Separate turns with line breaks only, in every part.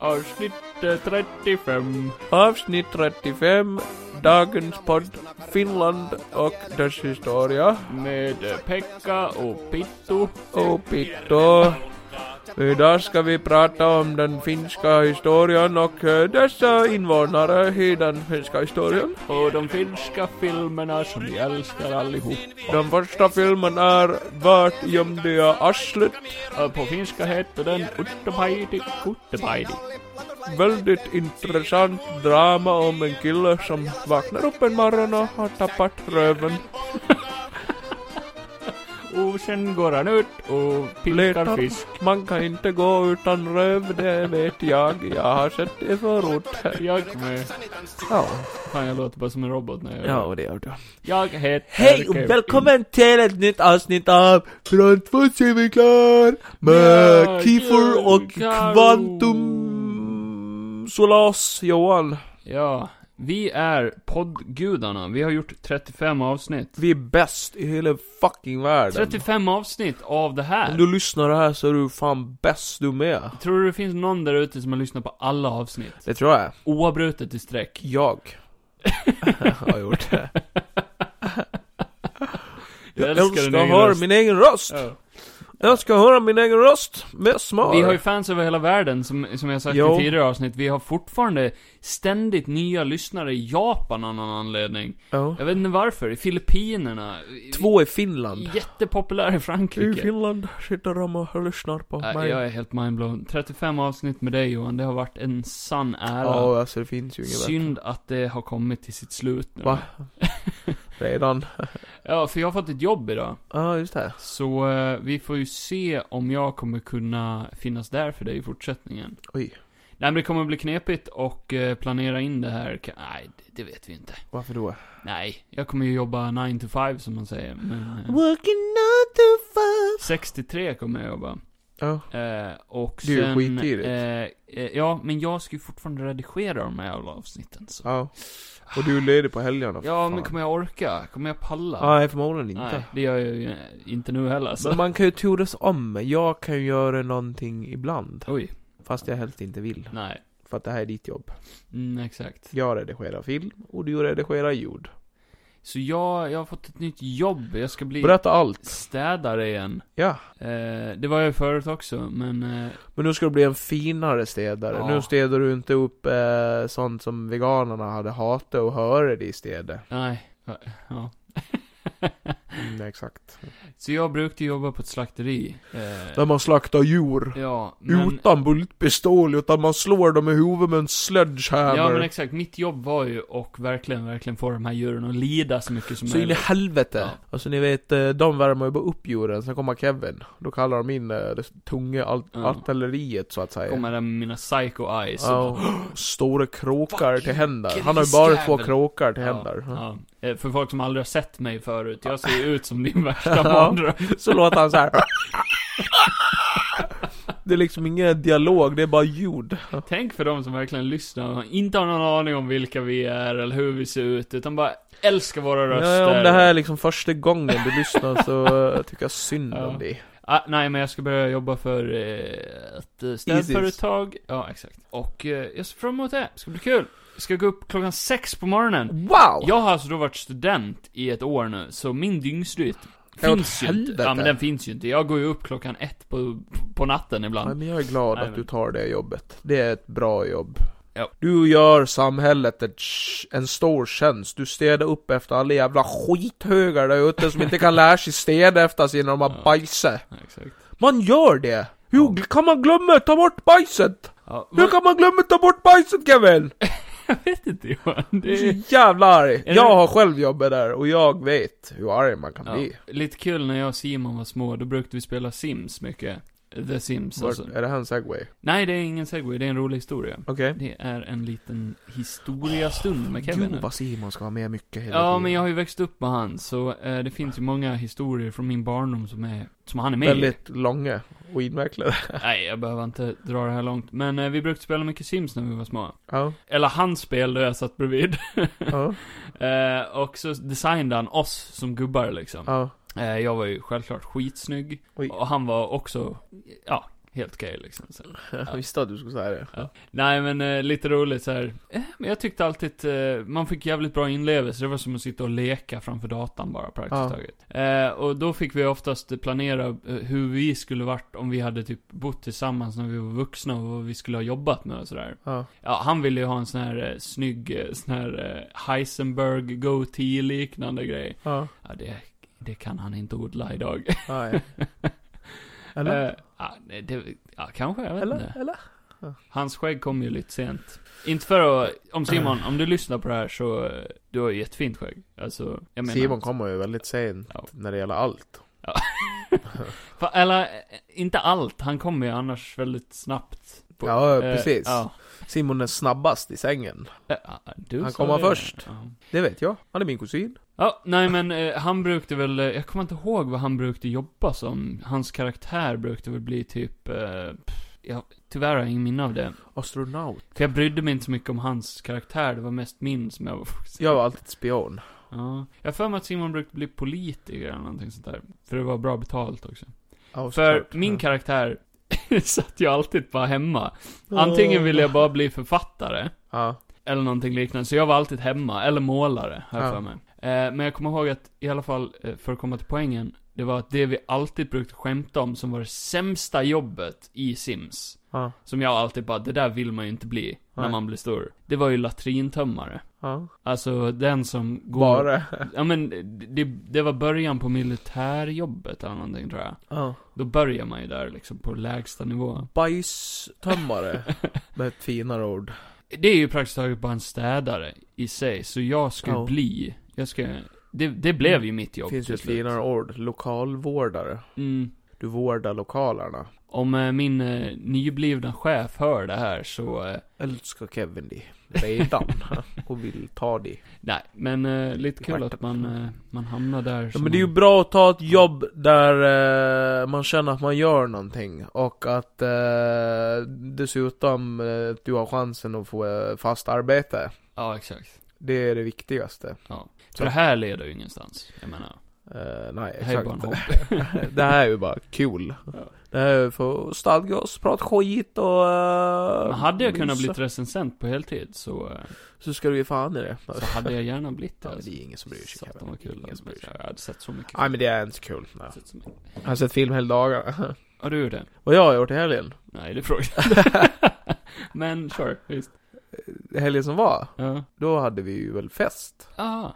Avsnitt eh, 35. Avsnitt 35. Dagens podd Finland och dess historia. Med eh, Pekka och Pittu. Och Pittu. Oh, Idag ska vi prata om den finska historien och eh, dessa invånare i den finska historien. Och de finska filmerna som vi älskar allihop. Den första filmen är Vart gömde jag arslet? På finska heter den Uttepaiti Kuttepaiti. Väldigt intressant drama om en kille som vaknar upp en morgon och har tappat röven. Och sen går han ut och pillar fisk. Man kan inte gå utan röv, det vet jag. Jag har sett det förut. Jag med.
Ja,
Fan, jag låter bara som en robot när jag
ja och det gör du.
Jag heter
Hej och
Kevin.
välkommen till ett nytt avsnitt av Från två semiklar
Ja,
med Kiefer och
Karo.
Kvantum Solas Johan.
Ja, vi är poddgudarna. Vi har gjort 35 avsnitt.
Vi är bäst i hela fucking världen.
35 avsnitt av det
Om
här.
du lyssnar här så är du fan bäst du med.
Tror du det finns någon där ute som har lyssnat på alla avsnitt?
Det tror jag.
Oavbrutet i sträck.
Jag. har gjort det. Jag,
Jag älskar
älskar,
din
att
egen
höra
röst.
min egen röst.
Ja.
Jag älskar att höra min egen röst. Med smak.
Vi har ju fans över hela världen, som, som jag sagt
Jo.
i tidigare avsnitt. Vi har fortfarande ständigt nya lyssnare i Japan av någon anledning.
Ja.
Jag vet inte varför. I Filippinerna. i-
Två i Finland.
Jättepopulär i
I
Frankrike.
Finland sitter de och lyssnar på
Äh,
mig.
jag är helt mindblown. 35 avsnitt med dig Johan, det har varit en sann ära.
Ja, alltså det finns ju inget
Synd att det har kommit till sitt slut nu.
Va? Redan.
Ja, för jag har fått ett jobb idag.
Ja, just det.
Så eh, vi får ju se om jag kommer kunna finnas där för dig i fortsättningen.
Oj.
Nej men det kommer bli knepigt och eh, planera in det här. Ka- Nej, det, det vet vi inte.
Varför då?
Mm. Nej, jag kommer ju jobba 9 to 5 som man säger. Men, eh,
Working out to five.
63 kommer jag jobba.
Ja.
Eh, och
Det är ju
sen...
skittidigt.
eh, eh, ja, men jag ska ju fortfarande redigera de här jävla avsnitten så.
Ja. Och du är ledig på helgerna.
Ja,
fan.
men kommer jag orka? Kommer jag palla?
Nej, förmodligen inte.
Nej, det gör jag ju eh, inte nu heller så.
Men man kan ju turas om. Jag kan ju göra någonting ibland.
Oj,
Fast jag helst inte vill.
nej.
För att det här är ditt jobb.
Mm, exakt.
Jag redigerar film och du redigerar ljud.
Så jag, jag har fått ett nytt jobb. Jag ska bli
Berätta allt.
städare igen.
Ja.
Eh, det var jag ju förut också, men... Eh,
Men nu ska du bli en finare städare.
Ja.
Nu städar du inte upp eh, sånt som veganerna hade hatat och höra det istället.
nej. Ja.
Mm, exakt.
Så jag brukade jobba på ett slakteri. Eh,
Där man slaktar djur.
ja, men...
Utan bultpistol, utan man slår dem i huvudet med en sledgehammer.
Ja men exakt, mitt jobb var ju och verkligen, verkligen få de här djuren att lida så mycket som
så in i
möjligt.
helvete.
Ja.
Alltså ni vet, eh, de värmer ju bara upp djuren, sen kommer Kevin. Då kallar de in eh, det tunga al-
Ja.
artilleriet så att säga.
Kommer där med mina psycho eyes. och
Ja, och stora krokar till händer.
Fucking
Han har ju bara två
grisjävel.
krokar till händer.
Ja, ja. Eh, För folk som aldrig har sett mig förut, jag ser ju ut som din värsta
Ja.
mardröm.
Så låter han så här. Det är liksom ingen dialog, det är bara ljud.
Tänk för de som verkligen lyssnar och inte har någon aning om vilka vi är eller hur vi ser ut, utan bara älskar våra röster.
Ja, om det här är liksom första gången du lyssnar så eh, tycker jag synd
Ja.
om dig.
ah, nej, men jag ska börja jobba för eh, ett eh, städföretag. Ja, exakt. Och eh, jag ser fram emot det. Det ska bli kul. Jag ska gå upp klockan sex på morgonen.
Wow!
Jag har alltså då varit student i ett år nu, så min dygnsrytm
Ja, åt
finns ju inte. Ja,
helvete.
men den finns ju inte. Jag går ju upp klockan ett på, på natten
Nej,
ibland.
men jag är glad
Nej,
att
men-
du tar det jobbet. Det är ett bra jobb.
Ja.
Du gör samhället ett, sh- en stor tjänst. Du städar upp efter alla jävla skithögar där ute som inte kan lära sig städa efter sig när de har
Ja.
bajsat.
Ja, exakt.
Man gör det! Hur
Ja.
kan man glömma att ta bort bajset?
Ja,
Hur kan man glömma att ta bort bajset Kevin?
Jag vet inte Johan.
Jag
Det
är
är...
så jävla arg.
det-
Jag har själv jobbat där och jag vet hur arg man kan
Ja,
bli.
lite kul när jag och Simon var små, då brukade vi spela Sims mycket. The Sims
Vart,
alltså.
är det här en segway?
Nej, det är ingen segway, det är en rolig historia.
Okej.
Det är en liten historiastund med Kevin
Gud
nu.
vad Simon ska vara med mycket hela
Ja,
tiden.
men jag har ju växt upp med han, så eh, det finns ju många historier från min barndom som, är, som han är med i.
Väldigt långa och invecklade.
Nej, jag behöver inte dra det här långt. Men eh, vi brukade spela mycket Sims när vi var små.
Ja,
Eller han spelade och jag satt bredvid.
ja,
eh, och så designade han oss som gubbar liksom.
ja.
Eh, jag var ju självklart skitsnygg.
Oj.
Och han var också, ja, helt okej liksom. Så.
Jag visste att du skulle säga det.
Nej men eh, lite roligt så här. Eh, men jag tyckte alltid eh, man fick jävligt bra inlevelse. Det var som att sitta och leka framför datan bara praktiskt
Ja.
taget. Eh, och då fick vi oftast planera eh, hur vi skulle varit om vi hade typ bott tillsammans när vi var vuxna och vad vi skulle ha jobbat med och sådär.
Ja.
Ja, han ville ju ha en sån här eh, snygg, eh, sån här eh, Heisenberg goatee liknande grej.
Ja.
Ja, det, det kan han inte odla idag.
Nej. Eller?
Eh, ja, nej, det, ja, kanske, jag vet inte.
Eller? Eller?
Hans skägg kom ju lite sent. Inte för att, om Simon, om du lyssnar på det här så, eh, du har ju jättefint skägg. Alltså, jag menar.
Simon kommer ju väldigt sent
Ja.
när det gäller allt.
Fa- eller, eh, inte allt, han kommer ju annars väldigt snabbt. På,
Ja,
eh,
precis.
ja.
Simon är snabbast i sängen.
Eh, ah, du
Han
sa
kommer
det.
först.
Ja.
Det vet jag. Han är min kusin.
Ja, nej men eh, han brukade väl, eh, jag kommer inte ihåg vad han brukade jobba som. Hans karaktär brukade väl bli typ, eh, pff, jag, tyvärr har jag ingen minne av det.
Astronaut.
För jag brydde mig inte så mycket om hans karaktär, det var mest min som jag var fokuserad
Jag var alltid spion.
Ja. Jag har för mig att Simon brukade bli politiker eller någonting sånt där. För det var bra betalt också.
Ja,
För
såklart.
min
Ja.
karaktär satt ju alltid bara hemma. Antingen ville jag bara bli författare.
Ja.
Eller någonting liknande. Så jag var alltid hemma, eller målare, har jag
Ja.
för mig. Eh, men jag kommer ihåg att, i alla fall, eh, för att komma till poängen, det var att det vi alltid brukade skämta om som var det sämsta jobbet i Sims,
Ja.
som jag alltid bara, det där vill man ju inte bli när
Nej.
man blir stor. Det var ju latrintömmare.
Ja.
Alltså den som går...
Bara.
Ja men, det, det var början på militärjobbet eller någonting tror jag.
Ja.
Då börjar man ju där liksom på lägsta nivå.
Bajstömmare. Med ett finare ord.
Det är ju praktiskt taget bara en städare i sig, så jag ska ju
Ja.
bli, jag ska, det, det blev ju mitt jobb
Finns ju
till
ett
slut.
finare ord. Lokalvårdare.
mm.
Du vårdar lokalerna.
Om eh, min eh, nyblivna chef hör det här så, eh,
Älskar Kevin dig. Redan. och vill ta dig.
nej, men eh, lite kul
Vart-
att man, eh, man hamnar där
Ja,
som
men det är ju
man-
bra att ta ett jobb där eh, man känner att man gör någonting. Och att eh, dessutom eh, du har chansen att få eh, fast arbete.
Ja, exakt.
Det är det viktigaste.
Ja.
Så.
För det här leder ju ingenstans, jag menar.
Eh, nej,
Det här är
exakt.
bara en hobby.
det här är ju bara kul.
Ja.
Det här är ju för att stadga oss, prata skit och... Uh,
Men hade jag kunnat bli recensent på heltid så, eh,
Så ska du ge fan i det.
så hade jag gärna blivit det.
Ja, men
alltså.
det är ingen som bryr sig
Satan
Kevin.
vad kul.
Ingen som bryr
Alltså.
sig.
Jag hade sett så mycket.
Nej men det är inte så kul. Nej.
Sett så mycket.
Jag har sett film hela dagarna.
Har du gjort det?
Vad jag har gjort i helgen?
Nej, det frågar jag inte. Men sure, visst.
Helgen som var?
Ja.
Då hade vi ju väl fest.
Ah,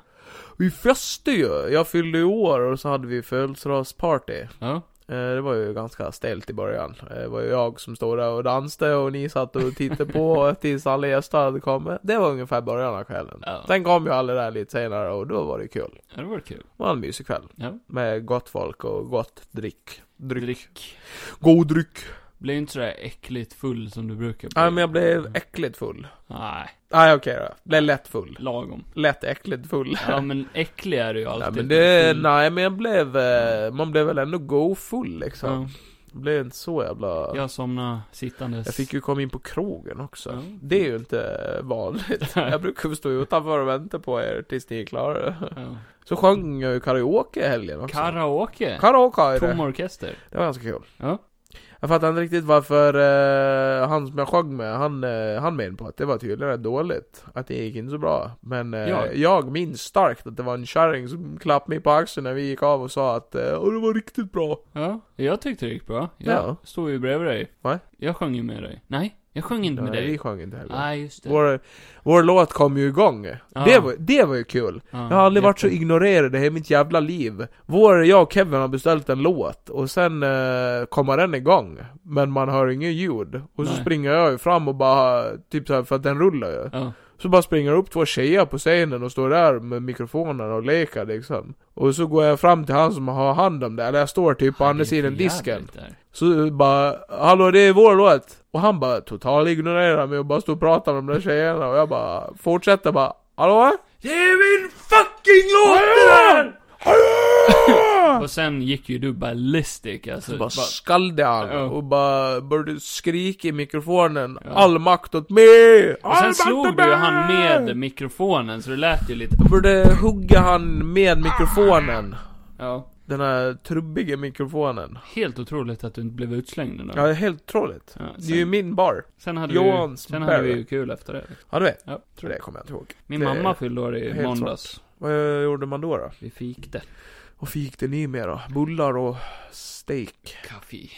Vi festade ju! Jag fyllde ju år och så hade vi födelsedagsparty.
ja.
Eh, Det var ju ganska stelt i början. Eh, Det var ju jag som stod där och dansade och ni satt och tittade på tills alla gäster hade kommit. Det var ungefär början av kvällen.
Ja.
Sen kom ju alla där lite senare och då var det kul.
ja, det var kul.
Det var en mysig kväll.
Ja.
Med gott folk och gott dryck. Dryck.
Drick.
God dryck!
Blev inte sådär äckligt full som du brukar bli.
Nej men jag blev äckligt full.
Nej,
Mm. Nej okej då. Blev lätt full.
lagom.
Lätt äckligt full.
Ja, men äcklig är du ju alltid.
Nej men det,
Full.
nej men jag blev, eh, man blev väl ändå go full liksom.
Ja,
Det blev inte så jävla...
jag somnade sittandes.
Jag fick ju komma in på krogen också.
Ja.
Det är ju inte vanligt. Jag brukar ju stå utanför och vänta på er tills ni är klara.
Ja.
Så sjöng jag ju karaoke i helgen också.
Karaoke.
karaoke är
Tom
det.
orkester.
Det var ganska kul.
Ja.
Jag fattar inte riktigt varför eh, han som jag sjöng med, han, uh, han menade på att det var tydligen rätt dåligt. Att det gick inte så bra. Men eh,
Jag?
jag. minns starkt att det var en kärring som klappade mig på axeln när vi gick av och sa att uh, det var riktigt bra.
Ja, jag tyckte det gick bra. Jag
Ja.
stod ju bredvid dig.
Va?
Jag sjöng ju med dig. Nej, jag sjöng inte med
Nej,
dig.
vi sjöng inte heller.
Nej, just det.
Vår, vår låt kom ju igång.
Ja.
Det, var, det var ju kul.
Ja,
Jag har aldrig varit så
jätte-
ignorerad i hela mitt jävla liv. Vår, jag och Kevin har beställt en låt och sen eh, kommer den igång. Men man hör inget ljud. Och så
Nej.
springer jag ju fram och bara, typ såhär, för att den rullar ju.
Ja.
Så bara springer upp två tjejer på scenen och står där med mikrofonen och leker liksom. Och så går jag fram till han som har hand om det, eller jag står typ på
Ja, det
andra
är för
sidan disken.
jävligt där.
Så bara, hallå det är vår låt! Och han bara total ignorerar mig och bara står och pratar med de där tjejerna och jag bara fortsätter bara, hallå? Det är min fucking låt det där! Hallå!
Och sen gick ju du ballistic alltså.
Så bara
Bara,
skallde
Ja.
han och bara började skrika i mikrofonen,
Ja.
all makt åt mig!
och
All
sen
makt åt
slog du ju
mig!"
han med mikrofonen så det lät ju lite...
Jag borde hugga han med mikrofonen.
Ja.
Den här trubbiga mikrofonen.
Helt otroligt att du inte blev utslängd ändå.
Ja, det är helt otroligt.
Ja,
Det är ju
sen,
min bar.
sen hade vi,
Johans
sen hade vi
Barry.
ju kul efter det.
Ja, du vet.
Ja,
Tror det kommer jag inte ihåg.
Min
Det är
mamma fyllde år i
helt
måndags.
Vad gjorde man då då?
Vi fick det.
Och fick det ni med då? Bullar och steak.
Kaffe.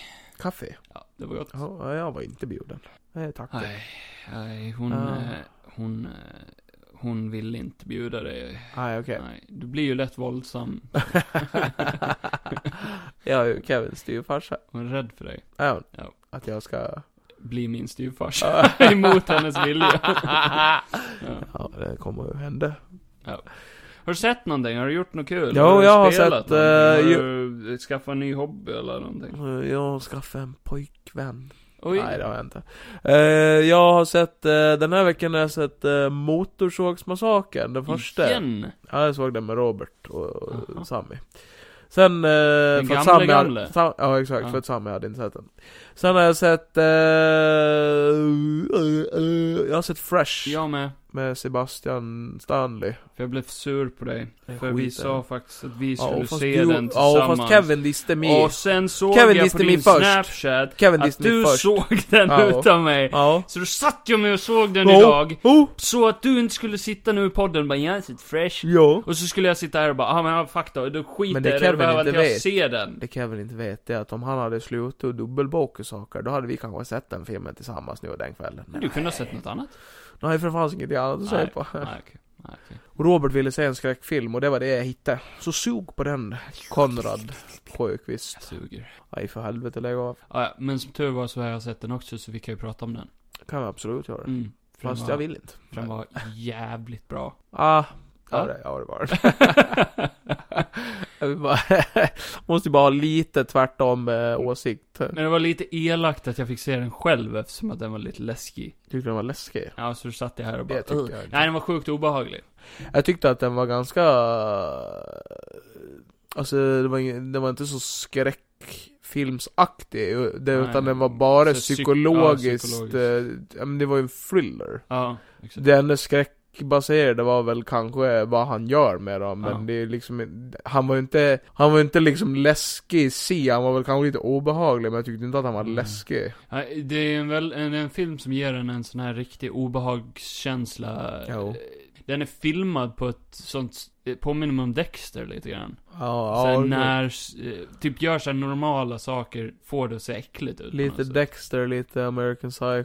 Kaffe?
Ja, det var gott.
Ja, jag var inte bjuden. Nej, tack.
Nej, nej, hon,
Ja.
eh, hon, eh, hon vill inte bjuda dig.
Nej, okej.
Nej, du blir ju lätt våldsam.
jag är ju Kevins styvfarsa.
Hon är rädd för dig.
Är hon?
Ja.
Att jag ska...
Bli min styvfarsa. Emot hennes vilja. ja.
Ja, det kommer ju hända.
Har du sett någonting? Har du gjort något kul?
Jo,
har du
jag har
spelat
sett,
någonting?
eh,
Har du skaffat en ny hobby eller någonting?
Jag skaffade en pojkvän.
Oj.
Nej, det har jag inte. Eh, jag har sett, eh, den här veckan har jag sett uh, Motorsågsmassakern, den första.
Igen?
Ja, jag såg den med Robert och,
Aha.
och Sammy. Sen, eh, för
gamle,
att Sammy
gamle?
hade, Sam, ja exakt,
Ja.
för att Sammy hade inte sett den. Sen har jag sett, eh, eh, eh, jag har sett Fresh
Jag med.
med Sebastian Stanley.
För jag blev sur på dig.
Den
För vi
skiten.
sa faktiskt att vi
Ja,
skulle
och fast
se
du-
den tillsammans.
Ja, och fast Kevin visste mig.
Och sen såg
Kevin
jag på
visste
din
mig först.
snapchat
Kevin
att
visste mig
du
först.
såg den
Ja.
utan mig.
Ja.
Så då satt jag med och såg den
Ja.
idag.
Oh!
Så att du inte skulle sitta nu i podden och bara 'Jag har sett fresh'
Ja.
Och så skulle jag sitta här och bara 'Ah men ja, fuck då, då skiter
Men det
jag i det,
Kevin
då behöver
inte
inte jag
vet.
se den.
Det Kevin inte vet är att om han hade slutat och dubbelboka saker, då hade vi kanske sett den filmen tillsammans nu den kvällen.
Men du kunde ha sett något annat.
Nej, för det fanns inget annat att säga på.
Nej, okej. Nej, okej.
Och Robert ville se en skräckfilm och det var det jag hittade. Så sug på den, Konrad Sjöqvist.
Jag suger.
Nej, för helvete lägg av.
Ah, ja, men som tur var så har jag sett den också, så vi kan ju prata om den.
kan vi absolut göra.
Mm. För den
Fast
var,
jag vill inte.
för den var jävligt bra.
Ah,
Ja.
ja, det ja, det var det. Jag vill bara måste ju bara ha lite tvärtom eh, åsikt.
Men det var lite elakt att jag fick se den själv eftersom att den var lite läskig.
Tyckte den var läskig.
Ja, så satt jag här och bara
Det tyckte
"Ugh."
jag inte.
Nej, den var sjukt obehaglig.
Jag tyckte att den var ganska... Alltså, det var, ingen- den var inte så skräckfilmsaktig. Det,
Nej,
utan den var bara
så psyk- ja,
psykologiskt...
psykologiskt.
eh, ja, men det var ju en thriller.
Ja, exakt.
Det enda skräckbaserade var väl kanske vad han gör med dem, men
Ja.
det är liksom Han var ju inte, han var ju inte liksom läskig i sig, han var väl kanske lite obehaglig, men jag tyckte inte att han var
Mm.
läskig.
Ja, det är en, väl, en, en film som ger en en sån här riktig obehagskänsla.
Jo.
Den är filmad på ett sånt, det påminner mig om Dexter lite grann.
Ja,
Ja,
ja
när, eh, typ gör såhär normala saker, får det att se äckligt ut. på
lite
något sätt.
Dexter, lite American Psycho.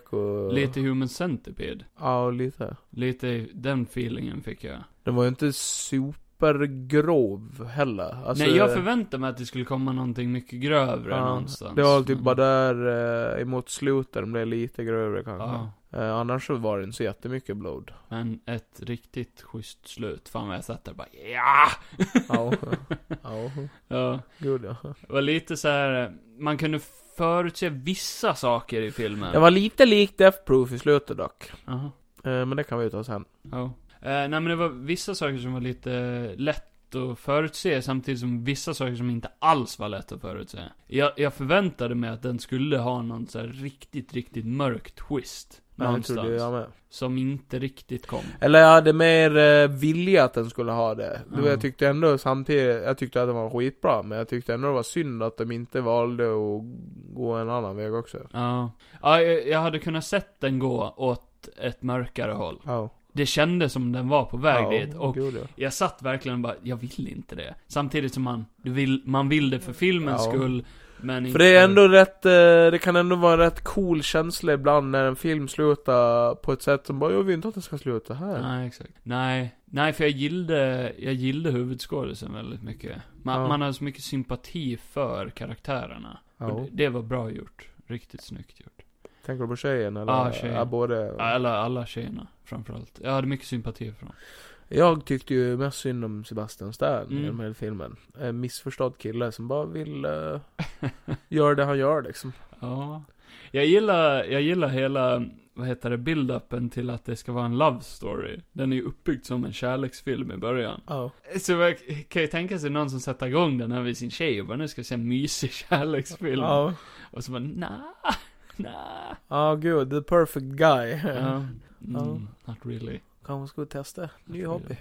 alltså. Lite Human Centipede.
Ja, lite.
Lite den feelingen fick jag.
Den var ju inte supergrov heller. Alltså,
Nej, jag förväntade mig att det skulle komma någonting mycket grövre
ja,
någonstans.
Det var typ
Men-
bara där eh, emot slutet, den blev lite grövre kanske.
Ja.
Eh, annars så var det inte så jättemycket blod.
Men ett riktigt schysst slut. Fan vad jag satt där och bara ja!
Ja, ja,
ja.
gud ja.
Det var lite så här. eh, man kunde förutse vissa saker i filmen.
Det var lite likt Death Proof i slutet dock.
Aha.
Eh, Men det kan vi ta sen.
Ja. Eh, nej men det var vissa saker som var lite eh, lätt att förutse samtidigt som vissa saker som inte alls var lätt att förutse. Jag, jag förväntade mig att den skulle ha någon så här riktigt, riktigt mörk twist.
Men jag trodde jag med.
Som inte riktigt kom.
Eller jag hade mer eh, vilja att den skulle ha det. Du,
Ja.
Jag tyckte ändå samtidigt, jag tyckte att den var skitbra. Men jag tyckte ändå det var synd att de inte valde att gå en annan väg också.
Ja. Ja, jag, jag hade kunnat sett den gå åt ett mörkare håll.
Ja.
Det kändes som den var på väg
Ja,
dit. Och
gud, ja.
jag satt verkligen och bara, jag vill inte det. Samtidigt som man, du vill, man vill det för filmens
Ja.
skull, men inte
För det är ändå rätt, eh, det kan ändå vara en rätt cool känsla ibland när en film slutar på ett sätt som bara, jag vill inte att den ska sluta här.
Nej, exakt. Nej, nej för jag gillade, jag gillade huvudskådisen väldigt mycket. Man,
Ja.
man hade så mycket sympati för karaktärerna. Och
Ja.
det, det var bra gjort. Riktigt snyggt gjort.
Tänker du på tjejen eller?
Ja, tjejen.
Ja, både.
Alla, alla tjejerna, framförallt. Jag hade mycket sympati för dem.
Jag tyckte ju mest synd om Sebastian Stern
Mm.
i den här filmen. En missförstådd kille som bara vill eh, göra det han gör liksom.
Ja. Jag gillar, jag gillar hela, vad heter det, build-upen till att det ska vara en love story. Den är ju uppbyggd som en kärleksfilm i början.
Ja.
Så man kan ju tänka sig någon som sätter igång den här vid sin tjej och bara nu ska jag se en mysig kärleksfilm.
Ja,
Och så bara nah, nah.
Ja, gud, the perfect guy.
Ja. Mm,
Ja.
Not really.
Kanske skulle testa, ny hobby.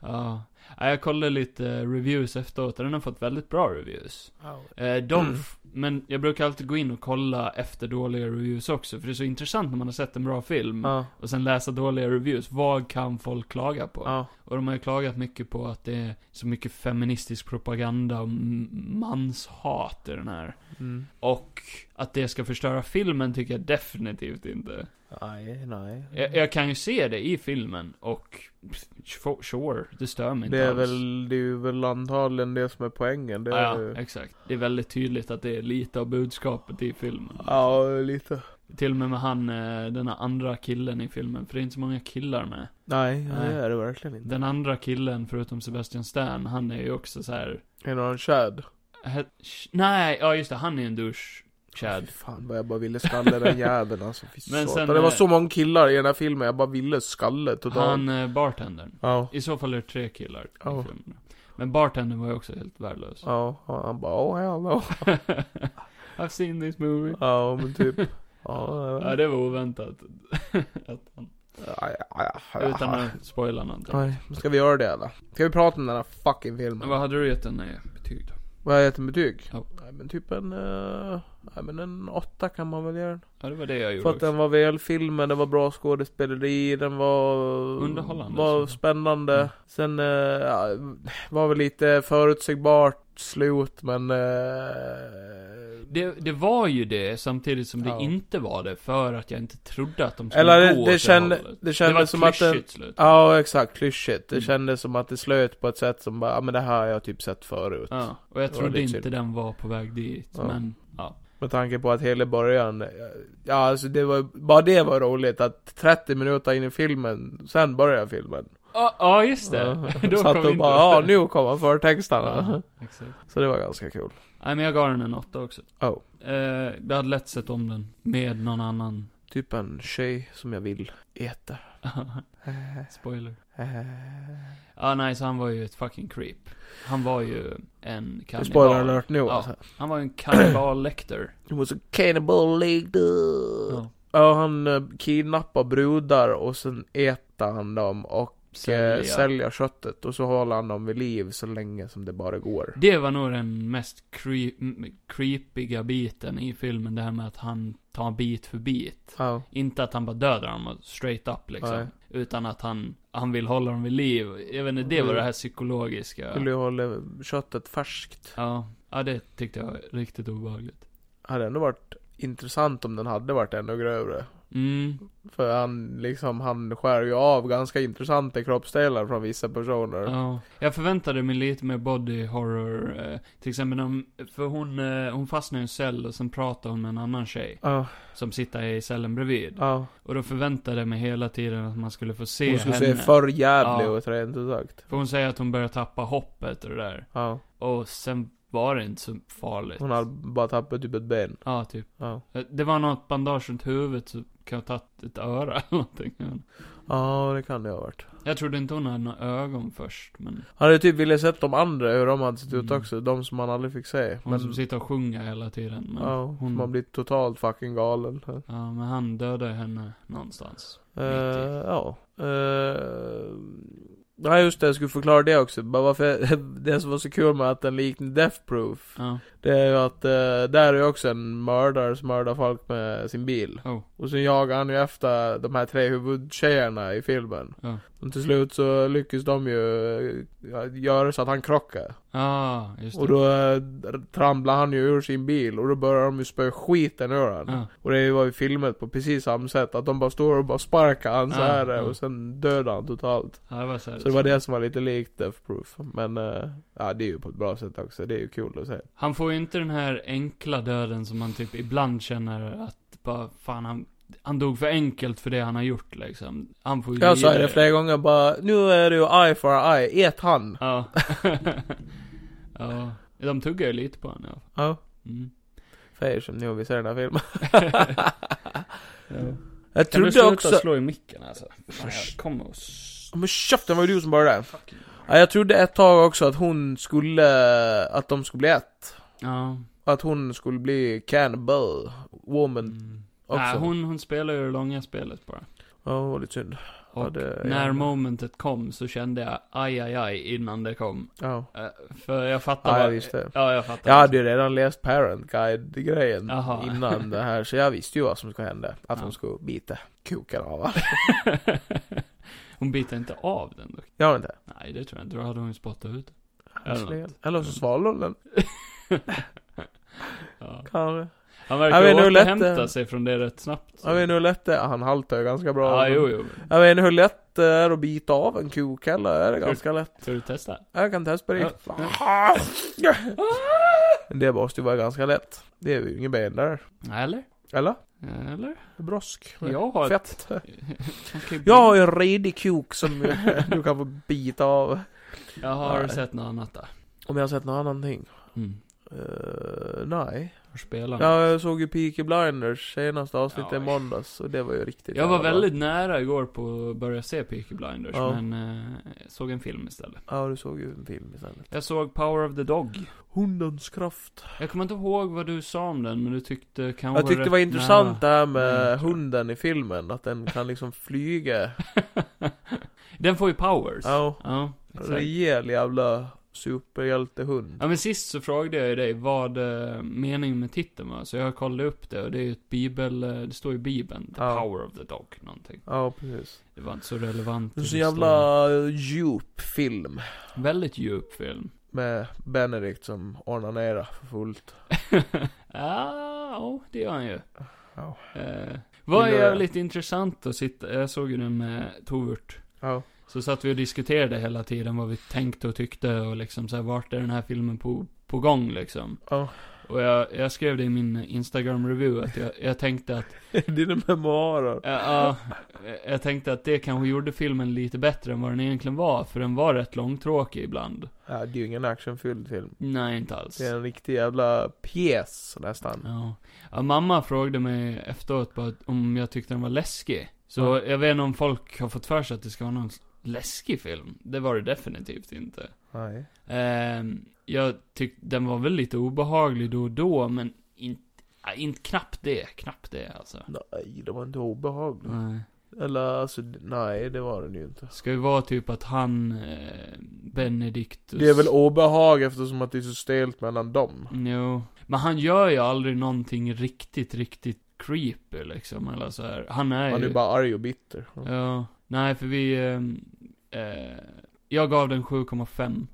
Ja. Ja, jag kollade lite reviews efteråt och den har fått väldigt bra reviews. Eh, de,
Mm.
f- men jag brukar alltid gå in och kolla efter dåliga reviews också, för det är så intressant när man har sett en bra film
Ja,
och sen läsa dåliga reviews. Vad kan folk klaga på?
ja.
Och de har ju klagat mycket på att det är så mycket feministisk propaganda och m- manshat i den här.
Mm.
Och att det ska förstöra filmen tycker jag definitivt inte.
Nej, nej.
Jag, jag kan ju se det i filmen och pff, f- sure, det stör mig
Det
inte
är,
alls.
väl, det är väl antagligen det som är poängen. Det
Ja,
är
ja,
ju...
exakt. Det är väldigt tydligt att det är lite av budskapet i filmen.
Ja, lite.
Till och med med han, eh, den här andra killen i filmen, för det är inte så många killar med.
Nej,
Nej.
det är det verkligen inte.
Den andra killen, förutom Sebastian Stan, han är ju också så här.
Är det någon Chad?
he- sh- Nej, ja just det, han är en douche. Chad.
Fy Fan vad jag bara ville skalle den jäveln alltså. Fy
Men
Men
sen,
det var
eh,
så många killar i den här filmen, jag bara ville skalle totalt.
Han, eh, bartendern.
Ja,
I så fall är det tre killar i
Ja.
filmen. Men bartendern var ju också helt värdelös.
ja, ja, han bara oh hell no.
I've seen this movie.
Ja, men typ. Ja,
Ja, det var oväntat. att han,
ja, ja, ja.
utan att spoila någonting.
Nej, men ska vi göra det eller? Ska vi prata om den här fucking
Men
filmen?
vad hade du gett den i betyg då?
Vad har jag gett den betyg?
Ja.
Nej men typ en, eh, nej men en åtta kan man väl göra den.
Ja, det var det jag gjorde
För att
också.
den var välfilmad, den var bra skådespeleri, den var...
Underhållande,
Var
så.
spännande.
Mm.
Sen eh, ja, var väl lite förutsägbart slut men... eh,
Det, det var ju det, samtidigt som det
Ja.
inte var det, för att jag inte trodde att de skulle
Eller
gå
det, det,
åt
kände,
hållet.
det
Det var
kändes som att den...
klyschigt slut.
Ja, exakt. Klyschigt. Det
Mm.
kändes som att det slöt på ett sätt som bara, ja men det här har jag typ sett förut.
Ja, och jag
Det var
trodde
lite
inte
synd.
den var på väg dit,
Ja.
men ja.
Med tanke på att hela början, eh, ja alltså det var, bara det var roligt att 30 minuter in i filmen, sen börjar filmen.
Ja, ja, just det.
Ja.
Då
Satt
kom
och
inte-
bara, ja nu kommer förtexterna.
Ja, exakt.
Så det var ganska kul.
Nej, men jag gav den en åtta också.
Oh.
Eh, jag hade lätt sett om den med någon annan.
Typ en tjej som jag vill äta.
Spoiler. Ja, nej, så han var ju ett fucking creep. Han var ju en kannibal.
Spoiler alert nu
Ja.
alltså.
Han var ju en kannibal lector.
It was a cannibal league ja. ja, han eh, kidnappar brudar och sen äter han dem och säljer. säljer köttet. Och så håller han dem vid liv så länge som det bara går.
Det var nog den mest cre- m- creepiga biten i filmen, det här med att han tar bit för bit.
Ja.
Inte att han bara dödar dem och straight up liksom.
Nej.
Utan att han, han vill hålla dem vid liv. Jag vet inte, det var
Mm.
det här psykologiska.
Vill du hålla köttet färskt?
Ja. ja, det tyckte jag var riktigt obehagligt.
Hade ändå varit intressant om den hade varit ännu grövre.
Mm,
För han liksom, han skär ju av ganska intressanta kroppsdelar från vissa personer.
ja. Jag förväntade mig lite mer body horror. Eh, till exempel när hon, för hon, eh, hon fastnar i en cell och sen pratar hon med en annan tjej.
Ja,
Som sitter i cellen bredvid.
ja.
Och då förväntade jag mig hela tiden att man skulle få se
Hon skulle
henne.
se för jävlig
Ja.
ut rent ut sagt.
För hon säger att hon börjar tappa hoppet och det där.
Ja.
Och sen var det inte så farligt.
Hon hade bara tappat typ ett ben.
Ja, typ.
Ja.
Det var något bandage runt huvudet så kan jag ha tagit ett öra eller någonting. Men
Ja, det kan det ha varit.
Jag trodde inte hon hade några ögon först, men
Han hade typ velat sett de andra hur de hade sett ut
Mm.
också. De som han aldrig fick se.
hon som sitter och sjunger hela tiden. Men
ja,
hon,
man blir totalt fucking galen.
Ja, men han dödade henne någonstans.
Eh,
Mitt i.
ja. Eh, nej just det, jag skulle förklara det också. Bara varför, det som var så kul med att den liknade Death Proof.
Ja,
Det är ju att eh, där är ju också en mördare som mördar folk med sin bil.
oh,
Och sen jagar han ju efter de här tre huvudtjejerna i filmen.
ja.
Och till slut så lyckas de ju eh, göra så att han krockar.
Ja, Ah, just det.
Och då eh, tramlar han ju ur sin bil och då börjar de ju spöa skiten ur han.
ja.
Och det var ju filmet på precis samma sätt. Att de bara står och bara sparkar han så
Ja,
här
ja.
och sen dödar han totalt.
ja, det var så här.
Så det var det som var lite likt Death Proof. Men eh, ja, det är ju på ett bra sätt också. Det är ju kul att se.
Han får ju inte den här enkla döden som man typ ibland känner att bara, fan han, han dog för enkelt för det han har gjort liksom. Han får ju
Jag sa ju
lida
det flera gånger bara, nu är det ju eye for eye, ät han.
Ja. ja. De tuggar ju lite på honom. Ja.
Ja.
Mm.
För er som nu vill se den här filmen.
ja.
Jag
Kan du
trodde
sluta
också...
slå i micken alltså? Fan, jag kommer och... s-
Men käften, var ju du som började.
Fucking...
Ja, jag trodde ett tag också att hon skulle, att de skulle bli ett.
Ja.
Att hon skulle bli cannibal woman
Mm.
också.
Nej, hon, hon spelar ju det långa spelet bara.
Ja, det var lite synd.
Och
ja, det,
När momentet kom så kände jag aj, aj, aj innan det kom.
Ja,
Eh, För jag fattar
ja jag
vad-
visste.
Ja, jag fattar.
Jag hade ju redan läst Parent Guide-grejen
Jaha.
innan det här, så jag visste ju vad som skulle hända. Att
Ja.
hon skulle bita kuken av honom.
Hon biter inte av den dock.
Gör hon inte?
Nej, det tror jag inte. Då hade hon ju spottat ut. Eller
Visserligen. Eller så svalde hon den.
Ja.
Kanske.
Han
Jag
verkar
vet inte hur lätt
återhämta
det-
sig från det rätt snabbt.
Jag vet inte hur lätt det är. Han haltar ju ganska bra.
Ja, jo, jo.
Jag vet inte hur lätt det är att bita av en kuk heller. Är det ganska lätt?
Ska du testa?
Jag kan testa det. Det måste ju vara ganska lätt. Det är ju inget ben där.
Eller?
Eller?
Eller?
Brosk.
Jag har ett...
Fett.
Man kan ju-
Jag har ju en redig kuk som du kan få bita av.
Jag har
Nej.
sett något annat där.
Om jag har sett något annat ting?
Mm.
Eh, nej.
Har spelat.
Ja, jag såg ju Peaky Blinders senaste avsnittet
Ja.
i måndags och det var ju riktigt
Jag var
jävla bra.
väldigt nära igår på att börja se Peaky Blinders,
Ja.
men eh, såg en film istället.
Ja, du såg ju en film istället.
Jag såg Power of the Dog.
Hundens kraft.
Jag kommer inte ihåg vad du sa om den, men du tyckte kan
Jag tyckte det var intressant det här med
Nej, tror Mm, jag.
hunden i filmen, att den kan liksom flyga.
Nära. den får ju powers.
Ja,
Ja, exakt.
rejäl jävla superhjältehund.
Ja men sist så frågade jag ju dig vad eh, meningen med titeln var, så jag kollade upp det och det är ju ett bibel, eh, det står ju i bibeln, The
Ja.
Power of the Dog någonting.
Ja, precis.
Det var inte så relevant.
En
till
så jävla djup film.
historien. Väldigt djup film.
Med Benedict som onanerar för fullt.
Ja, ja, det gör han ju.
Ja.
Eh, vad
Det gör
är
jag.
lite intressant att sitta, jag såg ju den med Tovert.
Ja.
Så satt vi och diskuterade hela tiden vad vi tänkte och tyckte och liksom så här, vart är den här filmen på, på gång liksom.
Ja.
Och jag, jag skrev det i min Instagram-review att jag, jag tänkte att
Dina memoarer.
Ja, ja. jag tänkte att det kanske gjorde filmen lite bättre än vad den egentligen var, för den var rätt långtråkig ibland.
Ja, det är ju ingen actionfylld film.
Nej, inte alls.
Det är en riktig jävla pjäs nästan.
Ja. ja, mamma frågade mig efteråt bara att om jag tyckte den var läskig. Så
Ja.
jag vet inte om folk har fått för sig att det ska vara någon läskig film. Det var det definitivt inte.
Nej.
Ehm, jag tyckte den var väl lite obehaglig då och då, men inte, ja, inte knappt det, knappt det alltså.
Nej, det var inte obehagligt.
Nej.
Eller alltså, nej det var den ju inte.
Ska ju vara typ att han, eh, Benediktus.
Det är väl obehag eftersom att det är så stelt mellan dem.
Jo. Men han gör ju aldrig någonting riktigt, riktigt creepy liksom, eller så här. Han är
Han är
ju...
ju bara arg och bitter.
Ja. Nej, för vi... ehm, Eh, jag gav den 7,5.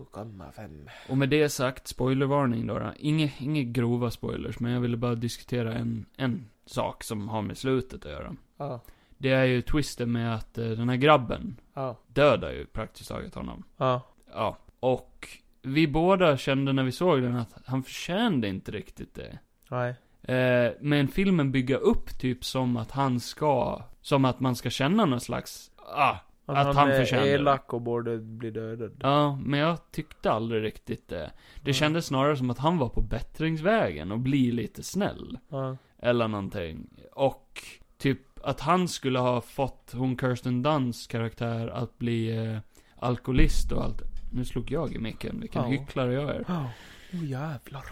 7,5.
Och med det sagt, spoilervarning då. då. Inge, inga grova spoilers, men jag ville bara diskutera en, en sak som har med slutet att göra.
Ja.
Det är ju twisten med att eh, den här grabben
Ja.
dödar ju praktiskt taget honom.
Ja.
Ja. Och vi båda kände när vi såg den att han förtjänade inte riktigt det.
Nej.
Eh, men filmen bygger upp typ som att han ska, som att man ska känna någon slags, ah,
Att,
Att han
han är
förtjänar det.
elak och borde bli dödad.
ja, men jag tyckte aldrig riktigt det. Det
Mm.
kändes snarare som att han var på bättringsvägen och bli lite snäll.
Ja.
Eller någonting. Och typ att han skulle ha fått hon Kirsten Dunsts karaktär att bli eh, alkoholist och allt. Nu slog jag i micken, vilken
Ja.
hycklare jag är.
Oh, jävlar.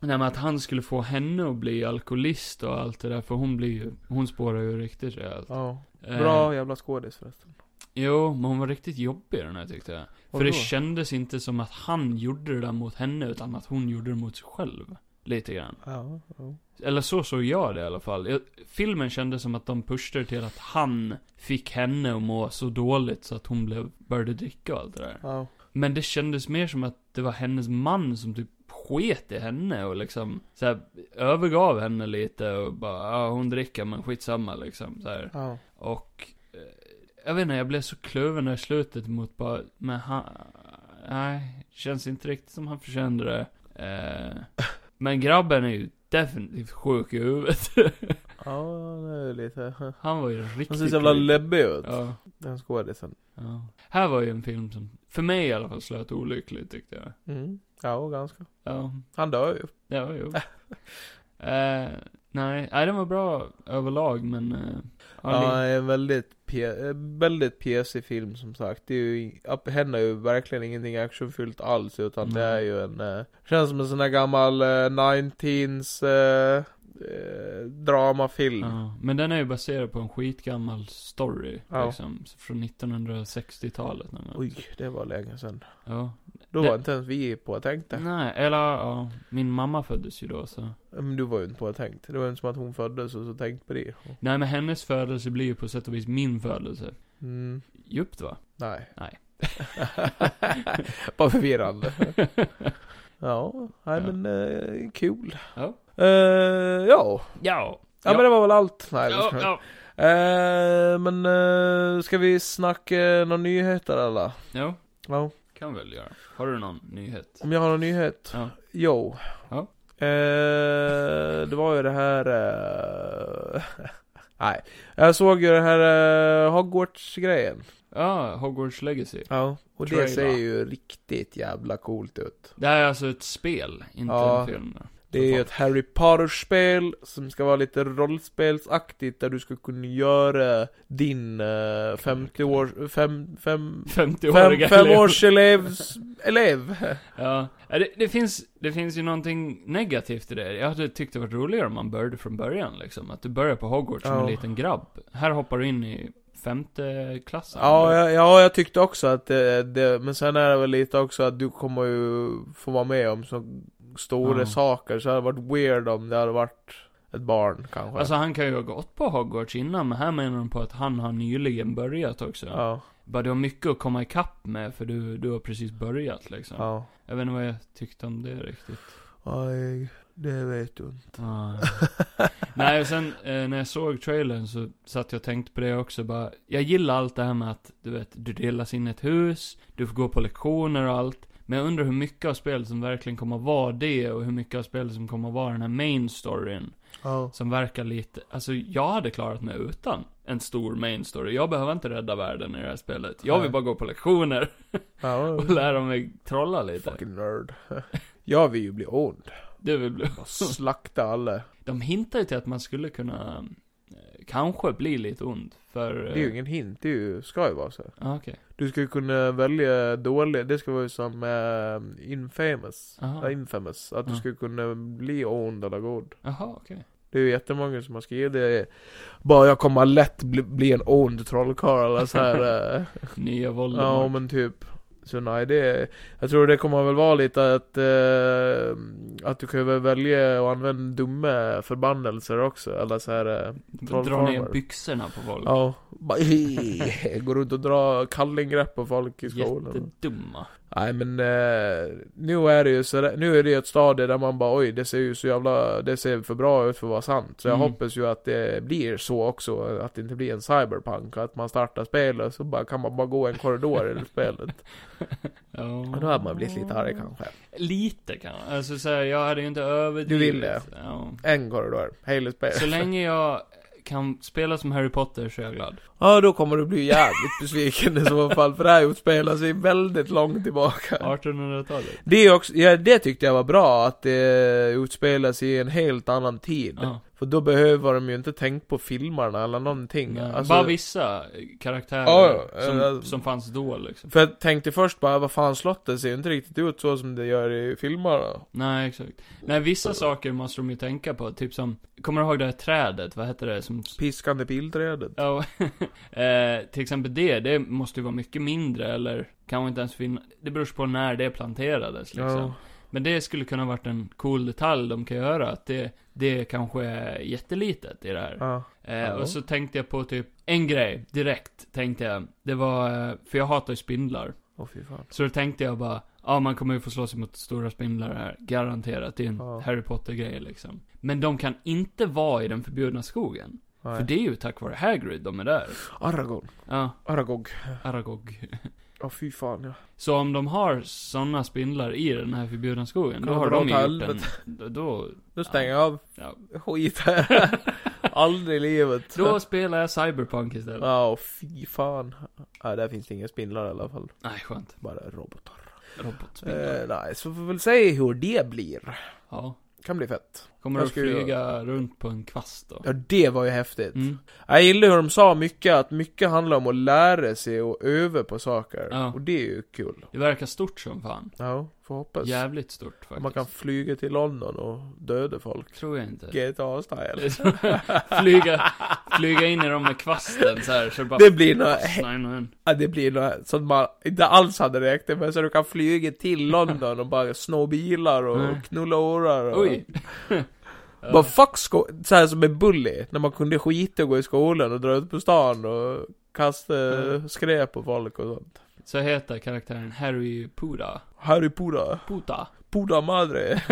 Nej men att han skulle få henne att bli alkoholist och allt det där, för hon blir ju, hon spårar ju riktigt rejält.
Ja.
Eh,
Bra jävla skådis förresten.
Jo, men hon var riktigt jobbig den här tyckte jag.
Vadå?
För det kändes inte som att han gjorde det där mot henne, utan att hon gjorde det mot sig själv. Lite grann.
Ja. ja.
Eller så såg jag det i alla fall. Jag, filmen kändes som att de pushade till att han fick henne att må så dåligt så att hon blev, började dricka och allt det där.
ja.
Men det kändes mer som att det var hennes man som typ sket i henne och liksom så här, övergav henne lite och bara, ja hon dricker men skitsamma liksom så här.
ja.
Och, eh, jag vet inte, jag blev så kluven där i slutet mot bara, men han, nej, känns inte riktigt som han förtjänade det. Eh, men grabben är ju definitivt sjuk i huvudet.
Ja, det är ju lite...
Han var ju riktigt
Han ser så jävla
sjuk.
läbbig ut.
ja,
Den skådisen.
ja. Här var ju en film som, för mig i alla fall, slöt olyckligt tyckte jag.
Mm. Ja, och ganska.
Ja,
Han dör ju.
ja jo. eh, nej, nej, den var bra överlag, men... Eh,
Ja,
ja,
det är en väldigt, pe- eh, väldigt pjäsig film som sagt. Det är ju, ap- händer ju verkligen ingenting actionfyllt alls utan det
Nej.
är ju en, eh, känns som en sån här gammal eh, 19s eh, eh, dramafilm.
Ja, men den är ju baserad på en skitgammal story.
Ja.
Liksom, från 1960-talet. någon gång.
Oj, det var länge sedan.
Ja.
Då
Det-
var inte ens vi påtänkta.
Nej, eller ja, min mamma föddes ju då så.
Men Mm, du var ju inte påtänkt. Det var ju inte som att hon föddes och så tänkte på det.
Nej men hennes födelse blir ju på sätt och vis min födelse.
Mm,
Djupt va?
nej.
Nej.
Bara förvirrande. Ja, nej
Ja.
men eh, kul.
Ja.
Eh, ja.
ja.
Ja, men det var väl allt. Nej, det
ja,
ska...
ja.
Eh, men eh, ska vi snacka eh, några nyheter eller?
Jo,
Ja.
kan väl göra. Har du någon nyhet?
Om jag har någon nyhet?
Ja.
Jo.
Ja.
Eh, det var ju det här... Eh... Nej. Jag såg ju det här eh, Hogwarts-grejen.
Ja, Hogwarts Legacy.
Ja. Och
Trailer.
det ser ju riktigt jävla coolt ut.
Det här är alltså ett spel, inte
Ja.
en film.
Det är ju ett Harry Potter-spel som ska vara lite rollspelsaktigt där du ska kunna göra din eh, 50 år... Fem, fem,
50-åriga
fem, fem
elever.
års elevs, elev.
Ja. Ja, Det, det, finns, det finns ju någonting negativt i det. Jag hade tyckt det varit roligare om man började från början liksom. Att du börjar på Hogwarts som en
Ja.
liten grabb. Här hoppar du in i femte klassen.
Ja, jag, ja, jag tyckte också att det, det, men sen är det väl lite också att du kommer ju få vara med om så stora
Ja.
saker, så det hade varit weird om det hade varit ett barn kanske.
Alltså han kan ju ha gått på Hogwarts innan, men här menar de på att han har nyligen börjat också.
ja,
Bara du har mycket att komma ikapp med, för du, du har precis börjat liksom.
ja.
Jag vet inte vad jag tyckte om det riktigt.
Aj, det vet du inte.
Nej, och sen eh, när jag såg trailern så satt jag och tänkte på det också bara. Jag gillar allt det här med att, du vet, du delas in i ett hus, du får gå på lektioner och allt. Men jag undrar hur mycket av spelet som verkligen kommer att vara det och hur mycket av spelet som kommer att vara den här main storyn.
Ja.
Som verkar lite, alltså jag hade klarat mig utan en stor main story. Jag behöver inte rädda världen i det här spelet. Jag vill
Nej.
bara gå på lektioner
ja.
och lära mig trolla lite.
Fucking nerd. Jag vill ju bli ond.
Det vill bli...
Bara slakta alla.
De hintar ju till att man skulle kunna, eh, kanske bli lite ond. För...
Det är ju ingen hint, det är ju, ska ju vara så.
Eh. Ah, okej.
Du ska ju kunna välja dålig, det ska vara ju som eh, infamous.
Aha.
Ja, infamous. Att du
Ja.
ska kunna bli ond eller god.
Jaha, okej.
Det är ju jättemånga som har skrivit det. Bara jag kommer lätt bli, bli en ond trollkarl eller så här. eh,
Nya Voldemort.
ja men typ. Så nej det, jag tror det kommer väl vara lite att, eh, att du kan väl välja och använda dumma förbannelser också. Eller så här.
Dra
Eh,
ner
trollformer.
byxorna på folk.
ja. Bara, hej, Går runt och drar kallinggrepp på folk i skolan.
Jättedumma.
Nej men eh, nu är det ju så där, nu är det ju ett stadie där man bara oj det ser ju så jävla, det ser för bra ut för att vara sant. Så jag
Mm.
hoppas ju att det blir så också, att det inte blir en cyberpunk. Att man startar spelet så bara, kan man bara gå en korridor i det spelet.
Ja.
Och då hade man blivit lite arg kanske.
Lite kan Alltså så här, jag hade ju inte överdrivit.
Du ville.
Ja.
En korridor, hela spelet.
Så länge jag kan spela som Harry Potter så är jag glad.
Ja då kommer du bli jävligt besviken i så fall, för det här utspelar sig väldigt långt tillbaka.
1800-talet.
Det, är också, ja, det tyckte jag var bra, att det utspelas i en helt annan tid.
Ja.
För då behöver de ju inte tänka på filmerna eller någonting.
Nej,
Alltså,
Bara vissa karaktärer
Ja, ja.
som,
Eh,
som fanns då liksom.
för jag tänkte först bara, vad fan slottet ser ju inte riktigt ut så som det gör i filmerna.
Nej, exakt. Nej, vissa saker måste de ju tänka på. Typ som, kommer du ihåg det här trädet? Vad hette det? Som...
Piskande pilträdet.
Ja, eh, till exempel det, det måste ju vara mycket mindre eller kanske inte ens finna. Det beror på när det planterades liksom.
Ja.
Men det skulle kunna varit en cool detalj de kan göra, att det, det kanske är jättelitet i det här.
Ja.
Eh, och så tänkte jag på typ, en grej direkt tänkte jag. Det var, eh, för jag hatar ju spindlar.
Åh fy fan.
Så då tänkte jag bara, ja man kommer ju få slåss mot stora spindlar här, garanterat. Det är en
Ja.
Harry Potter-grej liksom. Men de kan inte vara i den förbjudna skogen.
Nej.
För det är ju tack vare Hagrid de är där.
Aragorn.
Ja,
Aragog.
Aragog.
Åh fy fan ja.
Så om de har sådana spindlar i den här förbjudna skogen, då
Kan
har
dra
de
åt
ju gjort en...
helvete.
Då, då,
Nu stänger jag av.
ja.
Skit här. Aldrig i livet.
då spelar jag Cyberpunk istället.
Ja, åh, fy fan. Ja, där finns det inga spindlar i alla fall.
Nej, skönt.
Bara robotar.
Robotspindlar.
Eh, nej, så får vi väl se hur det blir.
Ja.
Kan bli fett.
Kommer
Jag
att
skulle-
flyga runt på en kvast då.
Ja, det var ju häftigt.
Mm.
Jag gillar hur de sa mycket, att mycket handlar om att lära sig och öva på saker.
Ja.
Och det är ju kul.
Det verkar stort som fan.
Ja, får hoppas.
Jävligt stort faktiskt.
Man kan flyga till London och döda folk.
Tror jag inte.
GTA-style.
flyga, flyga in i dem med kvasten så här, så det bara...
Det blir något,
Nej, nej.
ja, det blir något som man inte alls hade räknat med. Så du kan flyga till London och bara sno bilar
Nej.
och knulla årar och...
Oj.
Bara fuck sko- så här som en bully. När man kunde skita och gå i skolan och dra ut på stan och kasta
Mm.
skräp på folk och sånt.
Så heter karaktären Harry Puda.
Harry Puda.
Puta.
Puda madre.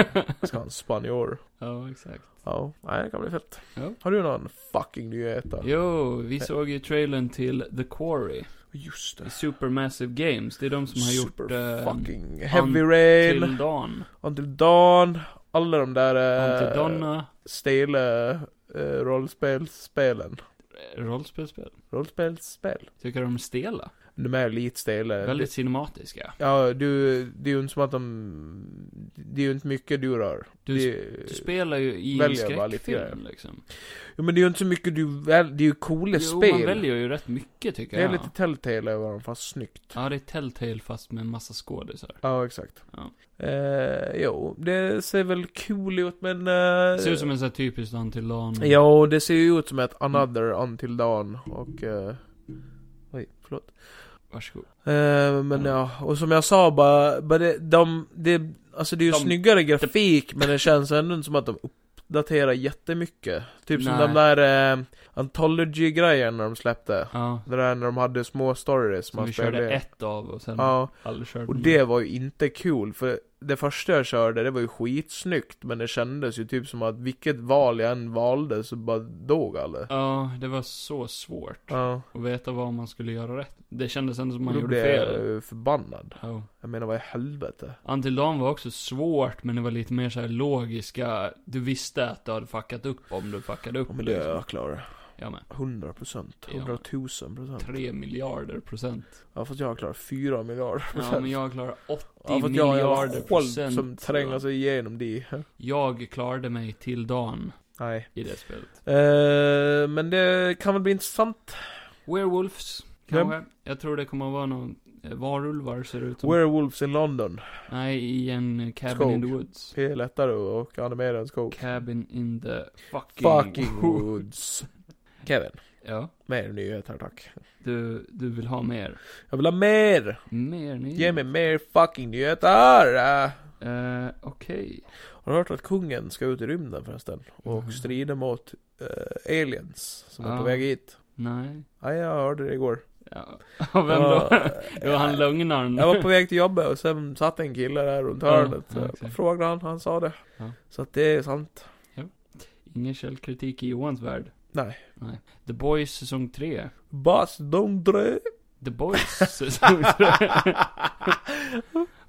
Ska han spanjor.
Ja, exakt.
Ja, nej det kan bli fett.
Ja.
Har du någon fucking nyhet då?
Jo, vi såg ju trailern till The Quarry.
Just
i
det.
Supermassive Games. Det är de som har gjort
Super
eh,
fucking Heavy
Until
Rain,
Till Dawn.
Until Dawn, alla de
Until
där eh,
Donna.
stela eh, rollspelsspelen.
eh, Rollspelsspel.
Rollspelsspel.
Tycker de är stela.
De är lite stela.
Väldigt cinematiska.
Ja, du, det är ju inte som att de... Det är ju inte mycket du rör.
Du
det,
Du spelar ju i en
Väljer bara lite
skräckfilm
grejer.
liksom.
ja, men det är ju inte så mycket du väl, Det är ju coola
Jo,
spel.
man väljer ju rätt mycket tycker
det är
jag.
lite Telltale över dem, fast snyggt.
Ja, det är Telltale fast med en massa skådisar.
Ja, exakt.
Ja.
Eh, jo, det ser väl cool ut men... Eh,
Ser ut som en sån här typisk Until Dawn.
Ja, det ser ju ut som ett Another Until Dawn och... Eh, oj, förlåt.
Varsågod.
Eh, men ja, och som jag sa bara, bara det, de, det, alltså det är ju
De-
snyggare grafik men det känns ändå inte som att de uppdaterar jättemycket. Typ som
Nej.
de där eh, Anthology-grejerna de släppte.
Ja.
Det där när de hade små stories
Som vi körde ett av och sen
Ja,
aldrig körde
och
mer.
det var ju inte kul för det första jag körde det var ju skitsnyggt men det kändes ju typ som att vilket val jag än valde så bara dog alla.
Ja, det var så svårt.
Ja,
Att veta vad man skulle göra rätt. Det kändes ändå som man
och då
gjorde
blev jag
fel.
ju förbannad.
Ja.
Jag menar vad i helvete?
Until Dawn var också svårt, men det var lite mer så här logiska. Du visste att du hade fuckat upp om du fuckade upp.
Ja, men det är
liksom.
jag klarar.
Ja, men.
100 procent.
Ja.
100 000 procent.
3 miljarder procent.
Ja fast jag klarar 4 miljarder
Ja, men jag klarar 80
Ja, för att jag har
miljarder
en
procent.
skål som tränger sig igenom det.
Jag klarade mig till dagen
Nej.
i det spelet.
Eh, men det kan väl bli intressant.
Werewolves, kanske. Jag tror det kommer att vara någon... eh, Varulvar ser det ut som.
Werewolves in London.
Nej, i en eh, cabin
Skog.
in the woods.
Det är lättare att animera än skog.
Cabin in the fucking...
Fucking woods. Kevin.
Ja,
Mer nyheter tack.
du, du vill ha mer.
Jag vill ha mer!
Mer nyheter.
Ge mig mer fucking nyheter! Eh,
Eh, Okej.
Har du hört att kungen ska ut i rymden förresten?
Mhm.
Och strida mot eh, aliens som är
Ah.
på väg hit.
Nej.
Ja, jag hörde det igår.
Ja, vem då? Det var han lögnaren.
Jag var på väg till jobbet och sen satt en kille där runt
Ja,
hörnet.
ja,
Ja,
exakt.
frågade han, han sa det.
Ja.
Så att det är sant.
Ingen källkritik i Johans värld.
Nej.
Nej. The Boys säsong 3.
Bas don't drö.
The Boys säsong 3.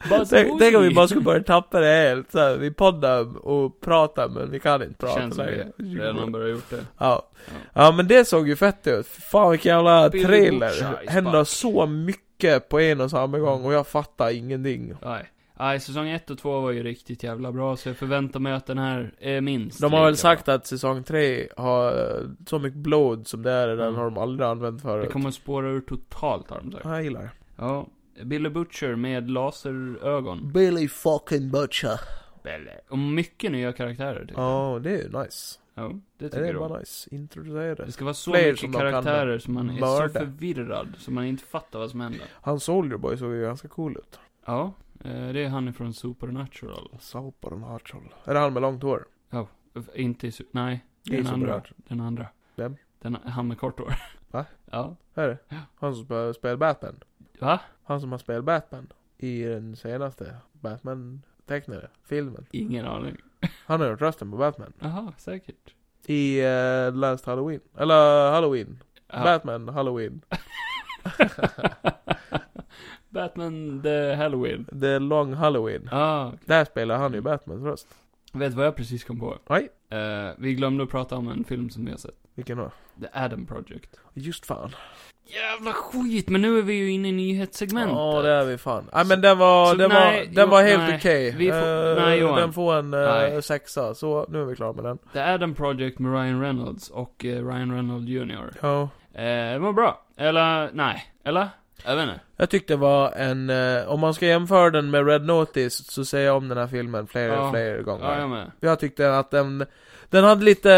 Buzz
Tänk, tänk om vi
Bunny.
bara skulle börja tappa det helt. Så här, vi poddar och pratar men vi kan inte prata
Känns som det. Redan börjat gjort det.
Ja.
Ja.
ja men det såg ju fett ut. Fan vilken jävla
Billy
trailer.
Butcher is
Händer
back.
så mycket på en och samma gång och jag fattar ingenting.
Nej. Nej, säsong 1 och 2 var ju riktigt jävla bra, så jag förväntar mig att den här är minst
De har väl
lika
sagt att säsong 3 har eh, så mycket blod som det är i den
Mm.
har de aldrig använt
bra.
förut.
Det kommer att spåra ur totalt, har de sagt.
Ja, jag gillar det.
Ja. Billy Butcher med laserögon.
Billy fucking Butcher.
Och mycket nya karaktärer, tycker jag.
Ja, det är ju nice.
Ja, det
Det
tycker
är
jag om.
bara nice. Introducera
Det
det.
ska vara så
Fler som
mycket
de kan
karaktärer som man är så
mörda.
förvirrad, så man inte fattar vad som händer.
Han Soldierboy såg ju ganska cool ut.
Ja, eh, det är han ifrån Supernatural.
Supernatural. Är det han med långt hår?
F- Inte i su- Nej,
Det är
den andra.
Supernatural.
Den andra.
Vem?
Den, han med kort hår.
Va?
Ja.
Är det?
Ja.
Han som spelar- spelar Batman.
Va?
Han som har spelat Batman. I den senaste Batman-tecknade filmen.
Ingen aning.
Han har gjort rösten på Batman.
Jaha, säkert.
I eh, Last Halloween. Eller Halloween.
Ja.
Batman Halloween.
Batman the Halloween.
The Long Halloween.
Ah,
Där spelar han ju Batmans röst.
vet vad jag precis kom på?
Nej.
Eh, vi glömde att prata om en film som vi har sett.
Vilken då?
The Adam Project.
Just fan.
Ja! jävla skit. Men nu är vi ju inne i nyhetssegmentet.
Ja, det är vi fan. Nej men den var,
Så
den
nej,
var, den
jo,
var helt
nej.
okej.
Vi får-
Eh,
nej, Johan.
den får en eh,
Nej.
sexa, så nu är vi klara med den.
The Adam Project med Ryan Reynolds och eh, Ryan Reynolds Jr.
Ja.
Eh, det var bra. Eller, nej. Eller? Jag vet inte.
Jag tyckte det var en, eh, om man ska jämföra den med Red Notice så ser jag om den här filmen fler och
Ja.
fler
Ja,
gånger.
jag med.
Jag tyckte att den, den hade lite,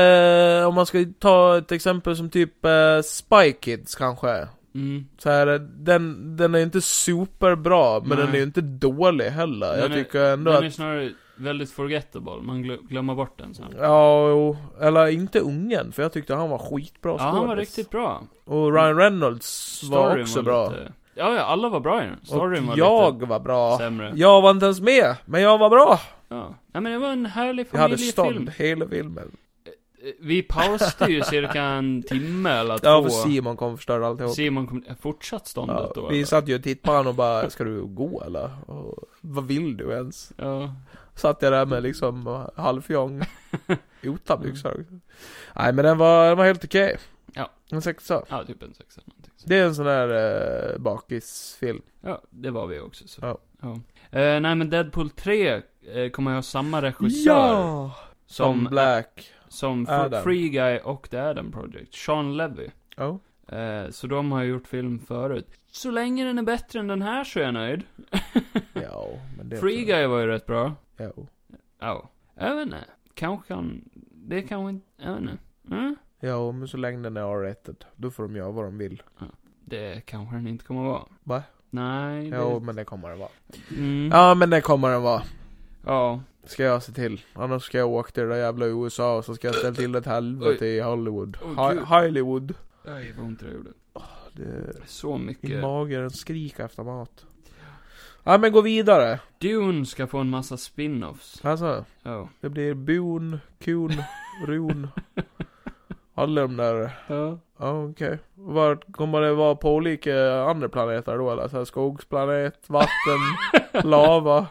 eh, om man ska ta ett exempel som typ eh, Spy Kids kanske.
Mm.
Så här, eh, den, den är inte superbra, men
Nej.
den är ju inte dålig heller.
Den
jag
är-
tycker ändå
Den
att
är snarare väldigt forgettable. Man glö- glömmer bort den snabbt.
Ja, jo. eller inte ungen, för jag tyckte han var skitbra
Ja, han var
skådis.
riktigt bra.
Och Ryan Reynolds var
Storyn
också bra.
Lite... Ja, ja, alla var bra i den. Storyn var
och jag
lite
var bra.
sämre.
Jag var inte ens med, men jag var bra!
Ja. Nej, men det var en härlig
Jag hade
familjefilm.
stånd hela filmen.
Eh, Vi pausade ju cirka en timme eller två.
Ja, för Simon kom och förstörde alltihop.
Simon kom... eh, Fortsatt ståndet
Ja,
då?
vi
eller?
satt ju och tittade på honom och bara, ska du gå eller? Och, vad vill du ens?
Ja.
Satt jag där med liksom halvfjong, utan byxor. Nej men den var, den var helt okej.
Ja.
En sexa.
ja, typ en sexa eller någonting.
Det är en sån där eh, bakisfilm.
Ja, det var vi också. Så.
Ja.
Eh, nej men Deadpool 3 eh, kommer ju ha samma regissör
Ja! Som
som,
Black.
som Fr-
Adam.
Free Guy och The Adam Project, Sean Levy.
Ja.
Eh, så de har ju gjort film förut. Så länge den är bättre än den här så är jag nöjd.
Ja, men det...
Free Guy var ju rätt bra.
Ja.
Ja. Jag vet inte. Kanske kan... Det kanske inte... Jag vet inte. Mm?
ja, men så länge den är R-rated, då får de göra vad de vill.
Det kanske den inte kommer vara.
Va?
Nej. Det...
Ja, men det kommer den vara.
Mm.
Ja, men det kommer den vara.
Ja.
Ska jag se till. Annars ska jag åka till det där jävla USA och så ska jag ställa till ett helvete i Hollywood.
Åh,
Hi-
Gud.
Hollywood.
Aj, vad ont det gjorde.
Det...
Så
Min
mycket.
mage den skriker efter mat. Ja, men gå vidare.
Dune ska få en massa spin-offs.
Alltså,
Ja.
det blir Boon, Kun, Run. Alla de där
Ja.
Ja, okej. Vart kommer det vara på olika andra planeter då eller? Så här skogsplanet, vatten, lava?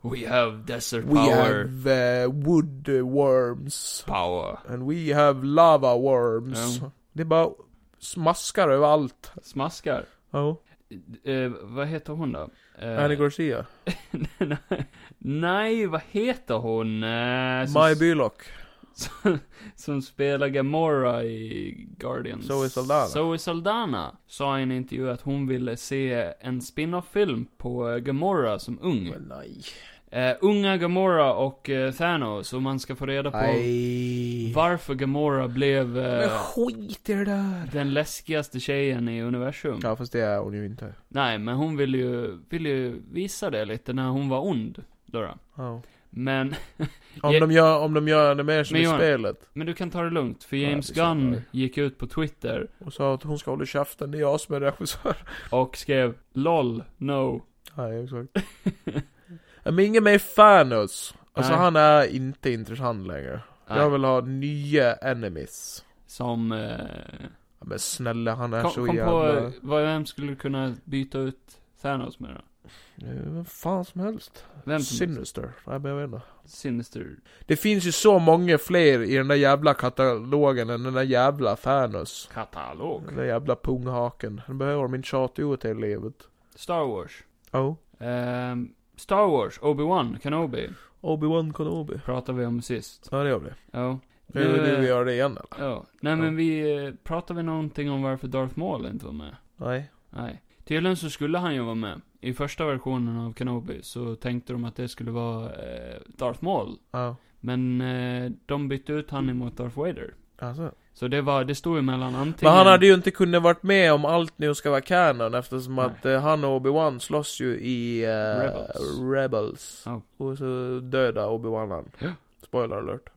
We have desert
We
power.
have eh, wood worms.
Power.
And we have lava worms.
Ja.
Det bara smaskar över allt.
Smaskar.
Ja.
Eh, vad heter hon då? Eh,
Annie Garcia.
Nej, vad heter hon? Eh, som,
Maj Bylock.
som, som spelar Gamora i Guardians.
Zoe Saldana.
Zoe Saldana sa i en intervju att hon ville se en spin-off-film på eh, Gamora som ung.
Men nej.
Eh, unga Gamora och eh, Thanos, och man ska få reda på
Nej.
varför Gamora blev
Men
eh,
skit i det där.
den läskigaste tjejen i universum.
Ja fast det är hon ju inte.
Nej, men hon ville ju, ville ju visa det lite när hon var ond, då. då.
Ja.
Men,
Om,
Ja.
de gör, om de gör animation
Men
i
Johan-
spelet
men du kan ta det lugnt, för
Ja,
James
det är så
Gunn
bra.
gick ut på Twitter
och sa att hon ska hålla käften, det är jag som är regissör.
och skrev LOL, no.
Nej, exakt. Men ingen mer Thanos. Alltså
Nej.
han är inte intressant längre.
Nej,
Jag vill ha nya enemies.
Som, eh,
Ja, Men snälla han är
kom,
så
kom på
jävla...
eh, vad, vem skulle kunna byta ut Thanos med då?
Eh, Vem fan som helst.
Vem som helst.
Sinister. Nej men jag vet inte.
Sinister.
Det finns ju så många fler i den där jävla katalogen än den där jävla Thanos.
Katalog.
Den där jävla punghaken. Den behöver de inte tjata ut hela livet.
Star Wars.
Oh.
Ehm, Star Wars, Obi-Wan, Kenobi.
Obi-Wan Kenobi.
Pratar vi om sist.
Ja det gör vi.
Ja.
Nu vill
eh,
vi göra det igen eller?
Ja. Nej men vi, eh, pratar vi någonting om varför Darth Maul inte var med?
Nej.
Nej. Tydligen så skulle han ju vara med. I första versionen av Kenobi så tänkte de att det skulle vara eh, Darth Maul.
Ja.
Men eh, de bytte ut han emot Darth Vader.
Alltså.
Så det var, det stod ju mellan antingen...
Men han hade ju inte kunnat varit med om allt nu ska vara canon eftersom
Nej.
att eh, han och Obi-Wan slåss ju i eh,
Rebels.
Rebels.
Ja.
Och så döda Obi-Wan han.
Ja.
Spoiler alert.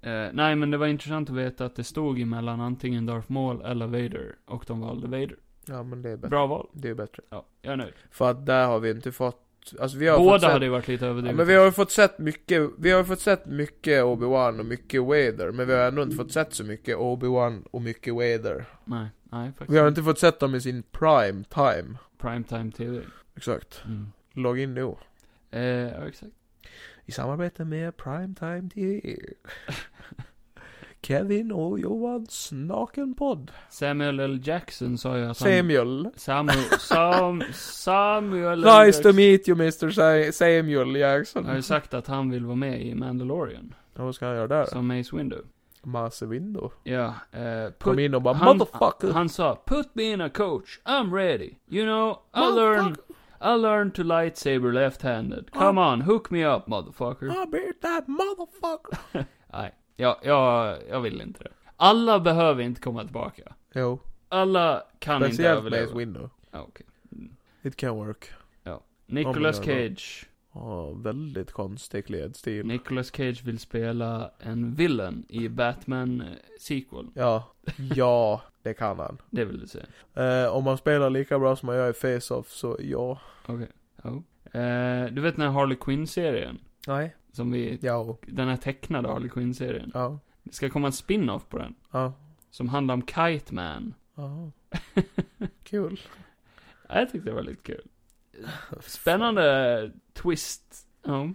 Eh, nej men det var intressant att veta att det stod ju mellan antingen Darth Maul eller Vader. Och de valde Vader.
Ja men det är bättre.
Bra val.
Det är bättre.
Ja, jag är nöjd.
För att där har vi inte fått, alltså vi har fått
Båda
sett,
hade ju varit lite
ja,
överdrivet.
men vi har ju fått sett mycket, vi har ju fått sett mycket Obi-Wan och mycket Wader, men vi har ändå inte fått sett så mycket Obi-Wan och mycket Wader.
Nej, nej faktiskt.
Vi har inte fått sett dem i sin prime time.
Primetime TV.
Exakt.
Mm.
Logg in nu.
Eh, ja, exakt.
I samarbete med Primetime TV. Kevin och Johans nakenpodd.
Samuel L. Jackson sa ju att han...
Samuel.
Samuel... Sam, Samuel L.
Nice to
Jackson
meet you Mr. Sa- Samuel Jackson.
Har ju sagt att han vill vara med i Mandalorian.
Ja, Vad ska han göra där?
Som Mace Windu.
Massive window.
Ja, eh,
Kom in och bara
han,
motherfucker.
han sa 'Put me in a coach, I'm ready. You know, I learned, I learned to lightsaber left-handed. Come on, hook me up motherfucker.
I beat that motherfucker.
Nej, jag, jag, jag vill inte det. Alla behöver inte komma tillbaka.
Jo,
Alla kan inte
speciellt Mace
överleva.
window.
Ah, okej.
It can work.
Nicolas
Om vi gör det.
Cage.
Ja, väldigt konstig klädstil.
Nicolas Cage vill spela en villain i eh, Batman-sequel.
Ja, ja, det kan han.
Det vill du säga.
Eh, om han spelar lika bra som han gör i Face-Off så ja.
Okej. Ja. Eh, du vet den här Harley Quinn-serien?
Nej.
Som vi...
Ja,
Den här tecknade Harley Quinn-serien.
ja,
Det ska komma en spin-off på den.
ja,
Som handlar om Kite Man.
ja. Kul.
Ja, Jag tyckte det var lite kul. Spännande twist. Ja.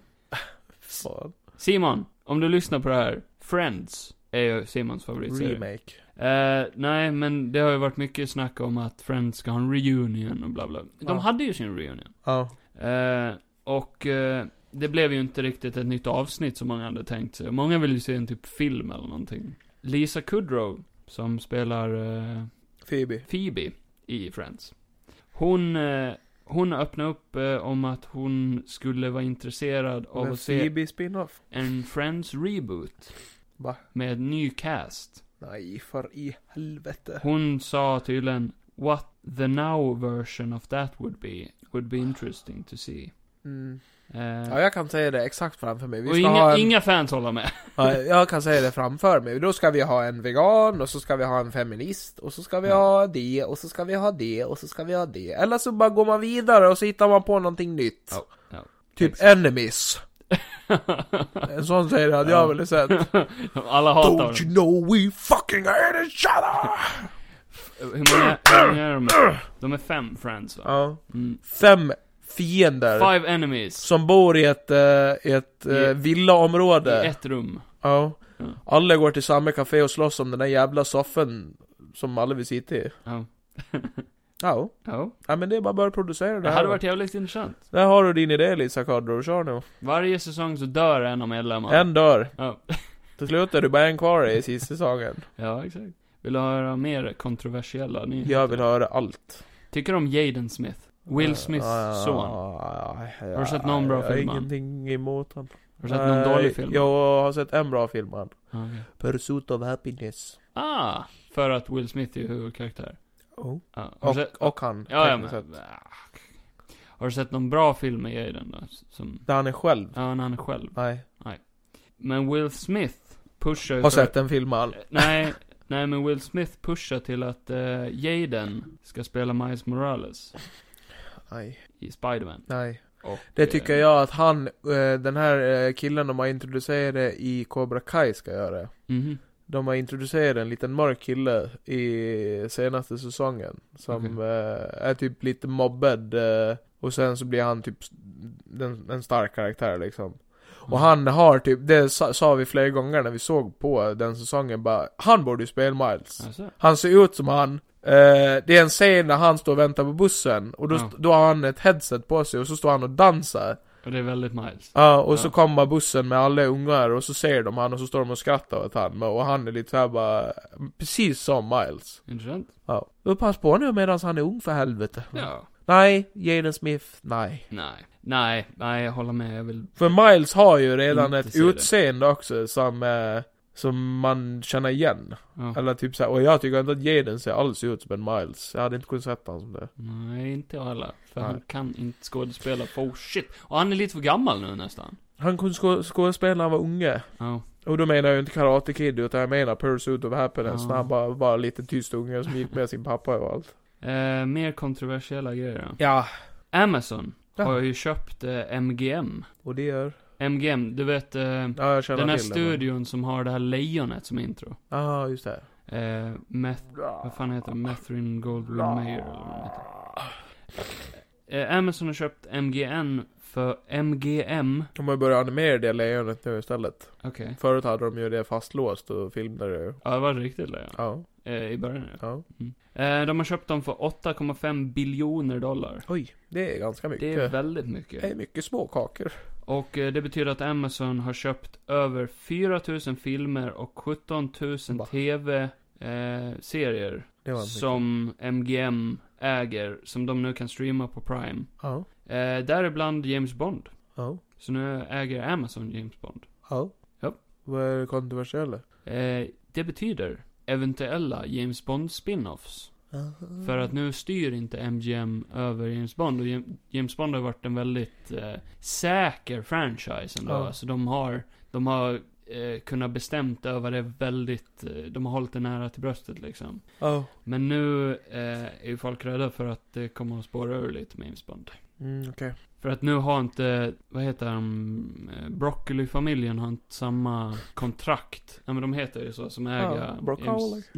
Fan.
Simon, om du lyssnar på det här. Friends är ju Simons favoritserie.
Remake.
Eh, nej, men det har ju varit mycket snack om att Friends ska ha en reunion och bla bla. De
Ja.
hade ju sin reunion.
Ja,
Eh, och eh, det blev ju inte riktigt ett nytt avsnitt som många hade tänkt sig. Många ville ju se en typ film eller någonting. Lisa Kudrow, som spelar eh,
Phoebe.
Phoebe i Friends. Hon, eh, hon öppnade upp eh, om att hon skulle vara intresserad av
Men
att se
Phoebe spin-off?
en Friends reboot.
Va?
Med ny cast.
Nej, för i helvete.
Hon sa tydligen What the now version of that would be Would be interesting to see
Mm.
Eh,
Ja, jag kan säga det exakt framför mig. Vi
Och
ska
inga,
ha en...
inga fans håller med
Ja, jag kan säga det framför mig. Då ska vi ha en vegan, och så ska vi ha en feminist, och så ska vi
Ja.
ha det, och så ska vi ha det, och så ska vi ha det. Eller så bara går man vidare och så hittar man på någonting nytt.
Ja, ja.
Typ
Exakt.
enemies. En sån serie hade jag velat sett.
Alla hatar
Don't
dem
you know we fucking hate each other!
Eh, Hur många, hur många är de? De är fem friends va?
Ja.
Mm.
Fem fiender.
Five enemies
Som bor i ett, eh, i ett eh,
I-
villaområde.
i ett rum
Ja.
Ja.
Alla går till samma café och slåss om den där jävla soffan som alla vill sitta i.
Ja,
Ja.
ja.
Ja men det är bara att börja producera det
Det
här.
hade varit jävligt intressant
Där har du din idé Lisa Kardrow, kör nu.
Varje säsong så dör en av medlemmarna
En dör.
ja.
Till slut är du bara en kvar i sista säsongen.
ja, exakt Vill du höra mer kontroversiella nyheter?
Jag vill höra allt.
Tycker du om Jaden Smith?
Eh,
Will Smiths son?
Har
du sett någon bra
jag har
film, man?
ingenting emot honom.
Har du sett
Eh,
någon dålig film?
Jag har sett en bra film han.
Ja, okej.
Pursuit of happiness.
Ah, för att Will Smith är huvudkaraktär.
Oh.
Ja, har
Och,
du sett,
och han.
ja, ja,
tekniskt
men,
sett.
ah. Har du sett någon bra film med Jaden då? Som,
Där han är själv.
ja, när han är själv.
Nej.
Men Will Smith pushar ju
Har
för-
sett den filmen han.
Nej, nej men Will Smith pushar till att eh, Jaden ska spela Miles Morales
Nej.
i Spiderman.
Nej.
Och,
Det tycker
eh,
jag att han, eh, den här eh, killen de har introducerat i Cobra Kai ska göra.
mhm.
De har introducerat en liten mörk kille i senaste säsongen. Som eh, är typ lite mobbad. Eh, och sen så blir han typ s- den, en stark karaktär liksom. Och han har typ, det sa, sa vi flera gånger när vi såg på den säsongen bara, han borde ju spela Miles.
Alltså,
Han ser ut som han. Eh, det är en scen när han står och väntar på bussen. Och då,
Ja.
st- då har han ett headset på sig och så står han och dansar.
och det är väldigt Miles.
Ja, och så
Ja.
kommer bussen med alla ungar och så ser de han och så står de och skrattar åt han. Och han är lite såhär bara, precis som Miles.
Intressant.
Ja. Då pass på nu medan han är ung för helvete.
Ja.
Nej, Jaden Smith, nej.
Nej. Nej, nej, jag håller med. Jag vill...
För Miles har ju redan
Inte
ett
se det.
utseende också som, eh, som man känner igen.
Ja.
Eller typ såhär, och jag tycker inte att Jaden ser alls ut som en Miles. Jag hade inte kunnat sett honom som det.
Nej, inte jag heller. För
Nej.
han kan inte skådespela for shit. Och han är lite för gammal nu nästan.
Han kunde skå- skådespela när han var unge.
Ja.
Och då menar jag ju inte Karate Kid, utan jag menar Pursuit of Happiness.
Ja.
När han bara var en liten tyst unge som gick med sin pappa och allt.
Eh, mer kontroversiella grejer då.
Ja.
Amazon
Ja.
har ju köpt eh, MGM.
Och det gör...
MGM, du vet eh,
Ja, jag känner
den här
till det, men-
studion som har det här lejonet som intro.
Ja, just det.
Eh, meth, vad fan heter det? Methrin Goldwyn Mayer eller vad den heter. eh, Amazon har köpt MGN för MGM.
De har ju börjat animera det lejonet nu istället.
Okej.
Förut hade de ju det fastlåst och filmade det.
Ja, det var riktigt lejon.
Ja,
Eh, I början ja.
ja.
Eh, de har köpt dem för 8,5 biljoner dollar.
Oj, det är ganska mycket.
Det är väldigt mycket.
Det är mycket små kakor.
Och eh, det betyder att Amazon har köpt över 4000 filmer och 17 000
Va?
tv-serier
Det var mycket.
som MGM äger, som de nu kan streama på Prime.
Ja,
Eh, däribland James Bond.
ja,
Så nu äger Amazon James Bond.
ja.
Ja.
Vad är det kontroversiella?
Eh, det betyder eventuella James Bond spin-offs.
Mm.
För att nu styr inte MGM över James Bond. Och Jam- James Bond har varit en väldigt eh, säker franchise ändå.
Ja.
Alltså de har, de har eh, kunnat bestämt över det väldigt, eh, de har hållit det nära till bröstet liksom.
Ja.
Men nu eh, är ju folk rädda för att det kommer att spåra ur lite med James Bond.
Mm, okej.
För att nu har inte, vad heter de, eh, Broccoli-familjen har inte samma kontrakt. Nej men de heter ju så, som äger
Ja, Broccoli.
James,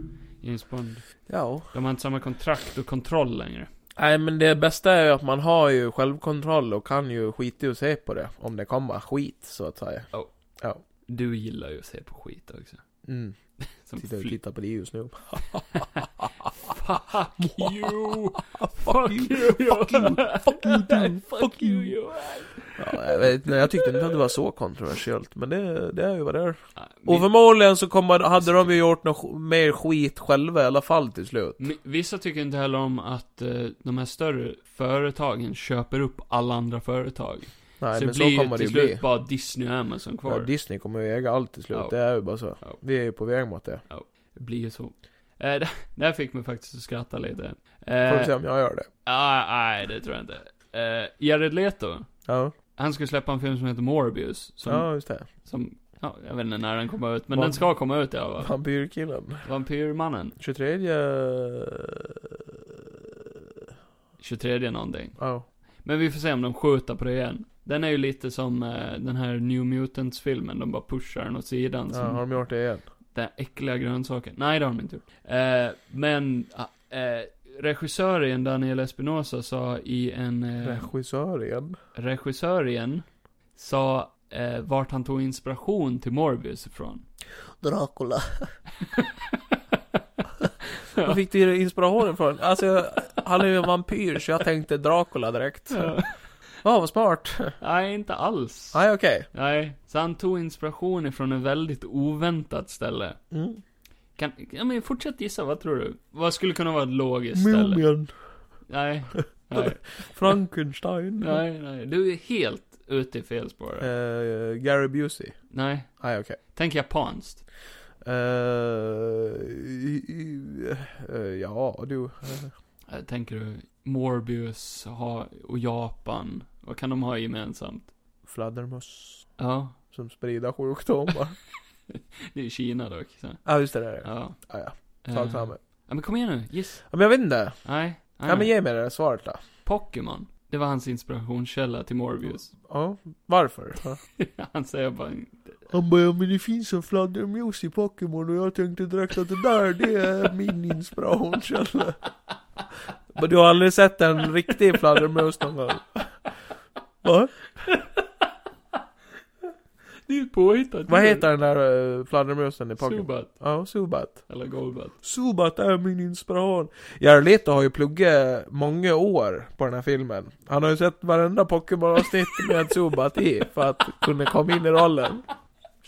James Bond.
Ja.
De har inte samma kontrakt och kontroll längre.
Nej men det bästa är ju att man har ju självkontroll och kan ju skita i och se på det. Om det kommer skit så att säga.
Du gillar ju att se på skit också.
Mm.
Som
Titta,
fly-
titta på det just nu.
Fuck you! Fuck you! Fuck you! Fuck you! Fuck you!
Ja, jag, vet, nej, jag tyckte inte att det var så kontroversiellt men det, det är ju vad det är.
Ja,
Och
vi-
förmodligen så kommer, hade de ju gjort något sk- mer skit själva i alla fall till slut.
mi- Vissa tycker inte heller om att eh, de här större företagen köper upp alla andra företag.
Nej
så det
men
blir
så kommer det
till
ju
slut
bli.
bara Disney och Amazon
Ja,
kvar.
Disney kommer ju äga allt till slut,
Ja.
det är ju bara så.
Ja.
Vi är ju på väg mot det.
Det blir ju så. Eh, det, det här fick mig faktiskt att skratta lite.
Får vi se
Eh,
om jag gör det.
ah, nej, det tror jag inte. Eh, Jared Leto,
Ja,
han ska släppa en film som heter Morbius. Som,
ja just det.
som ja, jag vet inte när den kommer ut, men
Vad-
den ska komma ut i alla fall.
Vampyrkillen.
Vampyrmannen,
23... Ja.
23 någonting. Men vi får se om de skjuter på det igen. Den är ju lite som eh, den här New Mutants-filmen, de bara pushar den åt sidan.
Ja,
som
har de gjort det igen?
Den äckliga grönsaken. Nej, det har de inte gjort. Eh, men, ah, eh, regissören Daniel Espinosa sa i en...
Mm.
Eh,
Regissör igen?
regissören sa eh, vart han tog inspiration till Morbius ifrån.
Dracula. Var fick du inspirationen från? Alltså, jag- han är ju en vampyr så jag tänkte Dracula direkt. Ja, vad smart.
Nej, inte alls.
Nej, okej.
Nej, så han tog inspiration ifrån ett väldigt oväntat ställe.
Mm.
Kan, ja, men fortsätt gissa, vad tror du? Vad skulle kunna vara ett logiskt ställe?
Mumien.
Nej, nej,
Frankenstein.
nej, nej. Du är helt ute i fel spår.
Eh, Gary Busey.
Nej,
Nej, okej.
tänk japanskt.
Eh, i- i- eh, ja, du. eh,
Eh, Tänker du Morbius ha, och Japan? Vad kan de ha gemensamt?
Fladdermöss.
Ja,
Som sprider sjukdomar.
det är Kina dock. Så.
Ja, just det. Där. är det.
Ja.
Ja, ja.
Eh,
Sak samma.
Ja men kom igen nu, giss.
Ja, men jag vet inte.
Nej. nej.
Ja, men ge mig det där svaret då.
Pokémon. Det var hans inspirationskälla till Morbius.
Ja, varför?
Han säger bara...
Han bara, ja, men det finns en fladdermus i Pokémon och jag tänkte direkt att det där, det är min inspirationskälla. Men du har aldrig sett en riktig fladdermus någon gång? Va?
Det är ju påhittat.
Vad heter den där eh, fladdermusen i Pokémon?
Subat.
Ja, Subat.
Eller Golbat.
Subat är min inspiration. Jarlito har ju pluggat många år på den här filmen. Han har ju sett varenda Pokémon-avsnitt med Subat i för att kunna komma in i rollen.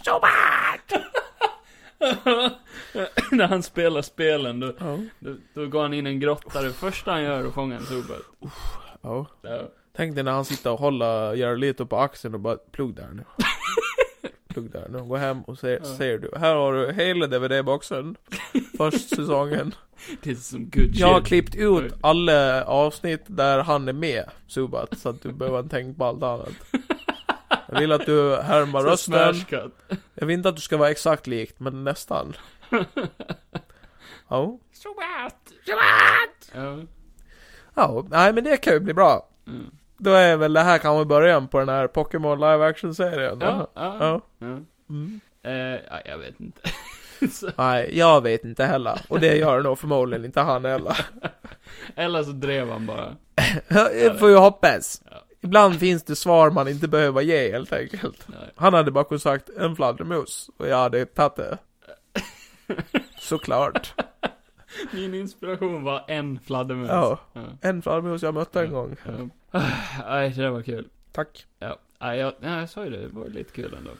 När han spelar spelen, då,
Ja.
då, då går han in i en grotta. Det första han gör är att fånga en Zubat.
ja.
Ja.
Tänk dig när han sitter och håller Jarlito på axeln och bara plugg där nu. plugg där nu. Gå hem och se,
Ja.
ser du. Här har du hela DVD-boxen. Först säsongen.
Det är som good
Jag har
shit.
klippt ut alla avsnitt där han är med, Subat. Så att du behöver inte tänka på allt annat. Jag vill att du härmar
Så
rösten.
smash cut.
Jag vill inte att du ska vara exakt likt, men nästan. Ja.
Zubat! Ja.
Ja, nej men det kan ju bli bra.
Mm.
Då är väl det här kanske början på den här Pokémon live action-serien.
Ja.
Ja.
Ja. ja.
Mm.
Eh, ja, jag vet inte. så,
Nej, jag vet inte heller. Och det gör nog förmodligen inte han heller.
eller så drev han bara.
Det får jag hoppas. Ibland finns det svar man inte behöver ge helt enkelt.
Nej.
Han hade bara kunnat sagt en fladdermus och jag hade tagit det. Såklart.
Min inspiration var en fladdermus.
Ja.
Ja.
En fladdermus jag mötte en
Ja.
gång.
Ja. Nej, det där var kul.
Tack.
Ja, nej, jag, nej, jag sa ju det, det var lite kul ändå.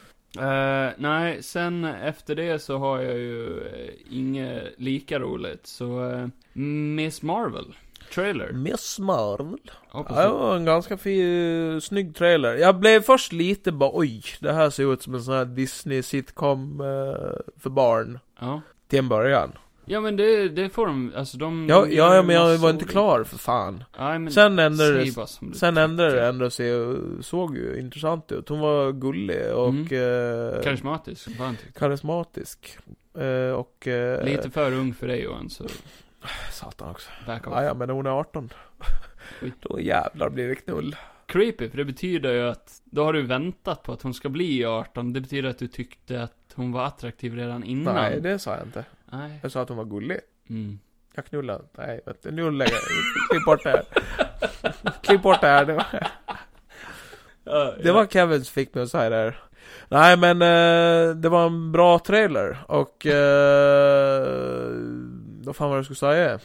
Eh, nej, sen efter det så har jag ju eh, inget lika roligt, så eh, Miss Marvel, trailer.
Miss Marvel.
Hoppas
Ja, det
ja,
var en ganska fin, snygg trailer. Jag blev först lite bara oj, det här ser ut som en sån här Disney-sitcom eh, för barn.
ja.
Till en början.
ja, men det, det får de, alltså de...
Ja,
de
ja,
gör
ja
ju
men jag
massa
var inte
olika-
klar för fan.
Nej, men
Sen ändrade
säg
det
bara som du
Sen ändrade
tycker.
det ändå sig och såg ju intressant ut. Hon var gullig och
Mm.
eh,
Karismatisk, som fan tyckte.
karismatisk. Eh, och... Eh,
Lite för ung för dig Johan, så
Satan också.
back off.
Ja, ja, men hon är 18.
Oj.
Då jävlar blir det knull.
Creepy, för det betyder ju att då har du väntat på att hon ska bli 18. Det betyder att du tyckte att hon var attraktiv redan innan.
Nej, det sa jag inte.
Nej.
Jag sa att hon var gullig.
Mm.
Jag knullar inte. Nej, vet du. Nu lägger jag... Klipp bort det här. Klipp bort det här. Det var, det var Kevin som fick mig att säga det här. Nej, men eh, det var en bra trailer och... Eh, vad fan var det jag skulle säga?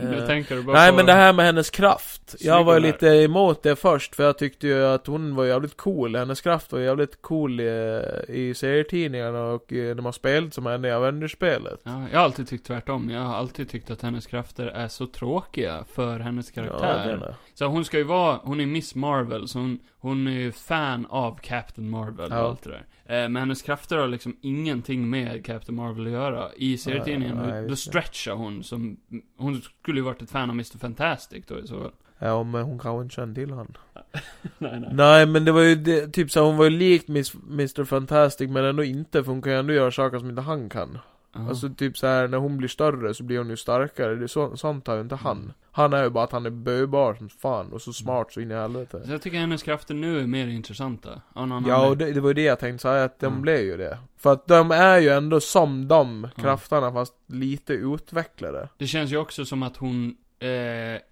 Nu
Eh,
tänker du bara
Nej,
på...
men det här med hennes kraft. Jag
Snygg
var ju
hon är.
lite emot det först, för jag tyckte ju att hon var jävligt cool. Hennes kraft var jävligt cool i, i serietidningarna och eh, när man spelade som henne i Avengers-spelet.
Ja, jag har alltid tyckt tvärtom. Jag har alltid tyckt att hennes krafter är så tråkiga för hennes
Ja, det är
karaktär.
det.
så hon ska ju vara, hon är Miss Marvel, så hon, hon är ju fan av Captain Marvel
Ja.
och allt det där. Eh, men hennes krafter har liksom ingenting med Captain Marvel att göra. I serietidningen,
Nej,
då,
visst
då
det.
stretchar hon som, hon skulle ju varit ett fan av Mr. Fantastic då i så fall.
ja, men hon kanske inte kände till han.
Nej,
Nej, men det var ju det, typ så här, hon var ju likt Miss, Mr. Fantastic, men ändå inte, för hon kan ju ändå göra saker som inte han kan. Alltså typ så här när hon blir större så blir hon ju starkare, det är så, sånt har ju inte han.
Mm.
Han är ju bara att han är böbar som fan, och så smart så in i helvete.
Så jag tycker hennes krafter nu är mer intressanta. Av någon
Ja, och
anledning.
det, det var ju det jag tänkte säga, att de
Mm.
blev ju det. För att de är ju ändå som de krafterna, fast lite utvecklade.
Det känns ju också som att hon, eh,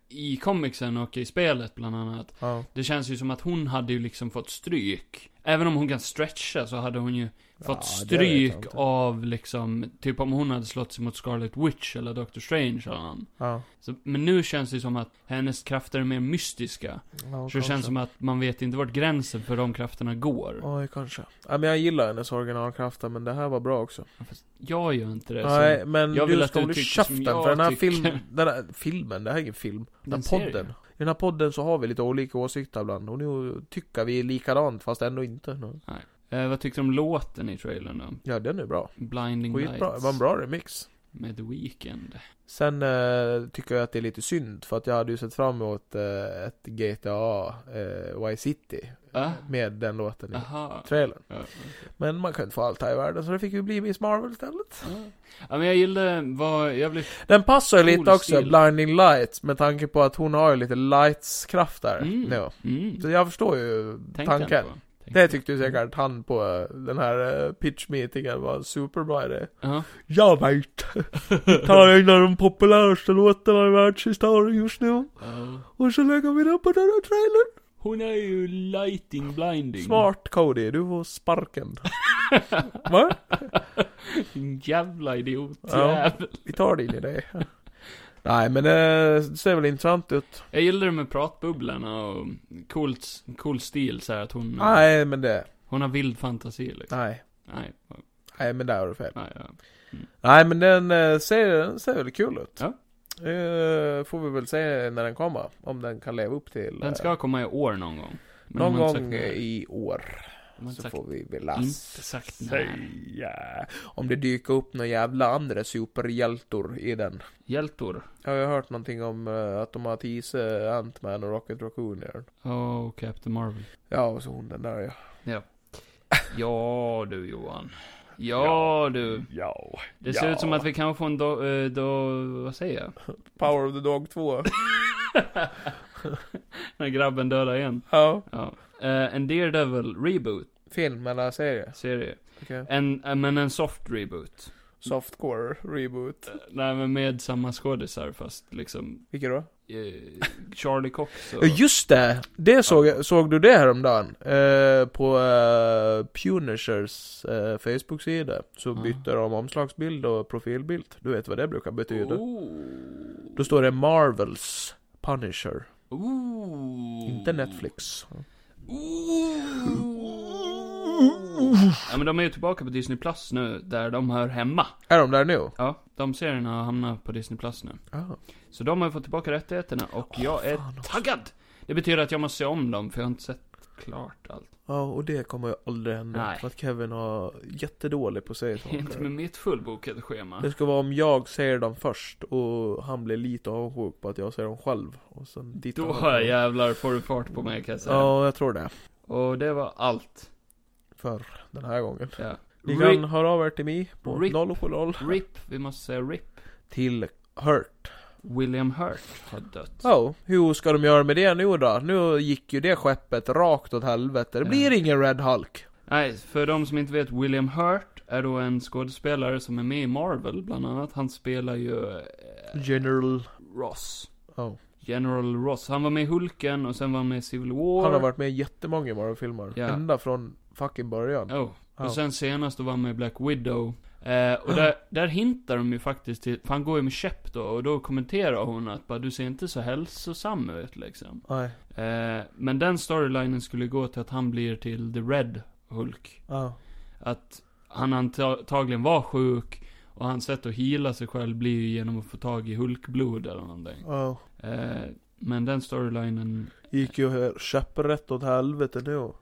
i comicsen och i spelet bland annat,
Ja.
det känns ju som att hon hade ju liksom fått stryk. Även om hon kan stretcha så hade hon ju
Ja,
fått
det vet
stryk
jag inte.
av liksom, typ om hon hade slått sig mot Scarlet Witch eller Doctor Strange eller någon.
ja.
Så, men nu känns det ju som att hennes krafter är mer mystiska.
ja
Så det känns som att man vet inte vart gränsen för de krafterna går.
Oj, kanske. Ja, men jag gillar hennes originalkrafter, men det här var bra också.
Fast jag gör inte det. Eh, så-
Nej, men
jag
du
vill att
ska
du
hålla
tycker som
käften,
jag
för den här
tycker.
filmen, den här filmen, det här är ingen film. Den
Den
här
serien.
podden. I den här podden så har vi lite olika åsikter ibland, och nu tycker vi likadant, fast ändå inte.
Eh, vad tyckte du om låten i trailern då?
Ja, den är bra.
Blinding
Skitbra, det
Lights.
var en bra remix.
Med The Weeknd.
Sen eh, tycker jag att det är lite synd för att jag hade ju sett fram emot eh, ett GTA eh, Vice City
Va?
med den låten i
Ah, Aha.
trailern.
Ja,
Men man kan inte få allt här i världen så det fick ju bli Miss Marvel istället.
ja. ja, men jag gillade vad, jag blev...
Den passar ju
Cool
lite också,
stil.
Blinding Lights, med tanke på att hon har ju lite lights-kraft där
Mm.
nu.
Mm.
Så jag förstår ju
Tänkte jag
tanken.
inte på. Tänkte
Det
jag-
tyckte ju säkert han på eh, den här eh, pitch-meetingen var en superbra idé.
Ja.
Jag vet! Tar en av de populäraste låtarna i världshistorien just nu. Och så lägger vi den på den här trailern.
Hon är ju lighting blinding.
Smart Cody, du får sparken. Va?
Din jävla idiot.
Ja.
jävel.
Vi tar din idé. Nej men eh, det ser väl intressant ut.
Jag gillade det med pratbubblorna och coolt, cool stil så här att hon...
Nej men det,
Hon har vild fantasi liksom.
nej.
Nej. Nej.
Nej men där har du fel.
Nej, ja.
Nej men den eh, ser, den ser väl kul ut.
Ja.
Eh, får vi väl se när den kommer. Om den kan leva upp till. eh,
Den ska komma i år någon gång. Men
någon
de har inte sagt
gång
när.
i år.
De har inte
Så
sagt-
får vi väl
Inte sagt när.
säga. Om det dyker upp några jävla andra superhjältor i den.
Hjältor.
Jag har ju hört någonting om eh, att de har teasat Ant-Man och Rocket Raccoon i den.
Oh, Captain Marvel.
Ja, och så hon den där ja.
Ja du Johan. Ja,
Mm.
du.
Ja.
Det ser
Ja.
ut som att vi kan få en do, eh, do, vad säger jag?
Power of the Dog 2.
När grabben dödar igen.
ja.
Ja. Eh, en Daredevil reboot
Film eller serie?
serie.
Okej.
En, eh, men en soft reboot.
Softcore reboot.
Eh, nej men med samma skådisar fast liksom.
Vilka då?
eh, Charlie Cox och...
Ja, Just det! Det såg, jag- såg du det häromdagen? Eh, på eh, Punishers eh, Facebook-sida Så
Ja.
bytte de omslagsbild och profilbild Du vet vad det brukar betyda?
Oh.
Då står det Marvels Punisher
Ooh.
Inte Netflix Oh.
Ooh. Ja men de är ju tillbaka på Disney Plus nu, där de hör hemma.
Är de där nu?
Ja, de serierna har hamnat på Disney Plus nu.
Ah.
Så de har ju fått tillbaka rättigheterna och jag är
fan också.
taggad! Det betyder att jag måste se om dem, för jag har inte sett klart allt.
Ja, och det kommer ju aldrig hända
Nej.
För att Kevin har jättedålig på att säga
Inte med
sånt
mitt fullbokade schema.
Det ska vara om jag säger dem först och han blir lite avundsjuk på att jag säger dem själv och sen dit
Då har jävlar får du fart på mig kan jag säga.
Ja, jag tror det
Och det var allt.
För den här gången
Ja.
Ni
Rip-
kan höra av er till mig på
Rip.
070
RIP, vi måste säga RIP.
till Hurt.
William Hurt har dött.
Ja, hur ska de göra med det nu då? Nu gick ju det skeppet rakt åt helvete. Det blir
Ja.
ingen Red Hulk.
Nej, för de som inte vet, William Hurt är då en skådespelare som är med i Marvel, bland annat. Han spelar ju... Eh,
General...
Ross.
Oh.
General Ross. Han var med i Hulken och sen var han med i Civil War.
Han har varit med i jättemånga Marvel-filmer.
Ja.
Ända från fucking början.
Oh.
Ja.
Och sen senast då var han med i Black Widow. Eh, och där, där hintar de ju faktiskt till, för han går ju med käpp då, och då kommenterar hon att bara, du ser inte så hälsosam ut liksom.
Nej.
Eh, men den storylinen skulle gå till att han blir till The Red Hulk.
Ja.
Att han antagligen var sjuk, och hans sätt att hila sig själv blir ju genom att få tag i Hulkblod eller någonting.
Ja.
Eh, men den storylinen,
Gick ju käpprätt åt helvete nu.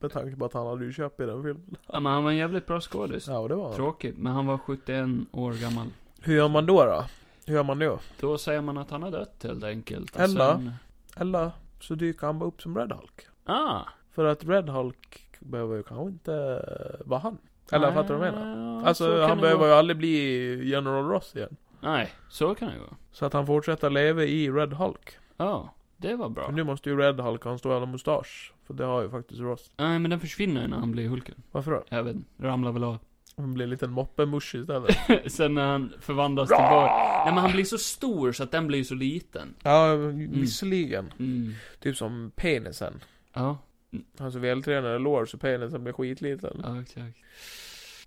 med tanke på att han hade ju köpt i den filmen.
ja men han var en jävligt bra skådis.
Ja, och det var han.
Tråkigt, men han var 71 år gammal.
Hur gör man då då? Hur gör man nu?
Då säger man att han har dött helt enkelt. Och
Eller?
sen-
Eller så dyker han bara upp som Red Hulk.
Ah.
För att Red Hulk behöver ju kanske inte vara han. Eller fattar du vad jag menar?
menar?
Alltså han behöver ju aldrig bli General Ross igen.
Nej, så kan det gå.
Så att han fortsätter leva i Red Hulk.
Ja, det var bra.
För nu måste ju Red Hulk ha en stor jävla mustasch. För det har ju faktiskt Ross.
Nej, men den försvinner ju när han blir Hulken.
Varför då?
Jag vet inte, ramlar väl av.
Han blir en liten moppemusch istället.
Sen när han förvandlas tillbaka. Nej men han blir så stor så att den blir så liten.
ja, visserligen.
Mm.
Typ som penisen.
Ja,
Han så vältränade lår så penisen blir skitliten.
ja exakt.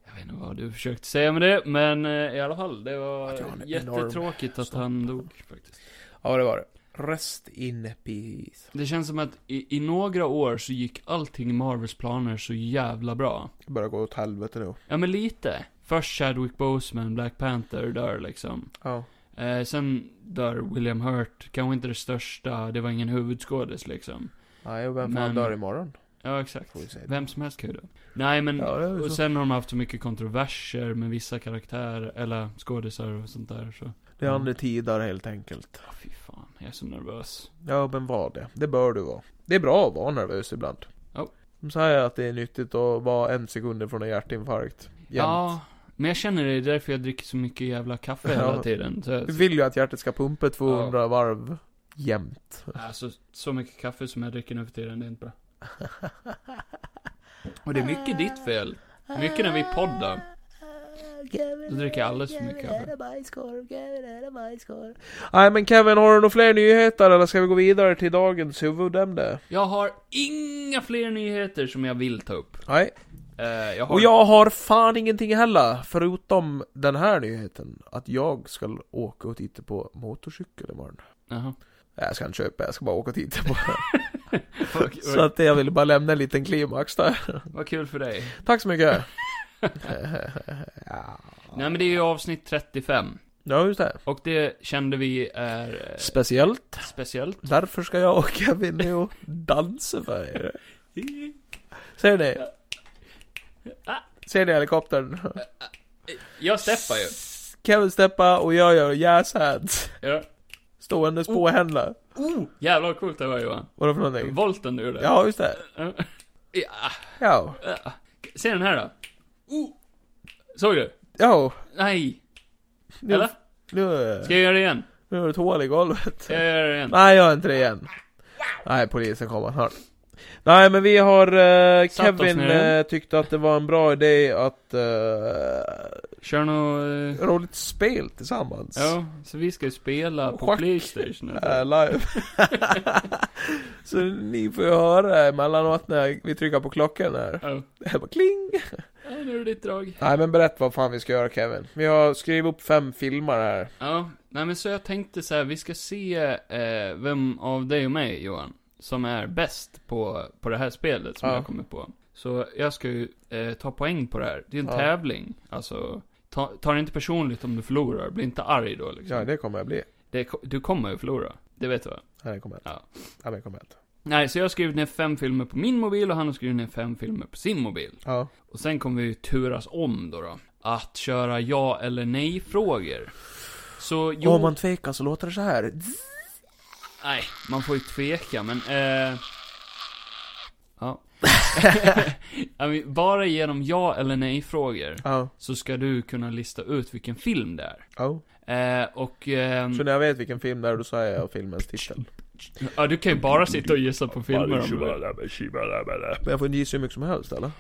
Jag vet inte vad du försökte säga med det, men eh, i alla fall, det
Att jag har
var
en
jättetråkigt att han dog faktiskt.
Ja, det var det. Rest in peace.
Det känns som att i, i några år så gick allting i Marvels planer så jävla bra.
Det börjar gå åt helvete nu.
Ja men lite. Först Chadwick Boseman, Black Panther, dör liksom.
Ja.
Eh, sen dör William Hurt, kanske inte det största, det var ingen huvudskådis liksom.
Nej, och vem fan
Men-
dör imorgon?
Ja exakt.
Får vi se.
Vem som helst kan ju dö. Nej men,
Ja, det är ju
och
så.
sen har de haft så mycket kontroverser med vissa karaktärer, eller skådisar och sånt där så.
Det är andra tider helt enkelt.
Ja, fy fan, jag är så nervös.
Ja, men var det. Det bör du vara. Det är bra att vara nervös ibland.
Ja.
De säger att det är nyttigt att vara en sekund ifrån en hjärtinfarkt. Jämt.
Ja, men jag känner det, det är därför jag dricker så mycket jävla kaffe hela
Ja.
tiden. Så
Du
jag,
vill ju att hjärtat ska pumpa 200 varv jämt.
Alltså, så mycket kaffe som jag dricker nu för tiden, det är inte bra. Och det är mycket
Eh.
ditt fel. Mycket när vi poddar. Då dricker jag alldeles för mycket kaffe.
Nej men Kevin, har du några fler nyheter eller ska vi gå vidare till dagens huvudämne?
Jag har inga fler nyheter som jag vill ta upp.
Nej.
Eh, jag har...
Och jag har fan ingenting heller, förutom den här nyheten. Att jag ska åka och titta på motorcykel imorgon.
Jaha.
Nej, jag ska inte köpa, jag ska bara åka och titta på det.
Vad,
Så
vad,
att jag ville bara lämna en liten klimax där.
vad kul för dig.
Tack så mycket.
Nej men det är ju avsnitt 35.
Ja, just det.
Och det kände vi är eh,
Speciellt.
speciellt.
Därför ska jag och Kevin nu och dansa för er. Ser ni? Ser ni helikoptern?
Jag steppar ju.
Kevin steppar och jag gör jazz hands.
Ja.
Ståendes på händer.
Oh, jävlar vad coolt det var Johan.
Vadå för någonting?
Volten du gjorde.
Ja, just det.
ja.
Ja.
Ja. Se den här då. Oh. Såg du?
Ja.
Nej.
Nu,
Eller?
nu,
Ska jag göra det igen?
nu är det ett hål i golvet.
Ska jag göra det igen?
Nej, jag är inte det igen. Nej, polisen kommer snart. Nej, men vi har... eh,
Satt oss
Kevin
ner.
eh, tyckte att det var en bra idé att eh,
Kör något... Eh,
Roligt spel tillsammans.
ja, så vi ska ju spela på
Schack.
Playstation.
Äh, live. så ni får ju höra emellanåt när vi trycker på klockan här.
Ja.
Det här bara kling.
ja, nu är det ditt drag.
Nej men berätta vad fan vi ska göra Kevin. Vi har skrivit upp fem filmer här.
Ja, nej men så jag tänkte så här, vi ska se eh, vem av dig och mig, Johan, som är bäst på, på det här spelet som
Ja.
jag kommer på. Så jag ska ju eh, ta poäng på det här. Det är en
Ja.
tävling, alltså. Ta, ta det inte personligt om du förlorar, bli inte arg då liksom.
Ja det kommer jag bli.
Det, ko- du kommer ju förlora, det vet du va?
Nej det kommer jag inte.
Ja.
Nej men det kommer jag inte.
Nej, så jag har skrivit ner fem filmer på min mobil och han har skrivit ner fem filmer på sin mobil.
Ja.
Och sen kommer vi ju turas om då då. Att köra ja eller nej-frågor. Så jo...
Om man tvekar så låter det så här.
Nej, man får ju tveka, men... Eh... Ja. Ja, men Bara genom ja eller nej-frågor
Ja.
så ska du kunna lista ut vilken film det är.
Ja.
Eh, och... ehm,
Så när jag vet vilken film det är då säger jag filmens titel.
Ja, du kan ju bara sitta och gissa på filmer om du vill.
Men jag får gissa hur mycket som helst eller?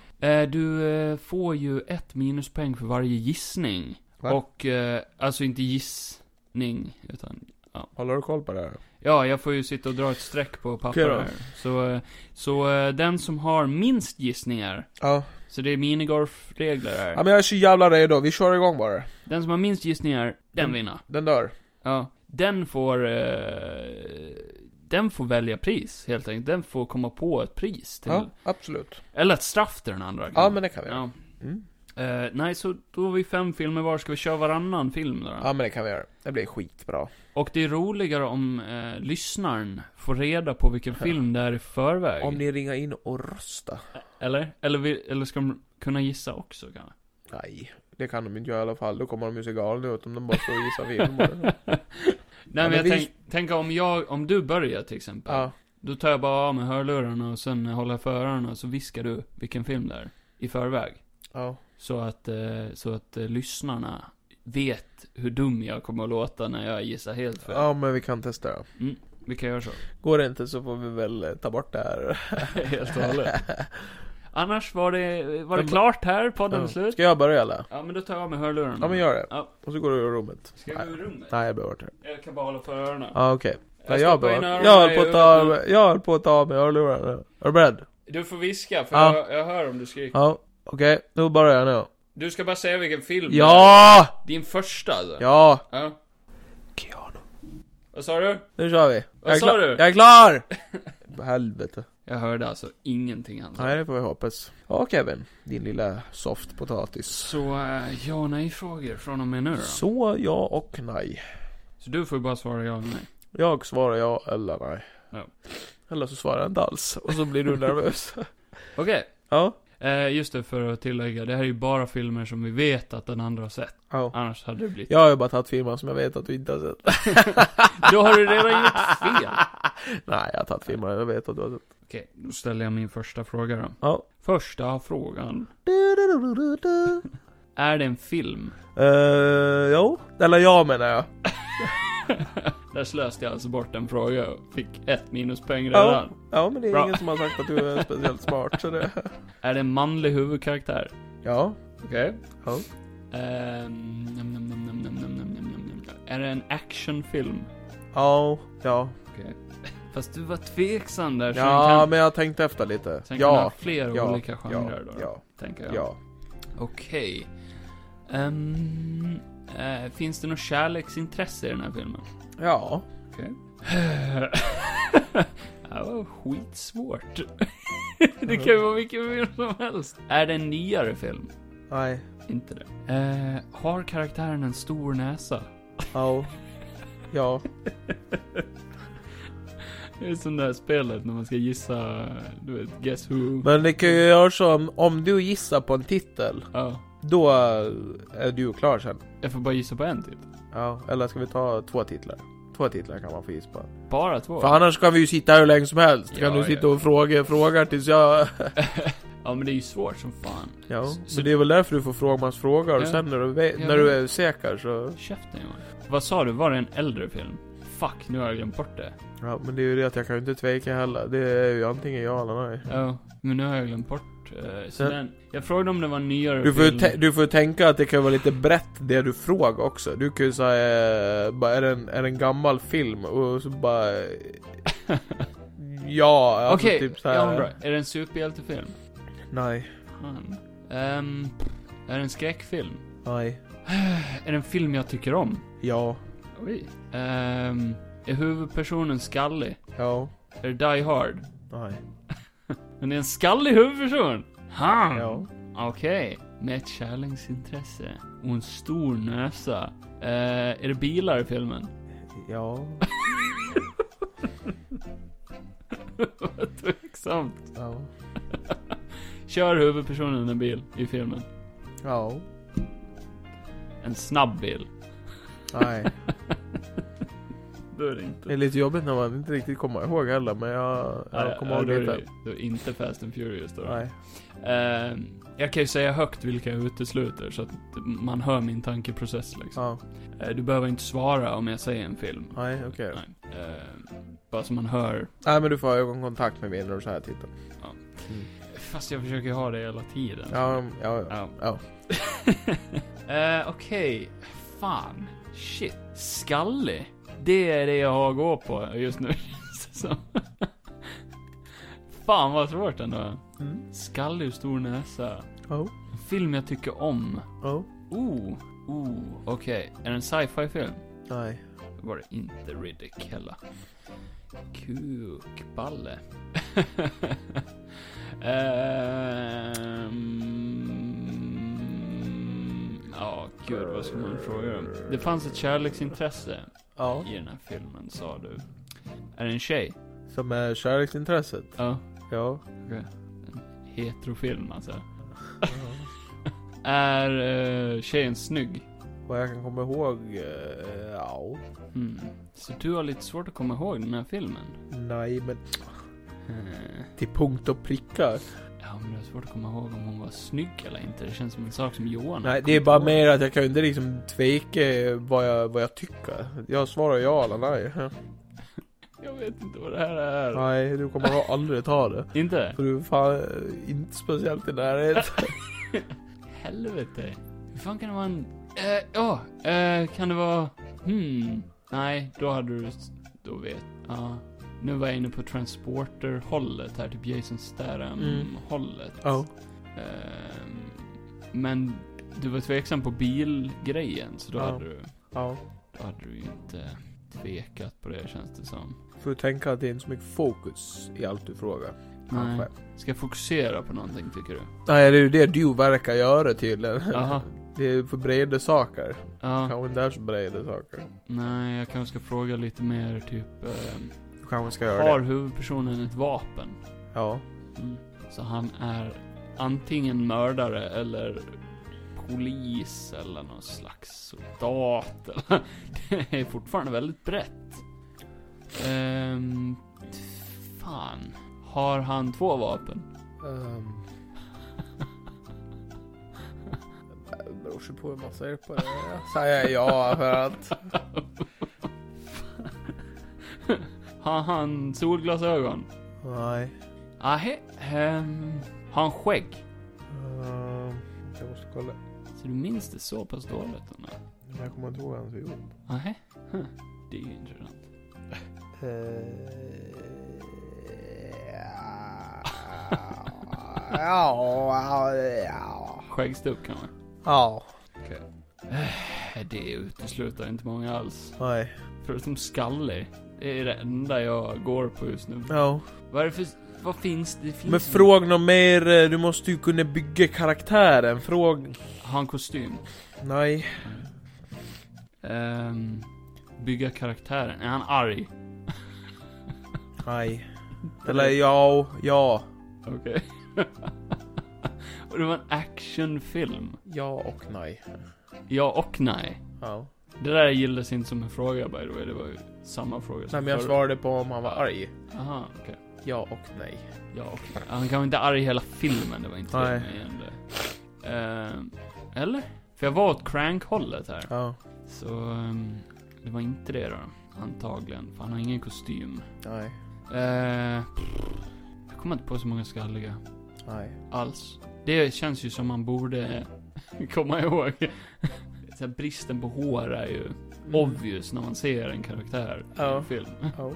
Eh, Du eh, får ju ett minuspoäng för varje gissning.
Va?
Och, eh, alltså inte gissning, utan...
Håller du koll på det här?
Ja, jag får ju sitta och dra ett streck på papper
Okej då.
här. Så, eh, så eh, den som har minst gissningar,
Ja.
så det är minigolfregler här.
Ja men jag är så jävla redo. Vi kör igång bara.
Den som har minst gissningar,
Mm.
den vinner.
Den dör.
Ja. Den får, eh, den får välja pris, helt enkelt. Den får komma på ett pris till.
Ja, absolut.
Eller ett straff till den andra.
Ja men det kan vi göra.
Ja.
Mm.
Eh, nej, så då har vi fem filmer var. Ska vi köra varannan film då? då?
Ja men det kan vi göra. Det blir skitbra.
Och det är roligare om eh, lyssnaren får reda på vilken film det är i förväg.
Om ni ringer in och rösta.
Eller? Eller, vi, eller ska de kunna gissa också kanske?
Nej, det kan de inte göra i alla fall. Då kommer de ju se galna ut om de bara står och gissar filmer.
Nej
men
men jag
vi-
tänk, tänk om jag, om du börjar till exempel.
ja.
Då tar jag bara av mig hörlurarna och sen håller jag för öronen och så viskar du vilken film det är. I förväg.
Ja.
Så att, eh, så att eh, lyssnarna vet hur dum jag kommer att låta när jag gissar helt fel.
ja, men vi kan testa det.
Vi kan göra så.
Går det inte så får vi väl eh, ta bort det här.
helt och hållet. Annars var det, var det
Men-
klart här, podden
Ja.
är slut.
Ska jag börja eller?
Ja men då tar jag av mig hörlurarna.
Ja men gör det.
Ja.
Och så går du ur rummet.
Ska jag gå ur rummet?
Nej, jag behöver inte det.
Jag kan bara hålla för öronen.
Ja, okej.
stoppar
Nej, Jag,
in
behöver-
öronen
jag
i
höll på att ta
huvudet nu.
av jag höll på att ta av mig hörlurarna. Är du beredd?
Du får viska, för
Ja.
jag, jag hör om du skriker.
Ja. Okej, nu börjar jag nu.
Du ska bara säga vilken film
Ja!
det är. Din första alltså?
Ja!
ja.
Keanu.
Vad sa du?
Nu kör vi.
Vad
jag är
sa
klar.
du?
Jag är klar! Helvete.
Jag hörde alltså ingenting han sa.
Nej, det får vi hoppas. Ja, Kevin. Din lilla softpotatis.
Så, eh, ja nej-frågor från och med nu då. Så,
Så ja och nej.
du får ju bara svara ja eller nej.
Jag svarar ja eller nej.
Ja.
Eller så svarar jag inte alls. Och så blir du nervös.
Okej.
ja.
Eh, just det, för att tillägga, det här är ju bara filmer som vi vet att den andra har sett.
ja.
Annars hade det blivit...
Jag har ju bara tagit filmer som jag vet att du inte har sett.
Då har du redan gjort fel!
nej, jag har tagit filmer jag vet att du har sett.
Okej, då ställer jag min första fråga då.
Ja.
Första frågan.
Du-du-du-du-du.
Är det en film?
Eh, jo. Eller ja menar jag.
Där slöste jag alltså bort en fråga och fick ett minuspoäng
Ja.
redan.
Ja, men det är
Bra.
ingen som har sagt att du är speciellt smart. Så det...
Är det en manlig huvudkaraktär?
Ja.
Okej.
Ja.
Ehm, nam, nam, nam, nam, nam, nam, nam, nam, nam, nam. Är det en actionfilm?
Ja. Ja.
Okej. Fast du var tveksam där, så den
Ja,
kan,
men jag tänkte efter lite.
sen kan ha
Ja.
flera
Ja.
olika genrer
Ja.
då,
Ja.
tänker jag.
Ja.
Okej. Ehm, eh, finns det något kärleksintresse i den här filmen?
Ja.
det här var skitsvårt. det kan ju vara vilken film som helst. Är det en nyare film?
Nej.
Inte det. Eh, har karaktären en stor näsa?
Ja. Ja.
Det är som det här spelet när man ska gissa, du vet, Guess Who.
Men det kan ju göra så om, om du gissar på en titel,
Ja.
då eh, är du klar sen.
Jag får bara gissa på en typ. titel.
Ja, eller ska vi ta två titlar? Två titlar kan man få gissa på.
Bara två?
För annars kan vi ju sitta här hur länge som helst. Kan
Ja,
du
ja.
sitta och fråga frågar tills jag...
Ja men det är ju svårt som fan.
Ja,
Så-
men det är väl därför du får frågmansfrågor och
Ja.
sen när du, ve-
Ja,
när du
men-
är säker så...
Käften Johan. Vad sa du, var det en äldre film? fuck, nu har jag glömt bort det.
Ja, men det är ju det att jag kan ju inte tveka heller. Det är ju antingen ja eller nej.
Ja, men nu har jag glömt bort. eh, Så
Ja.
den, jag frågade om det var en nyare
Du får, ju
film.
tä- du får ju tänka att det kan vara lite brett det du frågar också. Du kan ju säga, eh, bara, är, det en, är det en gammal film? Och så bara... eh, Ja, alltså
Okej,
typ så
ja, men
här.
bra. Är det en superhjältefilm?
nej,
Fan. Ehm, är det en skräckfilm?
nej,
Är det en film jag tycker om?
ja,
Oj. Ehm, är huvudpersonen skallig?
ja,
Är det Die Hard?
nej,
Men det är en skallig huvudperson! Han!
ja.
Okej. Med ett kärleksintresse. Och en stor näsa. Eh, är det bilar i filmen?
Ja,
Vad Tveksamt.
ja,
Kör huvudpersonen en bil i filmen?
ja,
En snabb bil.
nej.
Då är det
Det
inte...
är lite jobbigt när man inte riktigt kommer ihåg heller, men jag, jag kommer ihåg
då är
lite.
det, då är det inte Fast and Furious då.
Nej,
Ehm, jag kan ju säga högt vilka jag utesluter så att man hör min tankeprocess liksom.
ja,
Eh, du behöver inte svara om jag säger en film.
nej, okej.
Nej. Ehm, bara så man hör.
Nej, men du får ha ögonkontakt med mig när du så här tittar.
Fast jag försöker ha det hela tiden.
Ja, ja, ja.
Ja.
ja.
Eh, Okej. Fan. Shit. Skallig. Det är det jag har att gå på just nu känns det som. Fan vad svårt ändå.
Mm.
Skallig och stor näsa.
Oh,
En film jag tycker om.
oh,
Oh. Oh. Okej. Är det en sci-fi film?
nej,
Då var det inte Riddick heller. Kukballe. Ehm, Ja, gud vad ska man fråga om? Det fanns ett kärleksintresse
ja.
i den här filmen, sa du. Är det en tjej?
Som är kärleksintresset.
Ja.
Ja.
Heterofilm alltså. Är eh, tjejen snygg?
Vad jag kan komma ihåg, eh, ja.
Mm. Så du har lite svårt att komma ihåg den här filmen?
Nej, men
Eh.
till punkt och pricka.
Ja, men det är svårt att komma ihåg om hon var snygg eller inte. Det känns som en sak som Johan
Nej, det
kommer
är bara
ihåg.
mer att jag kan ju inte liksom tveka vad jag, vad jag tycker. Jag svarar ja eller nej.
Jag vet inte vad det här är.
Nej, du kommer nog aldrig ta det.
Inte?
För du är fan eh, inte speciellt i närheten.
Helvete. Hur fan kan det vara en... Eh, Ja, eh, kan det vara... Hmm. Nej, då hade du... Då vet... Ja. Nu var jag inne på transporter-hållet här, typ Jason
Mm.
Statham-hållet.
Ja.
Ehm, men du var tveksam på bilgrejen, så då,
Ja.
hade du,
Ja.
då hade du ju inte tvekat på det, känns det som.
Får du tänka att det är inte så mycket fokus i allt du frågar.
Nej.
Kanske.
Ska jag fokusera på någonting tycker du?
Nej, det är ju det du verkar göra tydligen.
Jaha.
Det är för breda saker.
Ja.
Kanske inte är så breda saker.
Nej, jag kanske ska fråga lite mer typ. ehm,
Du kanske ska göra
har
det.
huvudpersonen ett vapen?
Ja.
Mm. Så han är antingen mördare eller polis eller någon slags soldat. eller- det är fortfarande väldigt brett. Um, fan. Har han två vapen?
Um... Det beror sig på hur man ser på det. Jag säger ja för att...
Har han solglasögon?
Nej.
Nej. ehm, har han skägg?
Ehm, jag måste kolla.
Så du minns det så pass dåligt ändå?
Men Jag kommer inte ihåg hans huvud.
Nej. Huh. Det är ju intressant.
Eh, Ja, ja.
Skäggstubb kan man.
Ja.
Eh, Det utesluter inte många alls.
Nej.
Förutom skallig. Det är det enda jag går på just nu.
Ja.
Vad är det för... Vad finns det? Finns
Men
ju-
fråga något mer. eh, Du måste ju kunna bygga karaktären. Fråg...
Har en kostym?
Nej.
Ehm, bygga karaktären. Är han arg?
Nej. Eller ja, ja.
Okej. och det var en actionfilm.
Ja och nej.
Ja och nej.
Ja.
Det där gillades inte som en fråga by the way. Det var ju samma fråga som
Nej men jag
förra.
svarade på om han var arg.
Aha, okej.
Ja och nej.
Ja, okej. Han kan vara inte arg i hela filmen, det var inte
Nej.
det jag menade. Ehm, eller? För jag var åt crank-hållet här.
Ja.
Så, ehm, det var inte det då. Antagligen, för han har ingen kostym.
Nej,
Eh, jag kommer inte på så många skalliga
nej.
alls. Det känns ju som man borde komma ihåg. Så här, bristen på hår är ju obvious när man ser en karaktär i
Mm. Ja.
en film.
Ja.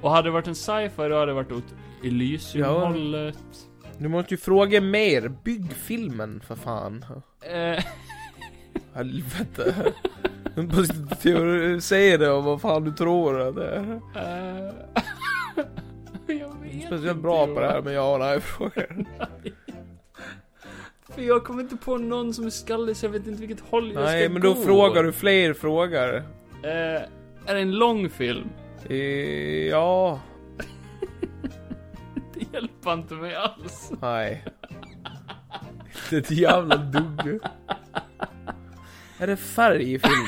Och hade det varit en sci-fi då hade det varit åt Elysium-hållet.
Du måste ju fråga mer. Bygg filmen för fan.
Eh,
Helvete. Du måste teori- säga det och vad fan du tror att det är.
eh, jag vet
Speciellt
inte,
bra på det här
Johan.
med ja och nej-frågor.
För jag kommer inte på någon som är skallig så jag vet inte vilket håll jag
Nej,
ska
men då
gå.
frågar du fler frågor.
Eh, är det en lång film?
Eh, Ja,
Det hjälper inte mig alls.
nej. Det är ett jävla dugg. Är det färg i filmen?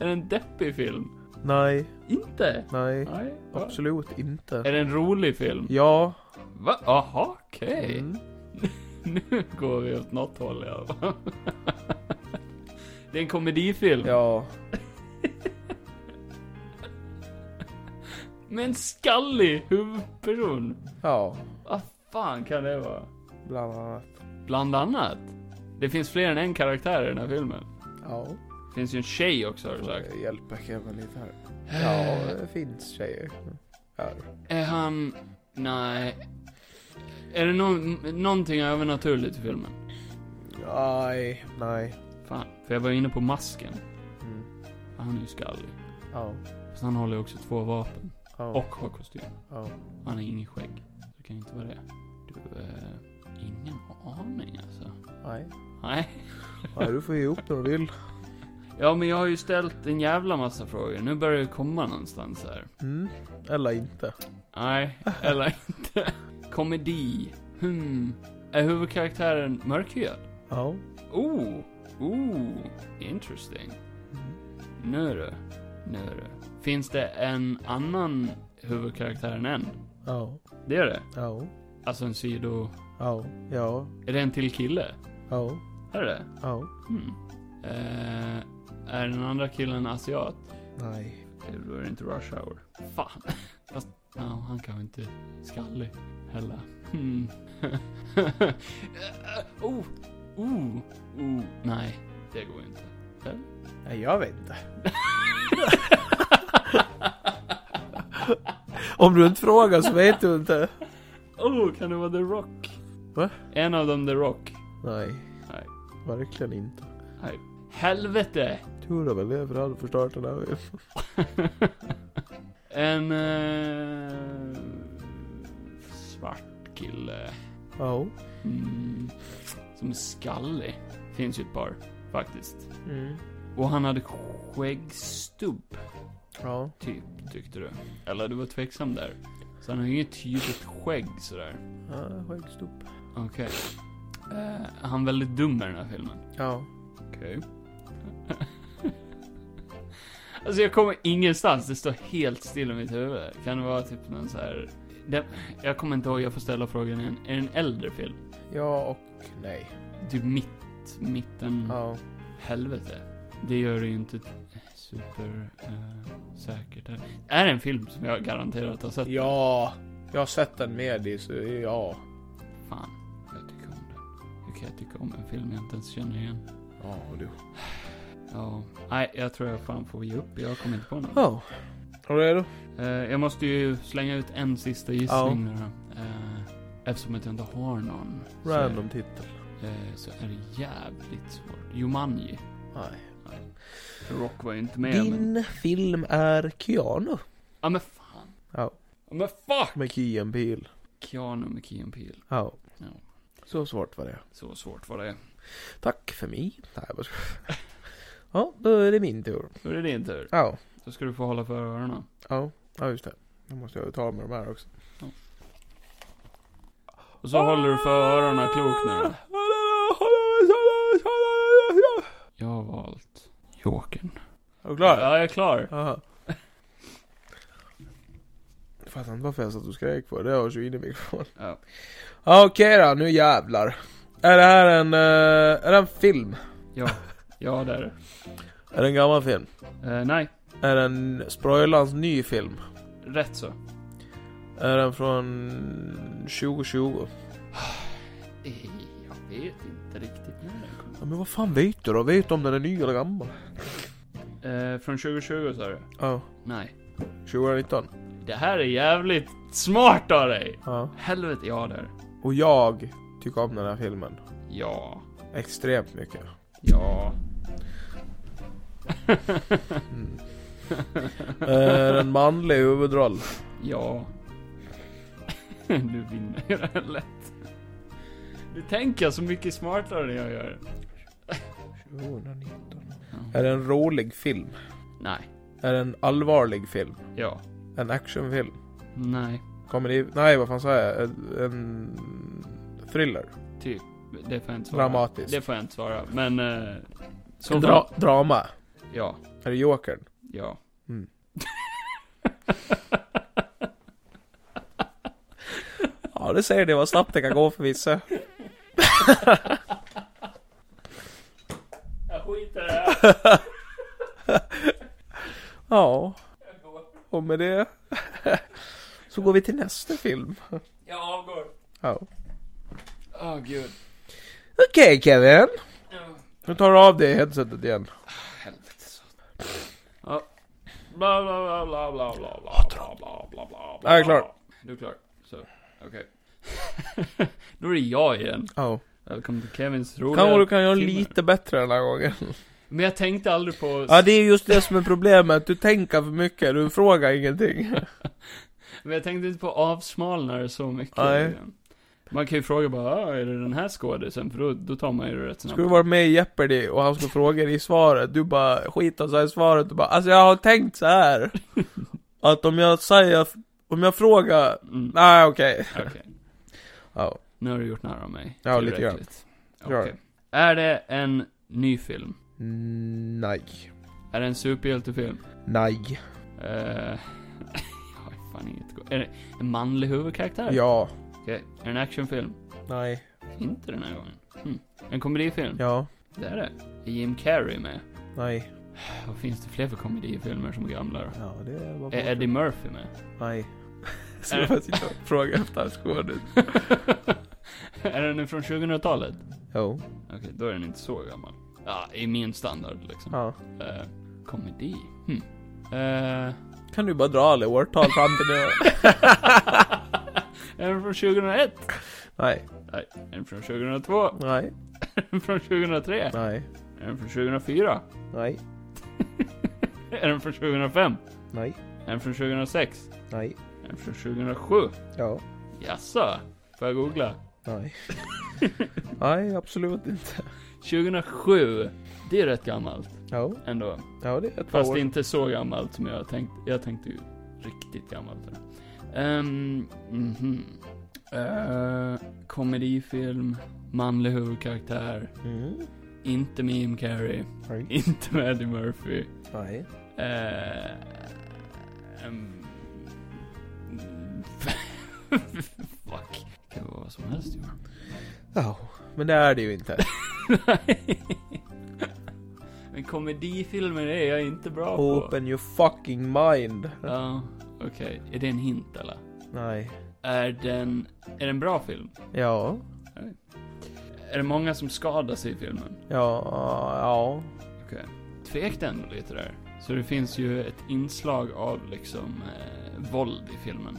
Är det en deppig film?
Nej,
Inte?
nej.
Nej. va?
Absolut inte.
Är det en rolig film?
Ja.
Va? Jaha, okej.
Mm.
Nu går vi åt något håll i alla fall. Det är en komedifilm.
Ja.
Med en skallig huvudperson.
Ja.
Vad fan kan det vara?
Bland annat.
Bland annat. Det finns fler än en karaktär i den här filmen.
Ja.
Det finns ju en tjej också har du sagt.
Får jag Hjälpa Kevin lite här. Ja, det finns tjejer. Här.
Är han... Nej. Är det no- någonting övernaturligt i filmen?
Nej, nej.
Fan. För jag var inne på masken.
Mm.
Han är ju skallig.
Ja.
Fast han håller ju också två vapen.
Ja.
Och har kostym.
Ja.
Han har ingen skägg. Så det kan inte vara det. Du, eh, ingen aning alltså.
Nej.
Nej.
Ja, du får ge upp när du vill.
Ja, men jag har ju ställt en jävla massa frågor. Nu börjar det komma någonstans här.
Mm. Eller inte.
Nej, eller inte. Komedi. Hmm. Är huvudkaraktären mörkhyad?
Ja.
Oh! Oh! Interesting.
Mm.
Nu du. Nu du. Finns det en annan huvudkaraktär än en?
Ja.
Det är det.
Ja.
Alltså en sido...
Ja. Ja.
Är det en till kille?
Ja.
Är det det?
Ja.
Hmm. Eh, är den andra killen asiat?
Nej.
Eh, Då är det inte rush hour. Fan. Fast, ja, han kan ju inte skallig heller. Hmm. Eh, oh, oh, oh. Nej, det går ju inte.
Nej, jag vet inte. Om du inte frågar så vet du inte.
Oh, kan det vara The Rock?
Va?
En av dem The Rock.
Nej.
Nej.
Verkligen inte.
Helvete!
Tur det väl det, för då hade du förstört den här.
en eh, svart kille.
Ja.
Mm, som är skallig. Finns ju ett par, faktiskt.
Mm.
Och han hade skäggstubb,
Ja.
typ, tyckte du. Eller du var tveksam där. Så han har ju inget tydligt skägg sådär.
Ja, högst upp.
Okej. Eh, är han väldigt dum i den här filmen?
Ja.
Okej. alltså jag kommer ingenstans, det står helt still i mitt huvud. Kan det vara typ någon så här... Det, jag kommer inte ihåg, jag får ställa frågan igen. Är det en äldre film?
Ja och nej.
Typ mitt, mitten,
Ja.
helvete. Det gör det ju inte Eh, super eh, säkert. här. Är det en film som jag garanterat har sett?
Ja. Jag har sett den med dig, så ja.
Fan, jag tycker om den. Hur kan jag tycka om en film jag inte ens känner igen?
Ja, du.
Ja, nej, jag tror jag fan får ge upp. Jag kommer inte på något.
Ja. Är du redo?
Eh, jag måste ju slänga ut en sista gissning nu då. Eh, Eftersom att jag inte har någon.
Random titel.
Så, eh, så är det jävligt svårt. Jumanji.
Nej.
Rock var ju inte med men...
Din film är Keanu.
Ja men fan.
Ja.
Ja men fuck!
Med Key and Peele.
Keanu med Key and Peele.
Ja.
Ja.
Så svårt var det.
Så svårt var det.
Tack för mig. Nej, jag bara skojar. Ja, då är det min tur.
Då är det din tur.
Ja.
Då ska du få hålla för öronen.
Ja. Ja, just det. Nu måste jag ta med de här också.
Och så håller du för öronen klokt nu då. Jag har valt Jokern.
Är du klar?
Ja, jag är klar.
Jaha. Jag fattar inte varför jag satt och skrek på det, det hörs ju in i mikrofonen.
Ja.
Ja, Okej då, nu jävlar. Är det här en, eh, är det en film?
Ja. Ja, det är det.
Är det en gammal film?
Eh, nej,
Är det en Sproilans ny film?
rätt så.
Är den från 2020?
Eh, Jag vet inte riktigt när den kom.
Ja, men vad fan vet du då? Vet du om den är ny eller gammal?
Eh, från 2020 sa du?
Ja.
Nej.
2019.
Det här är jävligt smart av dig!
Ja.
Helvete, ja där.
Och jag tycker om den här filmen.
Ja.
Extremt mycket.
Ja.
Mm. är den manlig huvudroll?
Ja. du vinner ju det här lätt. Nu tänker jag så mycket smartare än jag gör.
2019.
Ja.
Är det en rolig film?
Nej.
Är det en allvarlig film?
Ja.
En actionfilm?
Nej.
Komedi? Nej, vad fan sa jag? En- En thriller?
Typ. Det får jag inte svara.
Dramatisk?
Det får jag inte svara. Men... Eh, så
En dra- drama?
Ja.
Är det Jokern?
Ja.
Mm. Ja, det säger det vad snabbt det kan gå för vissa.
Jag skiter i det här.
Ja. Och med det så går vi till nästa film.
Jag avgår.
Ja.
Åh gud.
Okej Kevin.
Ja.
Nu tar du av dig headsetet igen.
Helvete så. Ja. Bla bla bla bla bla bla bla bla bla bla bla bla.
Jag är klar.
Du är klar. Så, okej. Då är det jag igen.
Ja.
Välkommen till Kevins
Kanske du
roliga...
kan göra
timmar.
lite bättre den här gången.
Men jag tänkte aldrig på...
Ja, det är just det som är problemet. Du tänker för mycket, du frågar ingenting.
Men jag tänkte inte på avsmalnare så mycket.
Nej.
Man kan ju fråga bara, "Ah, är det den här skådisen? För då, då tar man ju det rätt snabbt.
Skulle du varit med i Jeopardy och han skulle fråga dig i svaret, du bara skiter så här i svaret och bara Alltså jag har tänkt så här Att om jag säger, om jag frågar,
Mm.
nej okej.
Okej.
Ja.
Nu har du gjort narr av mig.
Ja, lite grann.
Tillräckligt.
Gör
Okej. Är det en ny film?
Mm, Nej.
Är det en superhjältefilm?
Nej.
Eh, jag har fan inget go- Är det en manlig huvudkaraktär?
Ja.
Okej. Är det en actionfilm?
Nej.
Inte den här gången. Hmm. En komedifilm?
Ja.
Det är det. Är Jim Carrey med?
Nej.
Vad finns det fler för komedifilmer som är gamla då?
Ja, det var
Är Eddie Murphy med?
Nej. Så jag bara sitter och frågar efter hans skådis.
är den från 2000-talet?
Jo.
Okej, då är den inte så gammal. Ja, i min standard liksom.
Ja.
Eh, komedi? Hmm. Eh,
Kan du bara dra alla årtal fram till nu?
är den från 2001?
Nej.
Är den från 2002? Är
Nej.
den från 2003? Är
Nej.
den från 2004?
Nej.
Är den från 2005?
Nej.
Är den från 2006?
Nej.
Är den från 2007?
Ja.
Jaså? Får jag googla?
Nej. Nej, absolut inte.
2007. Det är rätt gammalt
Ja.
ändå.
Ja, det är ett par
Fast
år.
inte så gammalt som jag tänkte. Jag tänkte ju riktigt gammalt. där. Ehm, mhm. Eh, komedifilm, manlig huvudkaraktär,
Mm.
inte med Jim Carrey,
Nej.
inte med Eddie Murphy.
Nej.
Eh, ehm, fuck. Det kan vara vad som helst ju.
Ja. Men det är det ju inte.
Nej. Men komedifilmer är jag inte bra på.
Open your fucking mind.
Ja, okej. Är det en hint eller?
Nej.
Är den, är det en bra film?
Ja.
Är det många som skadar sig i filmen?
Ja. Ja.
Tvekte ändå lite där. Så det finns ju ett inslag av liksom eh, våld i filmen.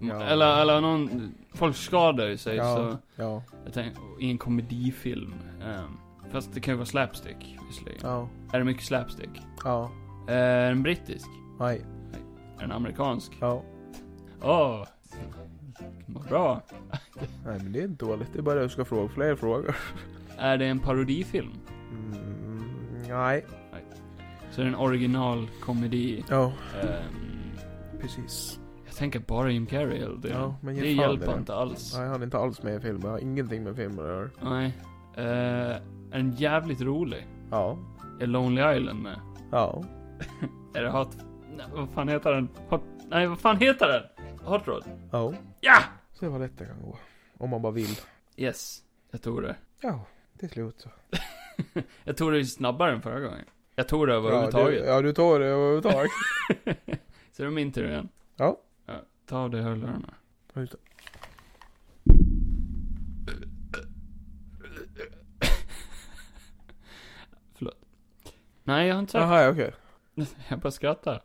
Ja.
Eller, eller någon, folk skadar ju sig
Ja.
så,
Ja.
jag tänkte, i en komedifilm. ehm, fast det kan ju vara slapstick visserligen.
Ja.
Är det mycket slapstick?
Ja.
Eh, är den brittisk?
Nej.
Är den amerikansk?
Ja.
Åh! Vad bra.
Nej, men det är inte dåligt. Det är bara det du ska fråga fler frågor.
Är det en parodifilm?
Mm. Nej.
Så är det en originalkomedi?
Ja.
ehm,
Precis.
Jag tänker bara Jim Carrey hela tiden.
Ja, men ge
Det
fan
hjälper
det.
inte alls.
Nej, han är inte alls med i filmen. Jag har ingenting med filmen att göra.
Nej. Eh, en jävligt rolig.
Ja.
Är Lonely Island med?
Ja.
Är det Hot... Nej, vad fan heter den? Hot... Nej, vad fan heter den? Hot Rod?
Ja.
Ja!
Se vad lätt det kan gå. Om man bara vill.
Yes. Jag tog det.
Ja, till slut så.
Jag tog det ju snabbare än förra gången. Jag tog det
Ja, du,
överhuvudtaget.
ja, du tog det överhuvudtaget.
Så det är min tur igen.
Ja.
Ta av dig hörlurarna.
Ja, just det.
Förlåt. Nej, jag har inte sagt
Jaha, okej.
Jag bara skrattar.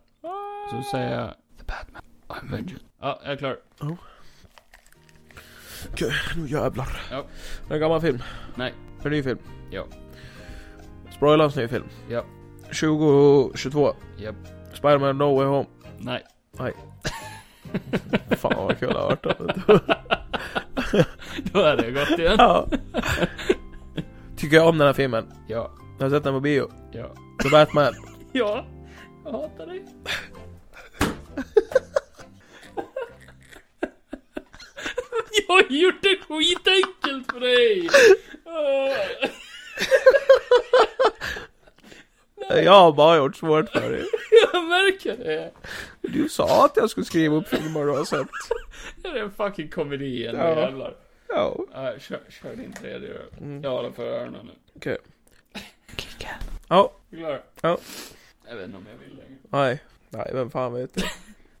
Så säger jag... The Batman. I'm vengeance. Ja, jag är klar.
Okej, nu jävlar.
Ja.
Det är en gammal film.
Nej.
För ny film.
Ja.
Spoilers ny film.
Ja.
2022.
Japp.
Spiderman No Way Home.
Nej.
Fan vad kul det har varit.
Då är det gått igen.
Ja. Tycker jag om den här filmen.
Ja.
Jag har sett den på bio.
Ja.
The Batman.
Ja. Jag hatar dig. Jag har gjort det skitenkelt för dig! Ah.
Jag har bara gjort svårt för dig.
Jag märker det.
Du sa att jag skulle skriva upp filmer du har sett.
Det är en fucking komedi igen,
Ja.
nu jävlar.
Ja.
Nej, kör, kör din tredje då.
Mm.
Jag håller för öronen nu.
Okej.
Ja.
Ja.
Är du klar?
Ja.
Jag vet inte om jag vill längre.
Nej. Nej, vem fan vet det.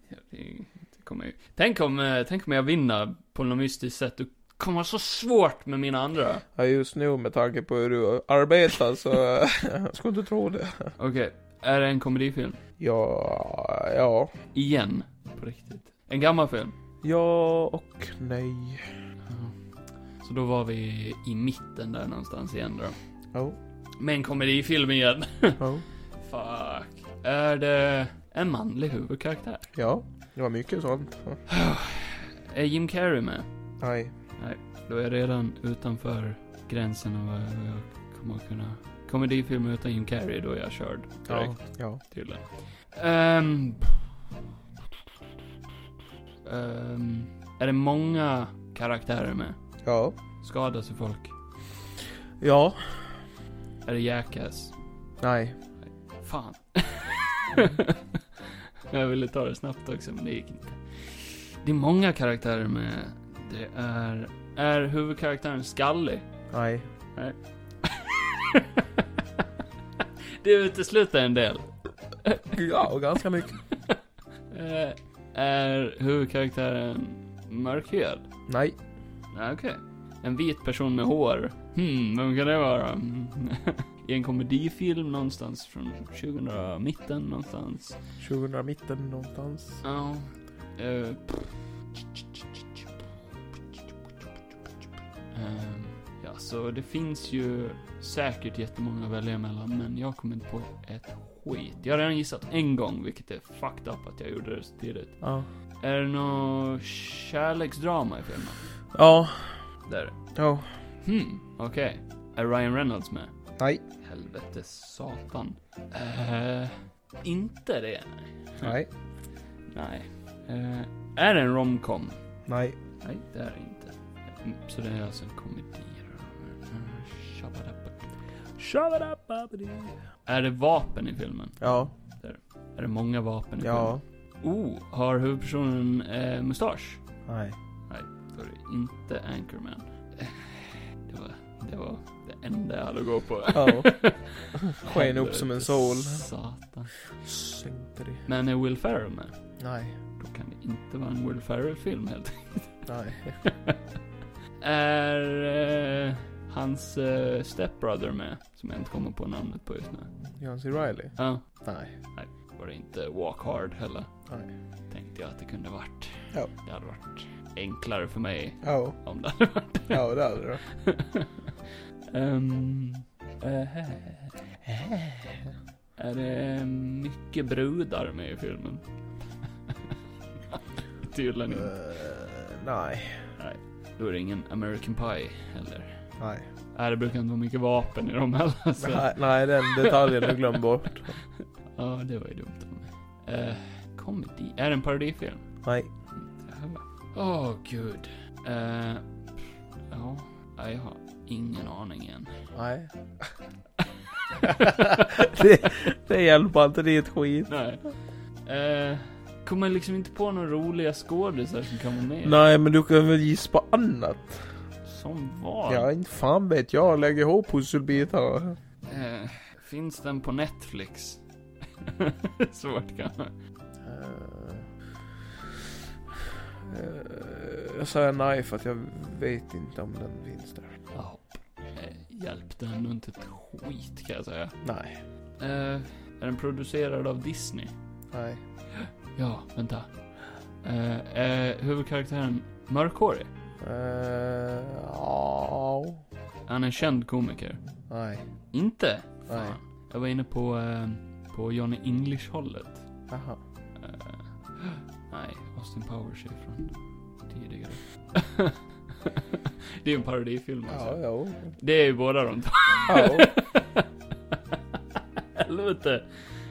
Ja, det är- det kommer ju- Tänk om, eh, tänk om jag vinner på något mystiskt sätt. Du kommer ha så svårt med mina andra.
Ja, just nu med tanke på hur du arbetar så... Jag skulle inte tro det.
Okej, är det en komedifilm?
Ja, ja.
Igen. På riktigt. En gammal film.
Ja och nej.
Så då var vi i mitten där någonstans igen då.
Ja.
Med en komedifilm igen.
Ja.
Fuck. Är det en manlig huvudkaraktär?
Ja, det var mycket sånt.
Är Jim Carrey med?
Nej.
Då är jag redan utanför gränsen av vad jag kommer att kunna... Komedifilmer utan Jim Carrey, då är jag körd. Direkt,
Ja.
tydligen. Ehm... Ehm, är det många karaktärer med?
Ja.
Skadas ju folk?
Ja.
Är det Jackass?
Nej.
Fan. jag ville ta det snabbt också, men det gick inte. Det är många karaktärer med. Det är... Är huvudkaraktären skallig?
Nej.
Det utesluter en del.
Ja, och ganska mycket.
Eh, är huvudkaraktären mörkhyad?
Nej.
Nej, okej. En vit person med hår. Hmm, vem kan det vara? Mm. I en komedifilm någonstans från 2000-mitten någonstans.
2000 mitten någonstans.
Ja. Eh, Ehm, ja, så det finns ju säkert jättemånga att välja mellan, men jag kommer inte på ett skit. Jag har redan gissat en gång, vilket är fucked up att jag gjorde det så tidigt.
Ja.
Är det något kärleksdrama i filmen?
Ja.
Där. är det.
Ja.
Hmm, okej. Är Ryan Reynolds med?
Nej.
Helvete satan. Eh, inte det.
Nej.
Nej. Eh, är det en romcom?
Nej.
Nej, det är det inte. Mm, Så det är alltså en komedi. Eh, shabadabba. Är det vapen i filmen?
Ja.
Är det många vapen i
Ja.
filmen? Oh, har huvudpersonen eh, mustasch?
Nej.
Då är det inte Anchorman. Eh, Det var, det var det enda jag hade att gå på.
Ja. Sken upp som en sol.
Satan.
Sänkte det.
Men är Will Ferrell med?
Nej.
Då kan det inte vara en Will Ferrell-film helt enkelt.
Nej.
Är eh, hans eh, stepbrother med? Som jag inte kommer på namnet på just nu.
John C. Reilly?
Ja,
Nej.
var det inte Walk Hard heller?
Nej.
Tänkte jag att det kunde varit.
Ja.
Det hade varit enklare för mig
Ja.
om det hade varit det.
Ja, det hade du.
Ehm, eh, eh. Är det mycket brudar med i filmen? Tydligen inte.
Eh, Nej.
Då är det ingen American Pie heller.
Nej.
Nej, det brukar inte vara mycket vapen i dem heller. Så.
Nej, Nej, den detaljen du glömde bort.
Ja, det var ju dumt av mig. Eh, comedy. Är det en parodifilm?
Nej.
Inte heller. Åh, gud. Eh, ja, Nej, jag har ingen aning än.
Nej. det, det hjälper inte, det är ett skit.
Nej. Eh, kommer liksom inte på några roliga skådisar som kan vara med.
Nej, men du kan väl gissa på annat?
Som var.
Ja, inte fan vet jag. Lägg ihop pusselbitarna.
Eh, finns den på Netflix? Svårt kanske.
Eh, eh, Jag sa nej för att jag vet inte om den finns där.
Ja. Eh, hjälpte ändå inte ett skit kan jag säga.
Nej.
Eh, är den producerad av Disney?
Nej.
Ja, vänta. Eh, eh, huvudkaraktären mörkhårig?
Eh, Ja.
Han är en känd komiker.
Nej.
Inte?
Nej.
Fan. Jag var inne på, eh, på Johnny English-hållet.
Jaha.
Eh, nej, Austin Powers är från tidigare. det är ju en parodifilm
Ja,
alltså.
jo.
Det är ju båda de två.
Ja.
Helvete.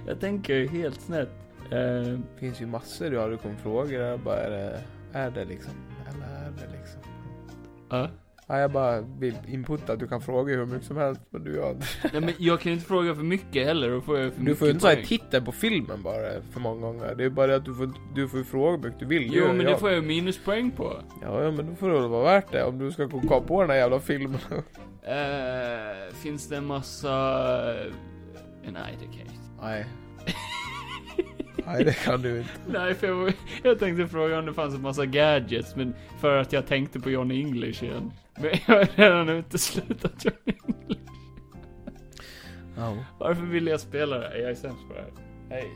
Jag tänker ju helt snett. Eh,
finns ju massor jag hade kommit frågor. Jag bara, är det, är det liksom? Eller är det liksom?
ja.
Ja, jag bara vill inputta att du kan fråga hur mycket som helst, men du gör inte.
Nej men jag kan ju inte fråga för mycket heller, då får jag för
Du
mycket
får ju inte säga
poäng.
titeln på filmen bara för många gånger. Det är bara det att du får, du får ju fråga hur mycket du vill.
Jo
gör
men
jag.
det får jag ju minuspoäng på.
Ja, ja, men då får det väl vara värt det om du ska gå på den här jävla filmen.
Eh, finns det en massa... Eh, Nej, det kan jag inte.
Nej. Nej, det kan du inte.
Nej, för jag, var- jag tänkte fråga om det fanns en massa gadgets, men för att jag tänkte på Johnny English igen. Men jag har redan uteslutat Johnny English.
Ja.
Varför ville jag spela det här? Jag är sämst på det här. Jag är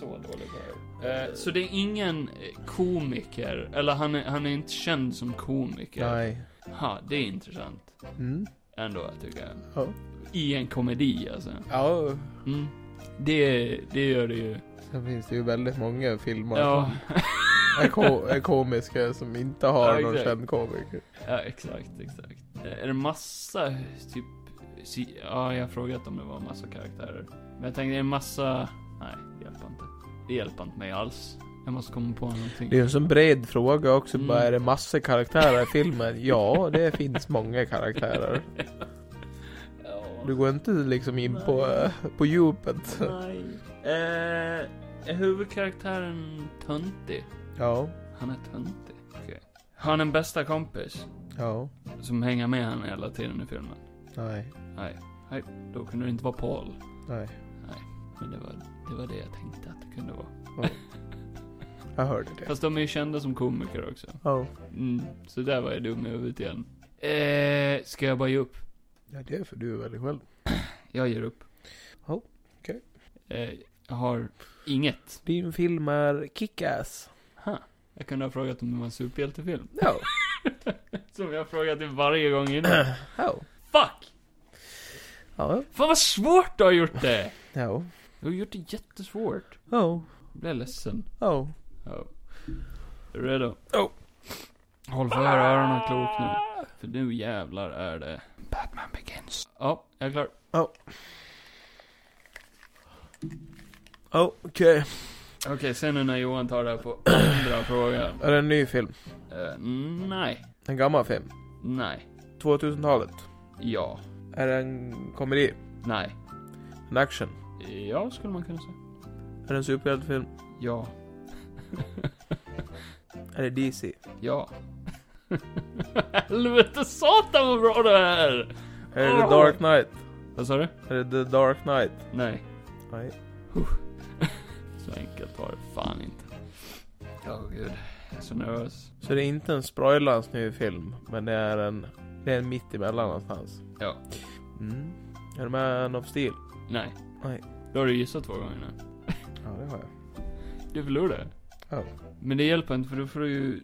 så dålig på det här. Eh, Så det är ingen eh, komiker, eller han är, han är inte känd som komiker.
Nej.
Ha, det är intressant.
Mm.
Ändå, tycker jag.
Ja.
I en komedi, alltså.
Ja,
Mm. Det, det gör det ju.
sen finns det ju väldigt många filmer
Ja,
som är, ko- är komiska som inte har
Ja,
någon
exakt.
känd komiker.
ja exakt, exakt. Eh, Är det massa, typ, si, ja jag har frågat om det var massa karaktärer. Men jag tänkte, är det massa, nej det hjälper inte. Det hjälper inte mig alls. Jag måste komma på någonting.
Det är ju en sån bred fråga också,
Mm.
bara är det massor karaktärer i filmen? Ja, det finns många karaktärer.
Ja,
Du går inte liksom in på,
Nej.
på djupet.
nej. Eh, är huvudkaraktären töntig?
Ja,
Han är töntig. Okej. Har han en bästa kompis?
ja,
Som hänger med honom hela tiden i filmen?
nej,
Nej. Nej, då kunde det inte vara Paul.
nej.
Men det var det, var det jag tänkte att det kunde vara.
Jag hörde det.
Fast de är ju kända som komiker också.
Ja,
Mm, så där var jag dum i huvudet igen. Eh, ska jag bara ge upp?
ja det är för du är väldigt själv.
Jag ger upp.
Ja, okej.
Eh, jag har inget.
Din film är Kick-Ass.
Ha. Jag kunde ha frågat om det var en superhjältefilm.
Ja,
Som jag har frågat dig varje gång innan.
ja,
Fuck!
ja,
Fan vad svårt du har gjort det!
ja,
Du har gjort det jättesvårt.
ja,
Jag blir ledsen.
ja.
Ja. Är du redo?
Ja.
Håll för öronen klok nu. För nu jävlar är det... Batman Begins. Ja, jag är klar.
Ja, Okej.
Okej, sen nu när Johan tar det här på andra frågan.
Är det en ny film?
Eh, nej.
En gammal film?
Nej.
2000-talet?
Ja.
Är det en komedi?
Nej.
En action?
Ja, skulle man kunna säga.
Är det en superhjältefilm?
Ja.
Är det DC?
Ja. Helvete satan vad bra det är!
Är det The Dark Knight?
Vad sa du?
Är det The Dark Knight?
Nej.
Nej.
Så enkelt var det fan inte. Åh gud. Jag är så nervös.
Så det är inte en spoilans ny film, men det är en... Det är en mitt emellan någonstans.
Ja.
Mm. Är du med i Man of Steel?
Nej.
Nej.
Då har du gissat två gånger nu.
Ja, det har jag.
Du förlorade.
Ja.
Men det hjälper inte för då får du ju...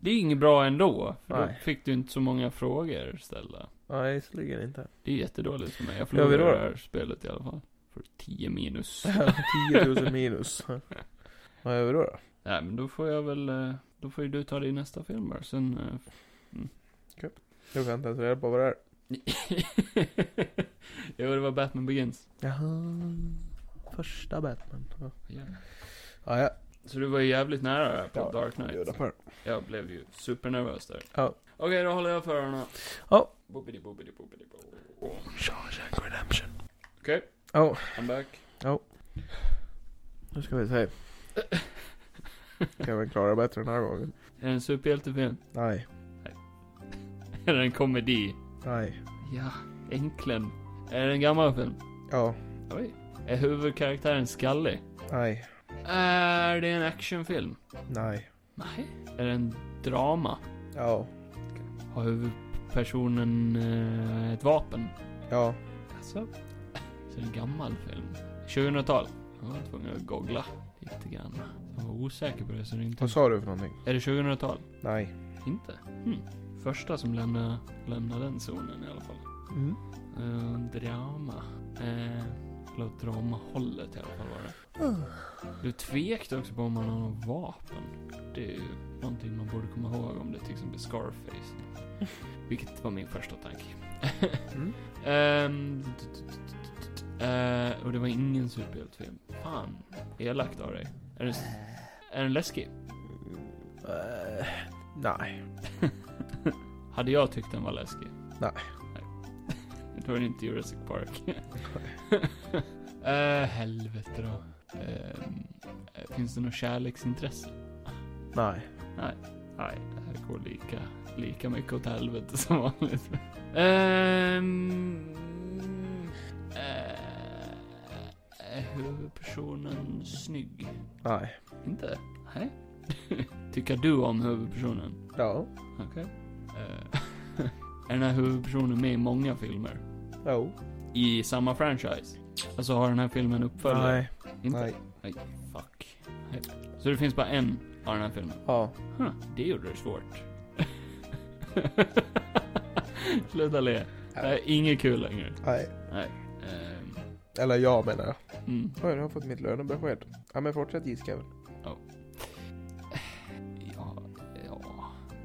Det är ju inget bra ändå. För då
Nej.
fick du inte så många frågor ställda.
Nej, visserligen inte.
Det är jättedåligt för mig. Jag
Gör vi då?
förlorar det här spelet i alla fall. För 10 minus.
10 000 minus. Vad gör vi då? då?
Nej, men då får jag väl... eh, Då får ju du ta din nästa film bara. Sen... eh,
Jag kan inte ens reda på vad det är.
jo, det var Batman Begins.
Jaha. Första Batman. Ja,
Ja.
ja. ja.
Så du var ju jävligt nära där på
Ja,
Dark Knight.
Bjuda på det.
Jag blev ju supernervös där.
Ja.
Okej, då håller jag för öronen.
Ja.
Boobidi, boobidi, boobidi, bo.
Shawshank Redemption.
Okej,
Ja,
I'm back.
nu ska vi se. Kan vi klara bättre den här gången?
Är det en superhjältefilm?
Nej.
Är det en komedi?
Nej.
Ja, äntligen. Är det en gammal film?
Ja,
Oj. Är huvudkaraktären skallig?
nej,
Är det en actionfilm?
nej,
Nej. Är det en drama?
ja,
Har huvudpersonen eh, ett vapen?
ja,
Alltså. Så det är en gammal film. 2000-tal. Jag var tvungen att googla lite grann. Jag var osäker på det så det är inte...
vad sa du för någonting?
Är det 2000-tal?
Nej.
Inte? Hmm. Första som lämnar, lämnar den zonen i alla fall.
Mm.
Eh, drama. Eh, eller dramahållet i alla fall var det.
Mm.
Du tvekade också på om man har något vapen. Det är ju någonting man borde komma ihåg om det till exempel Scarface. Vilket var min första tanke.
Mm.
Ehm, t- t- t- t- t- eh, och det var ingen superhjältefilm. Fan, elakt av dig. Är den, är den läskig?
Eh, nej,
Hade jag tyckt den var läskig?
Nej.
Nej. Då är det inte Jurassic Park. Eh, helvete då. Ehm, eh, finns det något kärleksintresse?
nej.
Nej, det här går lika, lika mycket åt helvete som vanligt. Ehm... eh, är huvudpersonen snygg?
Nej.
Inte? Nej. Tycker du om huvudpersonen?
Ja.
Okej. Eh, är den här huvudpersonen med i många filmer?
Jo.
I samma franchise? Alltså har den här filmen uppföljare?
Nej.
Inte?
Nej.
Fuck. Nej. Så det finns bara en av den här filmen?
Ja.
Huh, det gjorde det svårt. Sluta le. Det här är inget kul längre.
Nej.
Ehm,
Eller jag menar jag.
mm.
Oj, nu har jag fått mitt lönebesked. Ja men fortsätt giska
Ja, ja.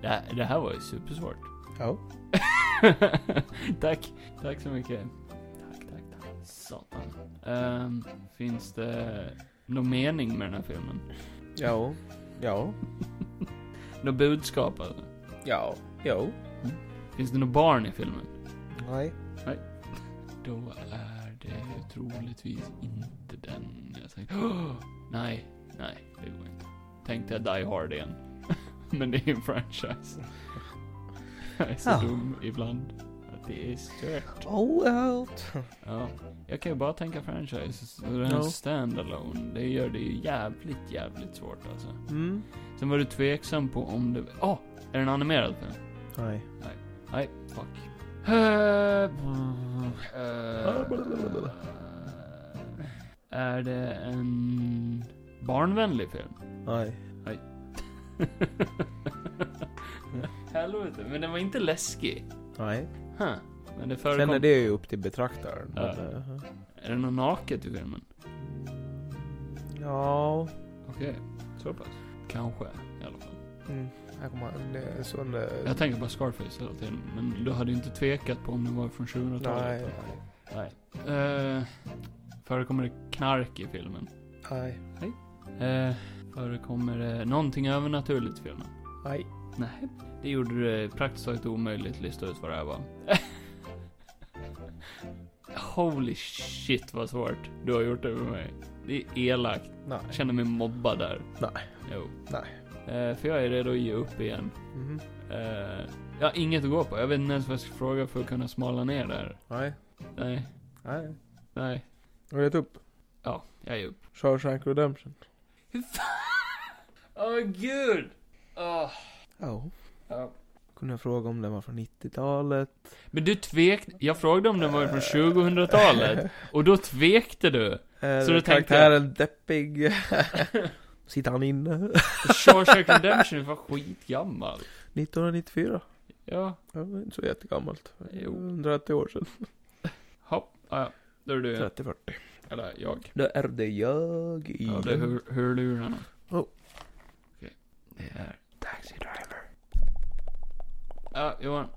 Det, här- det här var ju supersvårt.
Ja.
tack. Tack så mycket. Tack, tack, tack. Satan. Ehm, finns det någon mening med den här filmen?
Ja. Ja.
Något budskap alltså?
Ja. Jo.
Finns det något barn i filmen?
Nej.
Då är det ju troligtvis inte den jag tänkte. Åh, nej, nej, det går inte. Tänkte jag Die Hard igen. Men det är ju en franchise. Jag är så
Ja.
dum ibland. Att det är stört.
Oh out.
Ja. Jag kan ju bara tänka franchises. Och Den här
Ja.
standalone, det gör det ju jävligt, jävligt svårt alltså.
Mm.
Sen var du tveksam på om det... Åh! Oh, är den animerad film?
Nej.
Nej, fuck. Eh, mm, eh, Är det en barnvänlig film?
Nej.
Helvete, men den var inte läskig.
Nej.
Huh. Men det
Sen
förekom...
är
Är,
det ju upp till betraktaren.
Ja.
men, eh,
det något naket i filmen?
Ja.
Okej, så pass. Kanske, i alla fall.
Mm. Här kommer en eh, sån... eh,
Jag tänker på Scarface hela tiden, men du hade ju inte tvekat på om den var från 2000-talet.
Nej.
Nej. Eh, förekommer det knark i filmen?
Nej.
Eh, förekommer det någonting övernaturligt i filmen?
Nej.
Nej. Det gjorde det praktiskt taget omöjligt att lista ut vad det här var. Holy shit vad svårt du har gjort det för mig. Det är elakt.
Nej.
Jag känner mig mobbad där.
Nej.
Jo.
Nej.
Eh, för jag är redo att ge upp igen.
Mhm.
Eh, jag har inget att gå på. Jag vet inte ens vad jag ska fråga för att kunna smala ner där.
Nej.
Nej,
Nej.
nej.
Har du gett upp?
Ja, jag ger upp.
Shawshank Redemption?
Åh gud! Åh.
Ja.
Ja.
Kunde jag fråga om den var från 90-talet?
Men du tvek... Jag frågade om den var från 2000-talet. Och då tvekte du.
Eh, Är
Så
så
du
karaktären deppig? Sitter han inne?
Shawshank Redemption var skitgammal.
1994?
Ja,
Ja, det är inte så jättegammalt.
Jo.
130 år sedan.
hopp. Ah, ja, då är det du igen.
30-40.
Eller jag.
Då är det jag i
Ja, det är hur- hörlurarna.
Oh.
Okej. Det är Taxi Driver. Ja, Johan.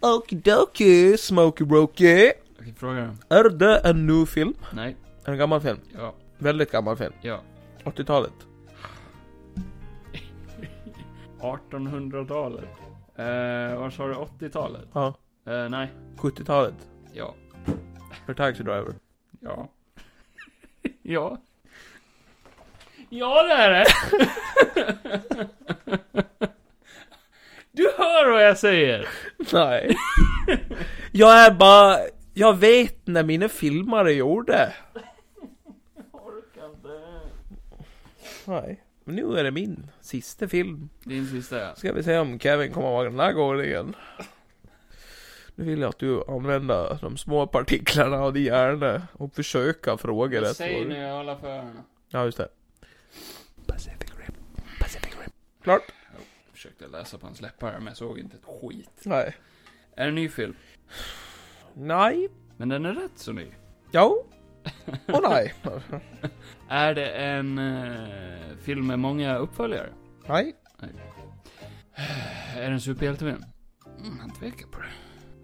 Okidoki, Smokey Brokey.
Okej, fråga den.
Är det en ny film?
Nej.
En gammal film.
Ja.
Väldigt gammal film.
Ja.
80-talet.
1800-talet. Eh, vad sa du? 80-talet?
Ja.
Eh, nej.
70-talet.
Ja.
För Taxi Driver.
Ja. ja. Ja, det är det. Du hör vad jag säger.
Nej. jag är bara Jag vet när mina filmare gjorde. Nej. Men nu är det min sista film.
Din sista ja.
Ska vi se om Kevin kommer ihåg den här gången. Nu vill jag att du använder de små partiklarna av din hjärna och försöka fråga rätt.
Säg
frågor.
nu, jag håller för öronen.
Ja, just det.
Pacific Rim. Pacific Rim.
Klart.
Försökte läsa på hans läppar men jag såg inte ett skit.
Nej.
Är det en ny film?
Nej.
Men den är rätt så ny.
Jo. Och nej.
Är det en eh, film med många uppföljare?
nej.
Är det en superhjältefilm? Mm, han tvekar på det.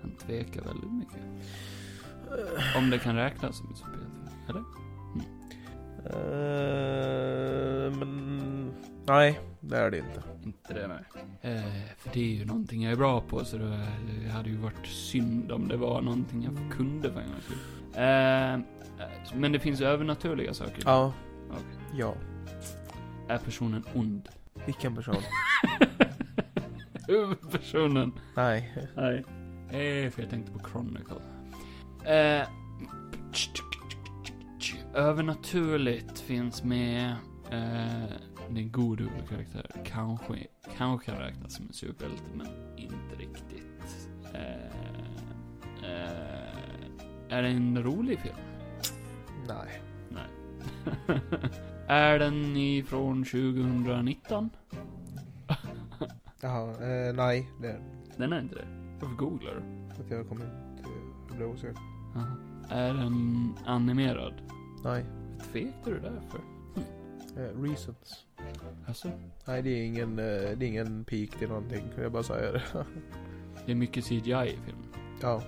Han tvekar väldigt mycket. Om det kan räknas som en superhjältefilm, eller?
Eh, men... Nej, det är det inte.
Inte det, nej. Eh, för det är ju någonting jag är bra på, så det det hade ju varit synd om det var någonting jag kunde för en gångs skull. Eh, men det finns övernaturliga saker.
Ja.
Okej.
Ja.
Är personen ond?
Vilken person?
Huvudpersonen
nej.
Nej. Eh, för jag tänkte på Chronicle. Eh, övernaturligt finns med... Eh, det är en god huvudkaraktär. Kanske, kanske kan räknas som en superhjälte, men inte riktigt. Eh, eh, är det en rolig film?
Nej.
är den ifrån 2019?
Jaha, eh, nej. Det är
Den är inte det. Varför googlar du?
att jag kommer inte... Jag blev osäker.
Aha. Är den animerad?
Nej.
Tvekade du därför?
Eh, reasons.
Alltså?
Nej, det är ingen, eh, det är ingen peak till någonting. Jag bara säger det.
Det är mycket CGI i filmen.
ja.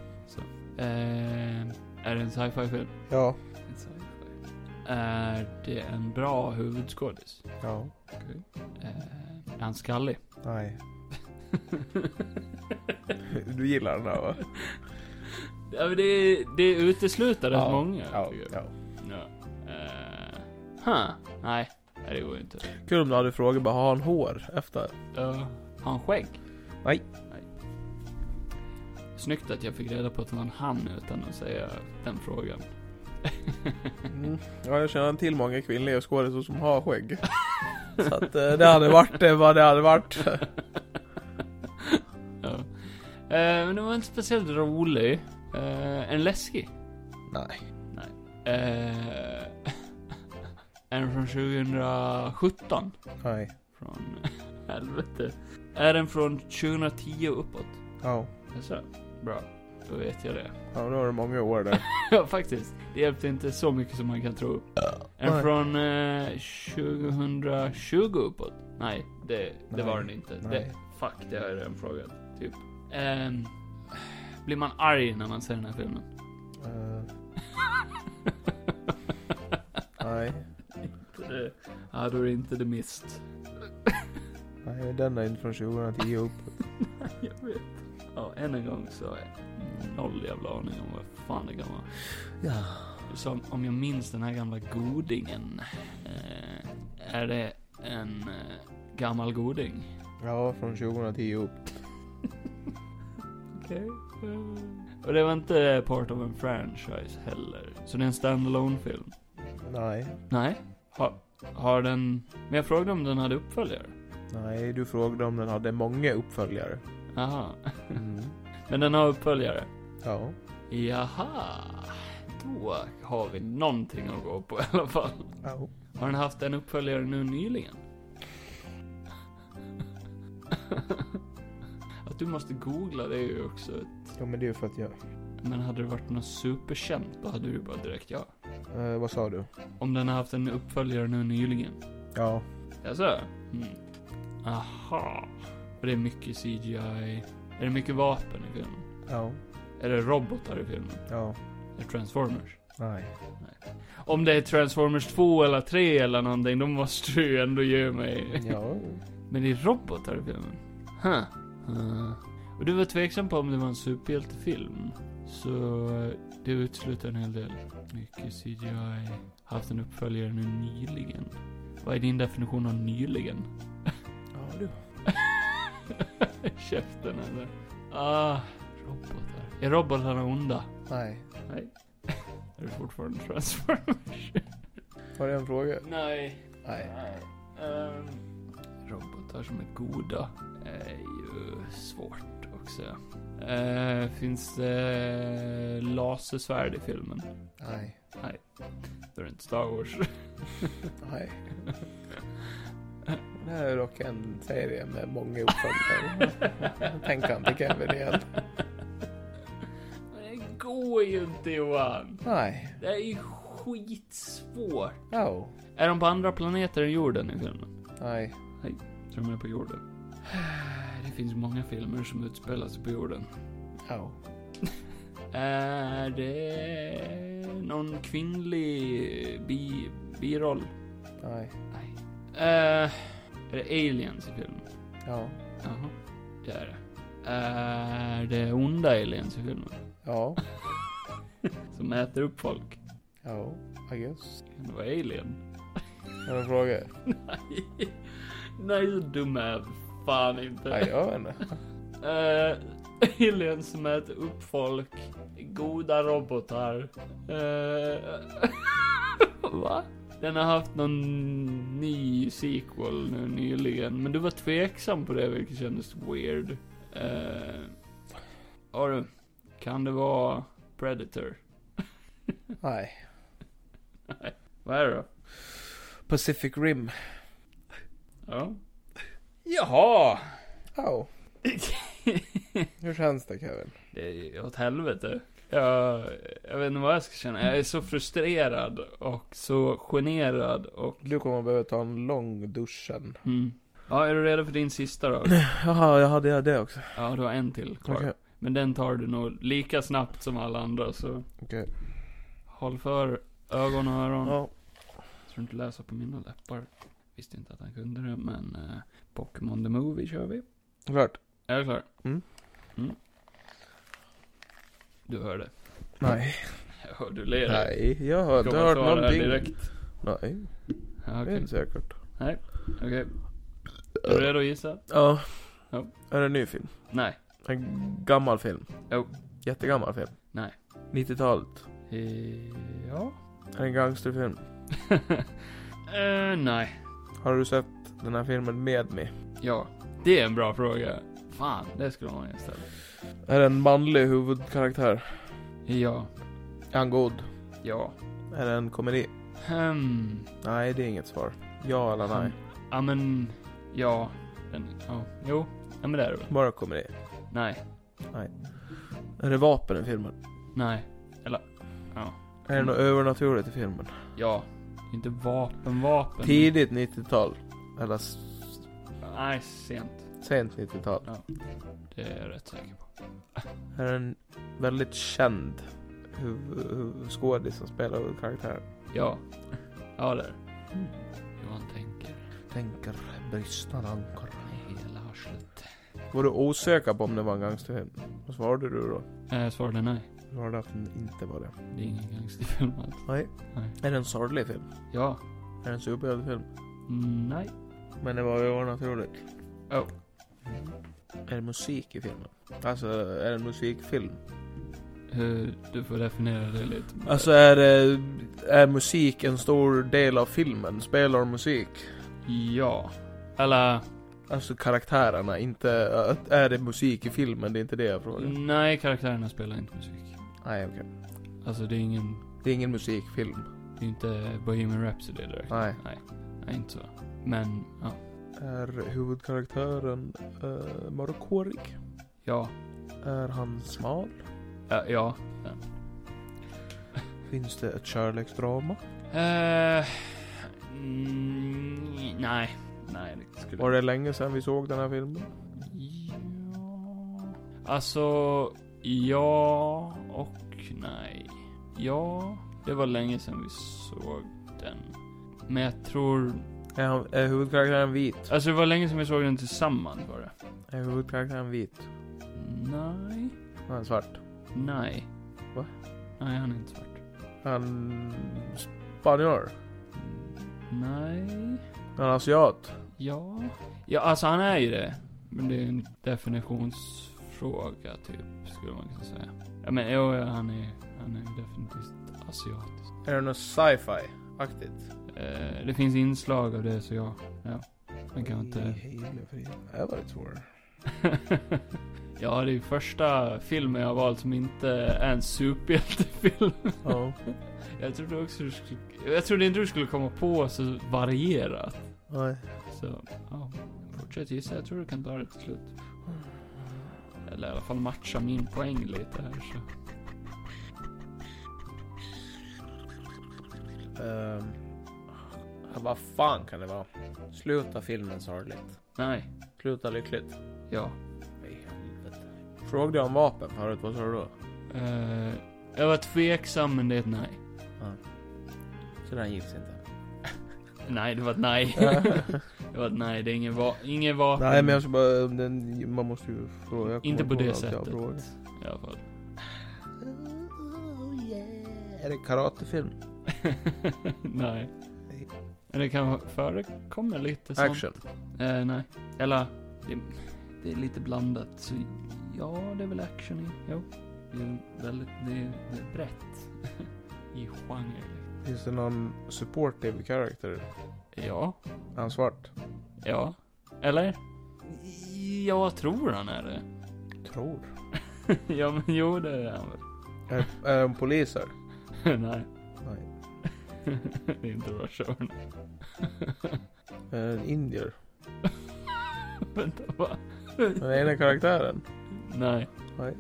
Eh, är det en sci-fi film?
Ja.
En sci-fi. Är det en bra huvudskådis?
Ja.
Eh, är han skallig?
Nej. Du gillar den här va?
ja, men det, det utesluter rätt
Ja,
många.
Ja.
tycker jag.
ja.
Ja. Eh, huh. Nej, nej, det går ju inte.
Kul om du hade frågat bara, har han hår efter?
Eh, har han skägg?
Nej.
nej. Snyggt att jag fick reda på att det var en han utan att säga den frågan.
Mm. Ja, jag känner till många kvinnliga skådespelare som har skägg. Så att eh, det hade varit det vad det hade varit.
Ja. Eh, men det var inte speciellt rolig. Eh, en läskig.
Nej.
Eh, en från 2017.
Nej.
Från helvete. Är den från 2010 och uppåt?
Ja.
Jaså? Bra. Då vet jag det.
Ja, då har du många år där.
Ja, faktiskt. Det hjälpte inte så mycket som man kan tro.
nej.
En från eh, 2020 uppåt? Nej, det, det
Nej,
var den inte. Det,
nej.
fuck, det har jag redan frågat. Typ. Ehm, blir man arg när man ser den här filmen?
Eh, nej.
Eh, Ja, då är det inte The Mist.
Nej, den är inte från 2010 upp.
Jag vet. Ja, än en gång så har jag noll jävla aning om vad fan det kan vara.
Ja.
Som om jag minns den här gamla godingen. Eh, är det en eh, gammal goding?
Ja, från 2010 upp.
Okej. Och det var inte part of en franchise heller. Så det är en standalone film
Nej.
Nej. Har, har den... Men jag frågade om den hade uppföljare.
Nej, du frågade om den hade många uppföljare.
Aha.
Mm.
Men den har uppföljare.
Ja.
Jaha. Då har vi någonting att gå på i alla fall.
Ja.
Har den haft en uppföljare nu nyligen? Att du måste googla det är ju också ett...
ja, men det är för att jag...
Men hade det varit något superkänt då hade du bara direkt ja.
Eh, vad sa du?
Om den har haft en uppföljare nu nyligen?
Ja.
Jaså? Mm. Aha. Och det är mycket CGI. Är det mycket vapen i filmen?
Ja.
Är det robotar i filmen?
Ja.
Är det Transformers?
Nej.
Om det är Transformers 2 eller 3 eller någonting, då måste du ju ändå ge mig...
Ja.
Men det är robotar i filmen. Huh. Huh. Och du var tveksam på om det var en superhjältefilm. Så eh, det utesluter en hel del. Mycket CGI. Haft en uppföljare nu nyligen. Vad är din definition av nyligen?
Ja, du.
Käften eller? Ah, Robotar. Är robotarna onda?
Nej.
Är det fortfarande Transformers?
Var det en fråga?
Nej.
Nej.
Ehm, robotar som är goda är ju svårt också. Eh, finns det lasersvärd i filmen?
Nej.
Då är det inte Star Wars.
Nej. Det här är dock en serie med många uppföljare. Tänker inte Kevin igen.
Men det går ju inte Johan.
Nej.
Det är ju skitsvårt.
No.
Är de på andra planeter än jorden i filmen?
Nej.
Tror de är på jorden? Det finns många filmer som utspelar sig på jorden.
No.
Är det någon kvinnlig bi biroll?
Nej.
Nej. Eh, är det aliens i filmen?
Ja.
Jaha, det är det. Är det onda aliens i filmen?
Ja.
Som äter upp folk?
Ja. I guess.
Kan det vara alien?
Har du en fråga?
Nej. Nej, så dum är jag fan inte.
Nej, jag vet inte.
Eh, aliens som äter upp folk. Goda robotar. Eh, va? Den har haft någon ny sequel nu nyligen, men du var tveksam på det vilket kändes weird. Eh, har du, kan det vara Predator?
Nej.
Vad är det då?
Pacific Rim.
Ja. Jaha!
Oh. Hur känns det Kevin?
Det är åt helvete. Jag, jag vet inte vad jag ska känna. Jag är så frustrerad och så generad och...
Du kommer behöva ta en lång dusch sen.
Mm. Ja, är du redo för din sista då?
Jaha, jag hade det också.
Ja, du har en till kvar.
Okej.
Men den tar du nog lika snabbt som alla andra, så
Okej.
håll för ögon och öron.
Ja.
Jag tror inte läsa på mina läppar. Visste inte att han kunde det, men eh, Pokémon the Movie kör vi.
Klart.
Är du klar?
Mm.
Mm. Du hörde.
Nej.
Jag hör du ler.
Nej, jag har inte hört
Kommentarer
någonting.
direkt.
Nej,
Ja,
det är
okej.
inte säkert.
Okej. Är du redo att gissa?
Ja.
Ja.
Är det en ny film?
Nej.
En gammal film?
Jo.
Jättegammal film?
Nej.
90-talet?
Eh, Ja.
Är det en gangsterfilm?
Eh, nej.
Har du sett den här filmen Med mig?
Ja. Det är en bra fråga. Fan, det skulle man ju ställa.
Är det en manlig huvudkaraktär?
Ja.
Är han god?
Ja.
Är det en komedi?
Hmm.
Nej, det är inget svar. Ja eller nej?
Ja, men... Ja. Den, ja. Jo. Ja, men det är det väl.
Bara komedi.
Nej.
Är det vapen i filmen?
Nej.
Är
Mm.
det något övernaturligt i filmen?
Ja. Inte vapen, vapen.
Tidigt 90-tal? Eller s-
Nej, sent.
sent 90-tal?
Det är jag rätt säker på.
Här är en väldigt känd huv- huv- skådis som spelar huvudkaraktären.
Ja. Ja, det är det. Johan tänker.
Tänker bristna ankor.
Hela arslet.
Var du osäker på om det var en gangsterfilm? Vad svarade du då?
Eh, svarade nej.
Du svarade att den inte var det.
Det är ingen gangsterfilm alls.
Nej.
Nej.
Är det en sorglig film?
Ja.
Är det en superhjältefilm?
Mm, Nej.
Men det var ju övernaturligt.
Oh.
Är det musik i filmen? Alltså, är det en musikfilm?
Eh, du får definiera det lite.
Alltså, är, det, är musik en stor del av filmen? Spelar musik?
Ja. Eller,
Alltså karaktärerna, inte... Att, är det musik i filmen? Det är inte det jag frågar.
nej karaktärerna spelar inte musik.
Nej, okej.
Alltså det är ingen,
Det är ingen musikfilm.
det är inte Bohemian Rhapsody direkt.
Nej.
Nej, inte så. Men, ja.
Är huvudkaraktären uh, mörkhårig?
Ja.
Är han smal?
Ja. ja.
Finns det ett kärleksdrama?
Eh, mm, nej. Nej, det skulle...
Var det länge sedan vi såg den här filmen?
Ja. Alltså, ja och nej. Ja, det var länge sedan vi såg den. Men jag tror...
Är, han, är huvudkaraktären vit?
Alltså det var länge sedan vi såg den tillsammans var det.
Är huvudkaraktären vit?
Nej.
Han är svart.
Nej.
Va?
Nej, han är inte svart.
Han... Spanjor?
Nej.
Han är asiat?
Ja. Ja, alltså han är ju det. Men det är en definitionsfråga. fråga typ, skulle man kunna säga. Ja men jo, ja, han är, han är definitivt asiatisk.
Är det något sci-fi-aktigt?
Eh, det finns inslag av det så ja, ja. Man kan inte...
Det här var det svårare.
ja, det är ju första filmen jag har valt som inte är en superhjältefilm.
Ja.
Jag trodde också du skulle... Jag trodde inte du skulle komma på så varierat.
Nej.
Så, ja. Fortsätt gissa, jag tror du kan ta det till slut. Eller i alla fall matcha min poäng lite här så.
Ehm, ah, vad fan kan det vara? Sluta filmen sorgligt.
Nej,
Sluta lyckligt.
ja.
Nej, helvete. Frågade jag om vapen förut, vad sa du då?
Eh, jag var tveksam men det är ett nej.
Så den gifts inte.
Nej, det var ett nej. det var ett nej, det är ingen, va- ingen vapen.
Nej men jag ska bara, den, man måste ju fråga. Jag kommer
Inte på
ihåg
det
allt jag
sättet.
frågar.
I alla fall.
Är det karatefilm?
nej. Men det kan förekomma lite sånt.
Action?
Eh, nej. Eller, det, det är lite blandat. Så ja, det är väl action i. Jo. Det är väldigt, det är, det är brett. I genre.
Finns det någon supportive character?
Ja.
Är han svart?
Ja. Eller? Jag tror han är det.
Tror.
ja, men jo, det är han väl.
Är, är de poliser?
nej.
Nej.
det är inte Rush Hour.
Är de indier?
Vänta, va?
Är den ena karaktären?
Nej.
Nej.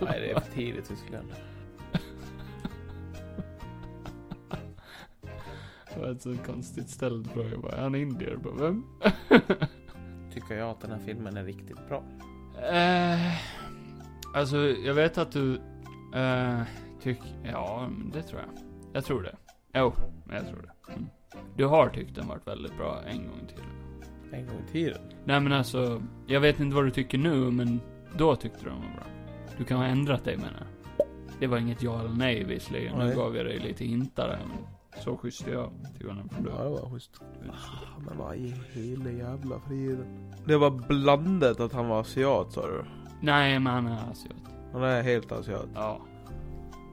Nej det är för tidigt Tyskland.
Det var ett så konstigt ställd fråga. Bara, är han indier? Bara, vem?
Tycker jag att den här filmen är riktigt bra.
Eh, alltså, jag vet att du eh, tycker... Ja, men det tror jag. Jag tror det. Jo, men jag tror det. Mm. Du har tyckt den varit väldigt bra en gång till.
En gång i tiden.
Nej men alltså, jag vet inte vad du tycker nu, men då tyckte du den var bra. Du kan ha ändrat dig menar jag. Det var inget ja eller nej visserligen. Nu
Nej.
gav jag dig lite hintar där, men så schysst är jag till skillnad från dig.
Ja det var schysst. Ah, men vad i hela jävla friden. Det var blandat att han var asiat sa du?
Nej, men han är asiat.
Han är helt asiat.
Ja,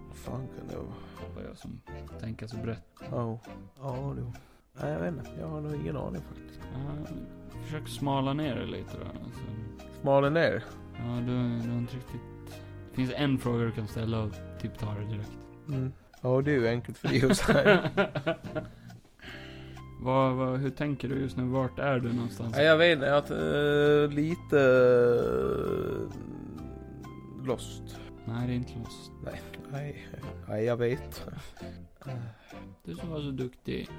Vad fan kan det vara?
det var jag som tänker så brett.
Ja. Ja det var- Nej jag vet inte. Jag har nog ingen aning faktiskt.
Ja, försök smala ner det lite då. Alltså.
Smalen ner.
Ja, du, du har inte riktigt... Det finns en fråga du kan ställa och typ ta det direkt.
Mm. Ja det är ju enkelt för dig att säga.
vad, vad, hur tänker du just nu? Vart är du någonstans?
Ja, jag vet inte, jag har haft, eh, lite eh, lost.
Nej, det är inte loss.
Nej, nej jag vet. Eh.
Du som var så duktig.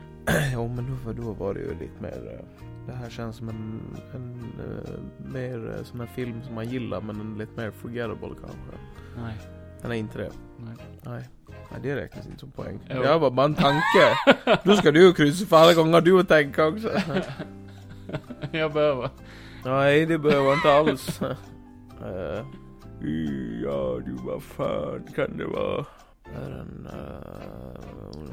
Jo men då, då var det ju lite mer, eh, det här känns som en, en eh, mer eh, sån här film som man gillar men en lite mer forgettable kanske.
Nej,
Den är inte det.
nej.
Nej. Nej det räknas inte som poäng.
Jo.
Jag var bara en tanke. Då ska du kryssa för alla gånger du tänker också.
jag behöver.
Nej, det behöver jag inte alls. Eh, ja, du vad fan kan det vara? Är den... eh,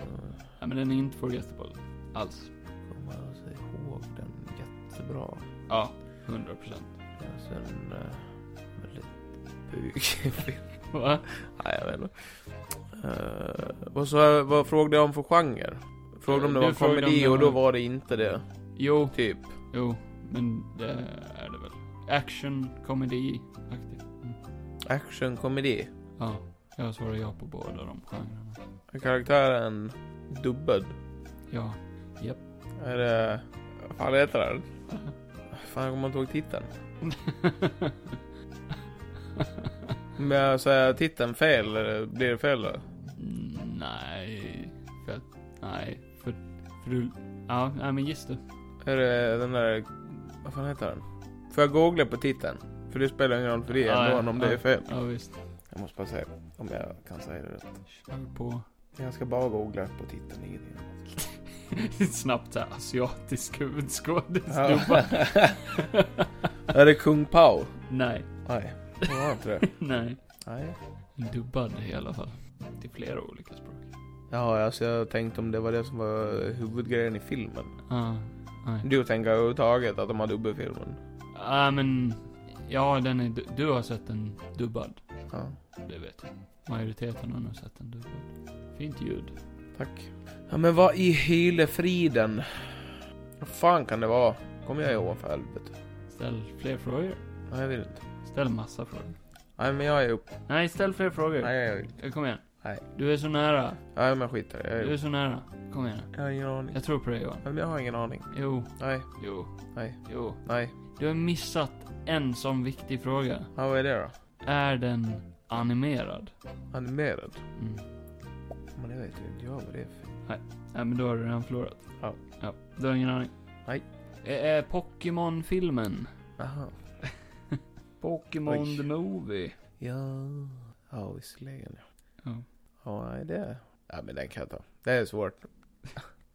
Nej, men den är inte forgettable. Alls.
kommer jag alltså ihåg den jättebra.
Ja, 100 procent.
Det är Alltså en eh, väldigt bugig film.
Va?
Nej, jag vet inte. Eh, vad, så, vad frågade jag om för genre? Frågade om det
Du
var en
frågade om
komedi
det
och då
var-
var det inte det.
Jo,
Typ.
jo. Men det är det väl. Action, komedi, aktigt.
Action, komedi.
Ja, jag svarar ja på båda de genrerna.
Är karaktären dubbad?
Ja.
Är det... Vad fan heter den? Fan, jag kommer inte ihåg titeln. Om jag säger titeln fel, eh, blir det fel då?
Mm, nej. För att, nej. För, för du, ja, nej men giss du.
Är det den där... Vad fan heter den? Får jag googla på titeln? För det spelar ingen roll för dig
Ja,
ändå
ja,
om det
ja.
är fel.
Ja visst.
Jag måste bara säga om jag kan säga det rätt.
Kör på.
Jag ska bara googla på titeln, ingenting
Snabbt såhär asiatisk huvudskådis.
Ja.
Du bara,
Är det Kung Pao?
nej,
Nej, det var inte det.
nej.
Nej.
Dubbad i alla fall. Till flera olika språk.
Ja, alltså jag tänkte om det var det som var huvudgrejen i filmen.
Ja, nej.
Du tänker överhuvudtaget att de har dubbelfilmen?
Ja, men Ja, den är... Du, du har sett den dubbad.
Ja,
Det vet jag. Majoriteten har nog sett den dubbad. Fint ljud.
tack. Ja, men vad i hela friden? Vad fan kan det vara? Kommer jag ihåg för helvete?
Ställ fler frågor.
Nej, jag vill inte.
Ställ massa frågor.
Nej, men jag är upp.
Nej, ställ fler frågor.
Nej, jag vill inte.
Eh, Kom igen.
Nej.
Du är så nära.
Nej, men skit i det. Jag är
Du är
upp.
så nära. Kom igen.
Jag har ingen aning.
Jag tror på dig Johan.
Nej, men jag har ingen aning.
Jo,
Nej,
jo,
Nej.
jo.
nej.
Du har missat en sån viktig fråga.
Ja, vad är det då?
Är den animerad?
Animerad?
Mm.
Men det vet ju inte jag vad det är för...
Nej, men då har du redan förlorat.
Ja.
ja. Du har ingen aning?
Nej.
Är, är Pokémon-filmen?
Aha.
Pokémon
Oj.
the Movie?
Ja... Ja, visserligen ja.
Ja.
Ja, nej det... Ja, men den kan jag ta. Det är svårt.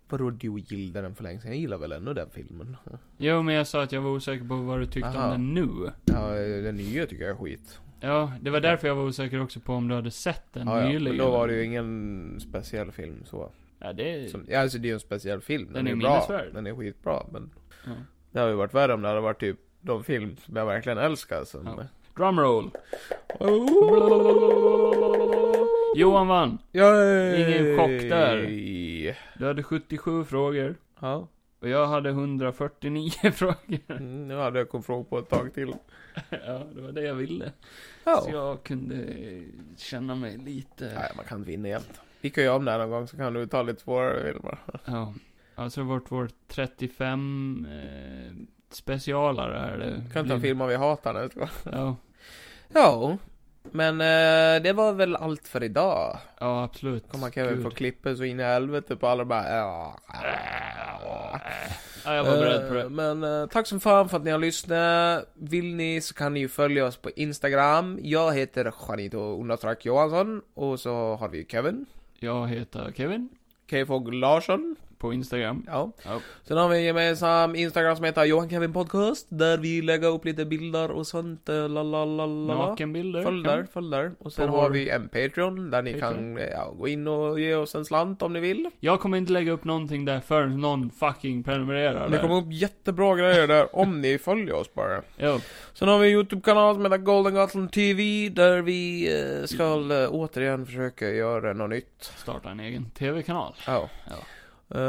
Vadå du gillade den för länge sedan? Jag gillar väl ändå den filmen?
Jo, men jag sa att jag var osäker på vad du tyckte
Aha.
om den nu.
Ja, den nya tycker jag är skit.
Ja, det var därför jag var osäker också på om du hade sett den
Ja, ja,
nyligen.
men då var det ju ingen speciell film så.
Ja, det är...
Som, ja, alltså det är ju en speciell film. Den,
Den är
är bra.
minnesvärd.
Den är skitbra. Men
Ja.
det hade ju varit värre om det hade varit typ de film som jag verkligen älskar som...
Ja. Drumroll! Johan vann! Ingen chock där. Du hade 77 frågor.
Ja.
Och jag hade 149 frågor.
Mm, Nu hade jag kommit fråga på ett tag till.
Ja, det var det jag ville. Så
Ja.
jag kunde eh, känna mig lite...
Nej, man kan inte vinna jämt. Vi kan ju om det här någon gång så kan du ta lite svårare filmer.
Ja. Alltså vårt, vårt 35 eh, specialare är det.
Kan ta
Blir-
filmer vi hatar nästa gång.
Ja.
Mm. Ja. Men eh, det var väl allt för idag.
ja, absolut.
Kommer man kan väl
Gud.
få klippa så in i helvete på alla bara ja.
Ja, jag var beredd på
Eh,
det.
Men eh, tack som fan för att ni har lyssnat. Vill ni så kan ni ju följa oss på Instagram. Jag heter Janito understreck Johansson och så har vi Kevin.
Jag heter Kevin
Kfog Larsson.
på Instagram.
Ja.
Ja.
Sen har vi en gemensam Instagram som heter Johan Kevin Podcast. Där vi lägger upp lite bilder och sånt. eh, La, la, la, la.
Nakenbilder.
Följ där, följ där. Och sen
På
har
vår-
vi en Patreon där ni
Patreon.
kan eh, ja, gå in och ge oss en slant om ni vill.
Jag kommer inte lägga upp någonting där förrän någon fucking prenumererar
Det
där.
kommer upp jättebra grejer där om ni följer oss bara.
Jo.
Sen har vi en YouTube-kanal som heter Golden Gotland TV där vi eh, ska eh, återigen försöka göra något nytt.
Starta en egen TV-kanal.
Ja.
Ja.
Eh,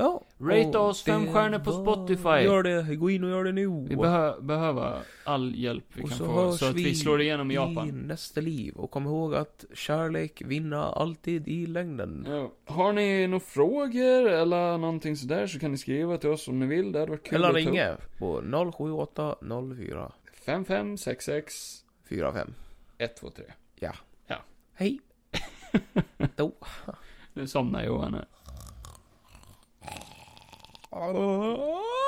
ja.
Rate
Och
oss fem
det
stjärnor på
var-
Spotify.
Gör det, gå in och gör det nu.
Vi behö behöver all hjälp vi
Och
kan
så
få,
hörs
så att vi
vi
slår igenom i
I
Japan.
nästa liv. Och kom ihåg att kärlek vinner alltid i längden.
Ja. Har ni några frågor eller någonting sådär så kan ni skriva till oss om ni vill. Det hade varit kul
Eller
att ta upp.
ringa på 078 04
5566
45.
123.
Hej. Då.
Nu somnar Johan här.
Oh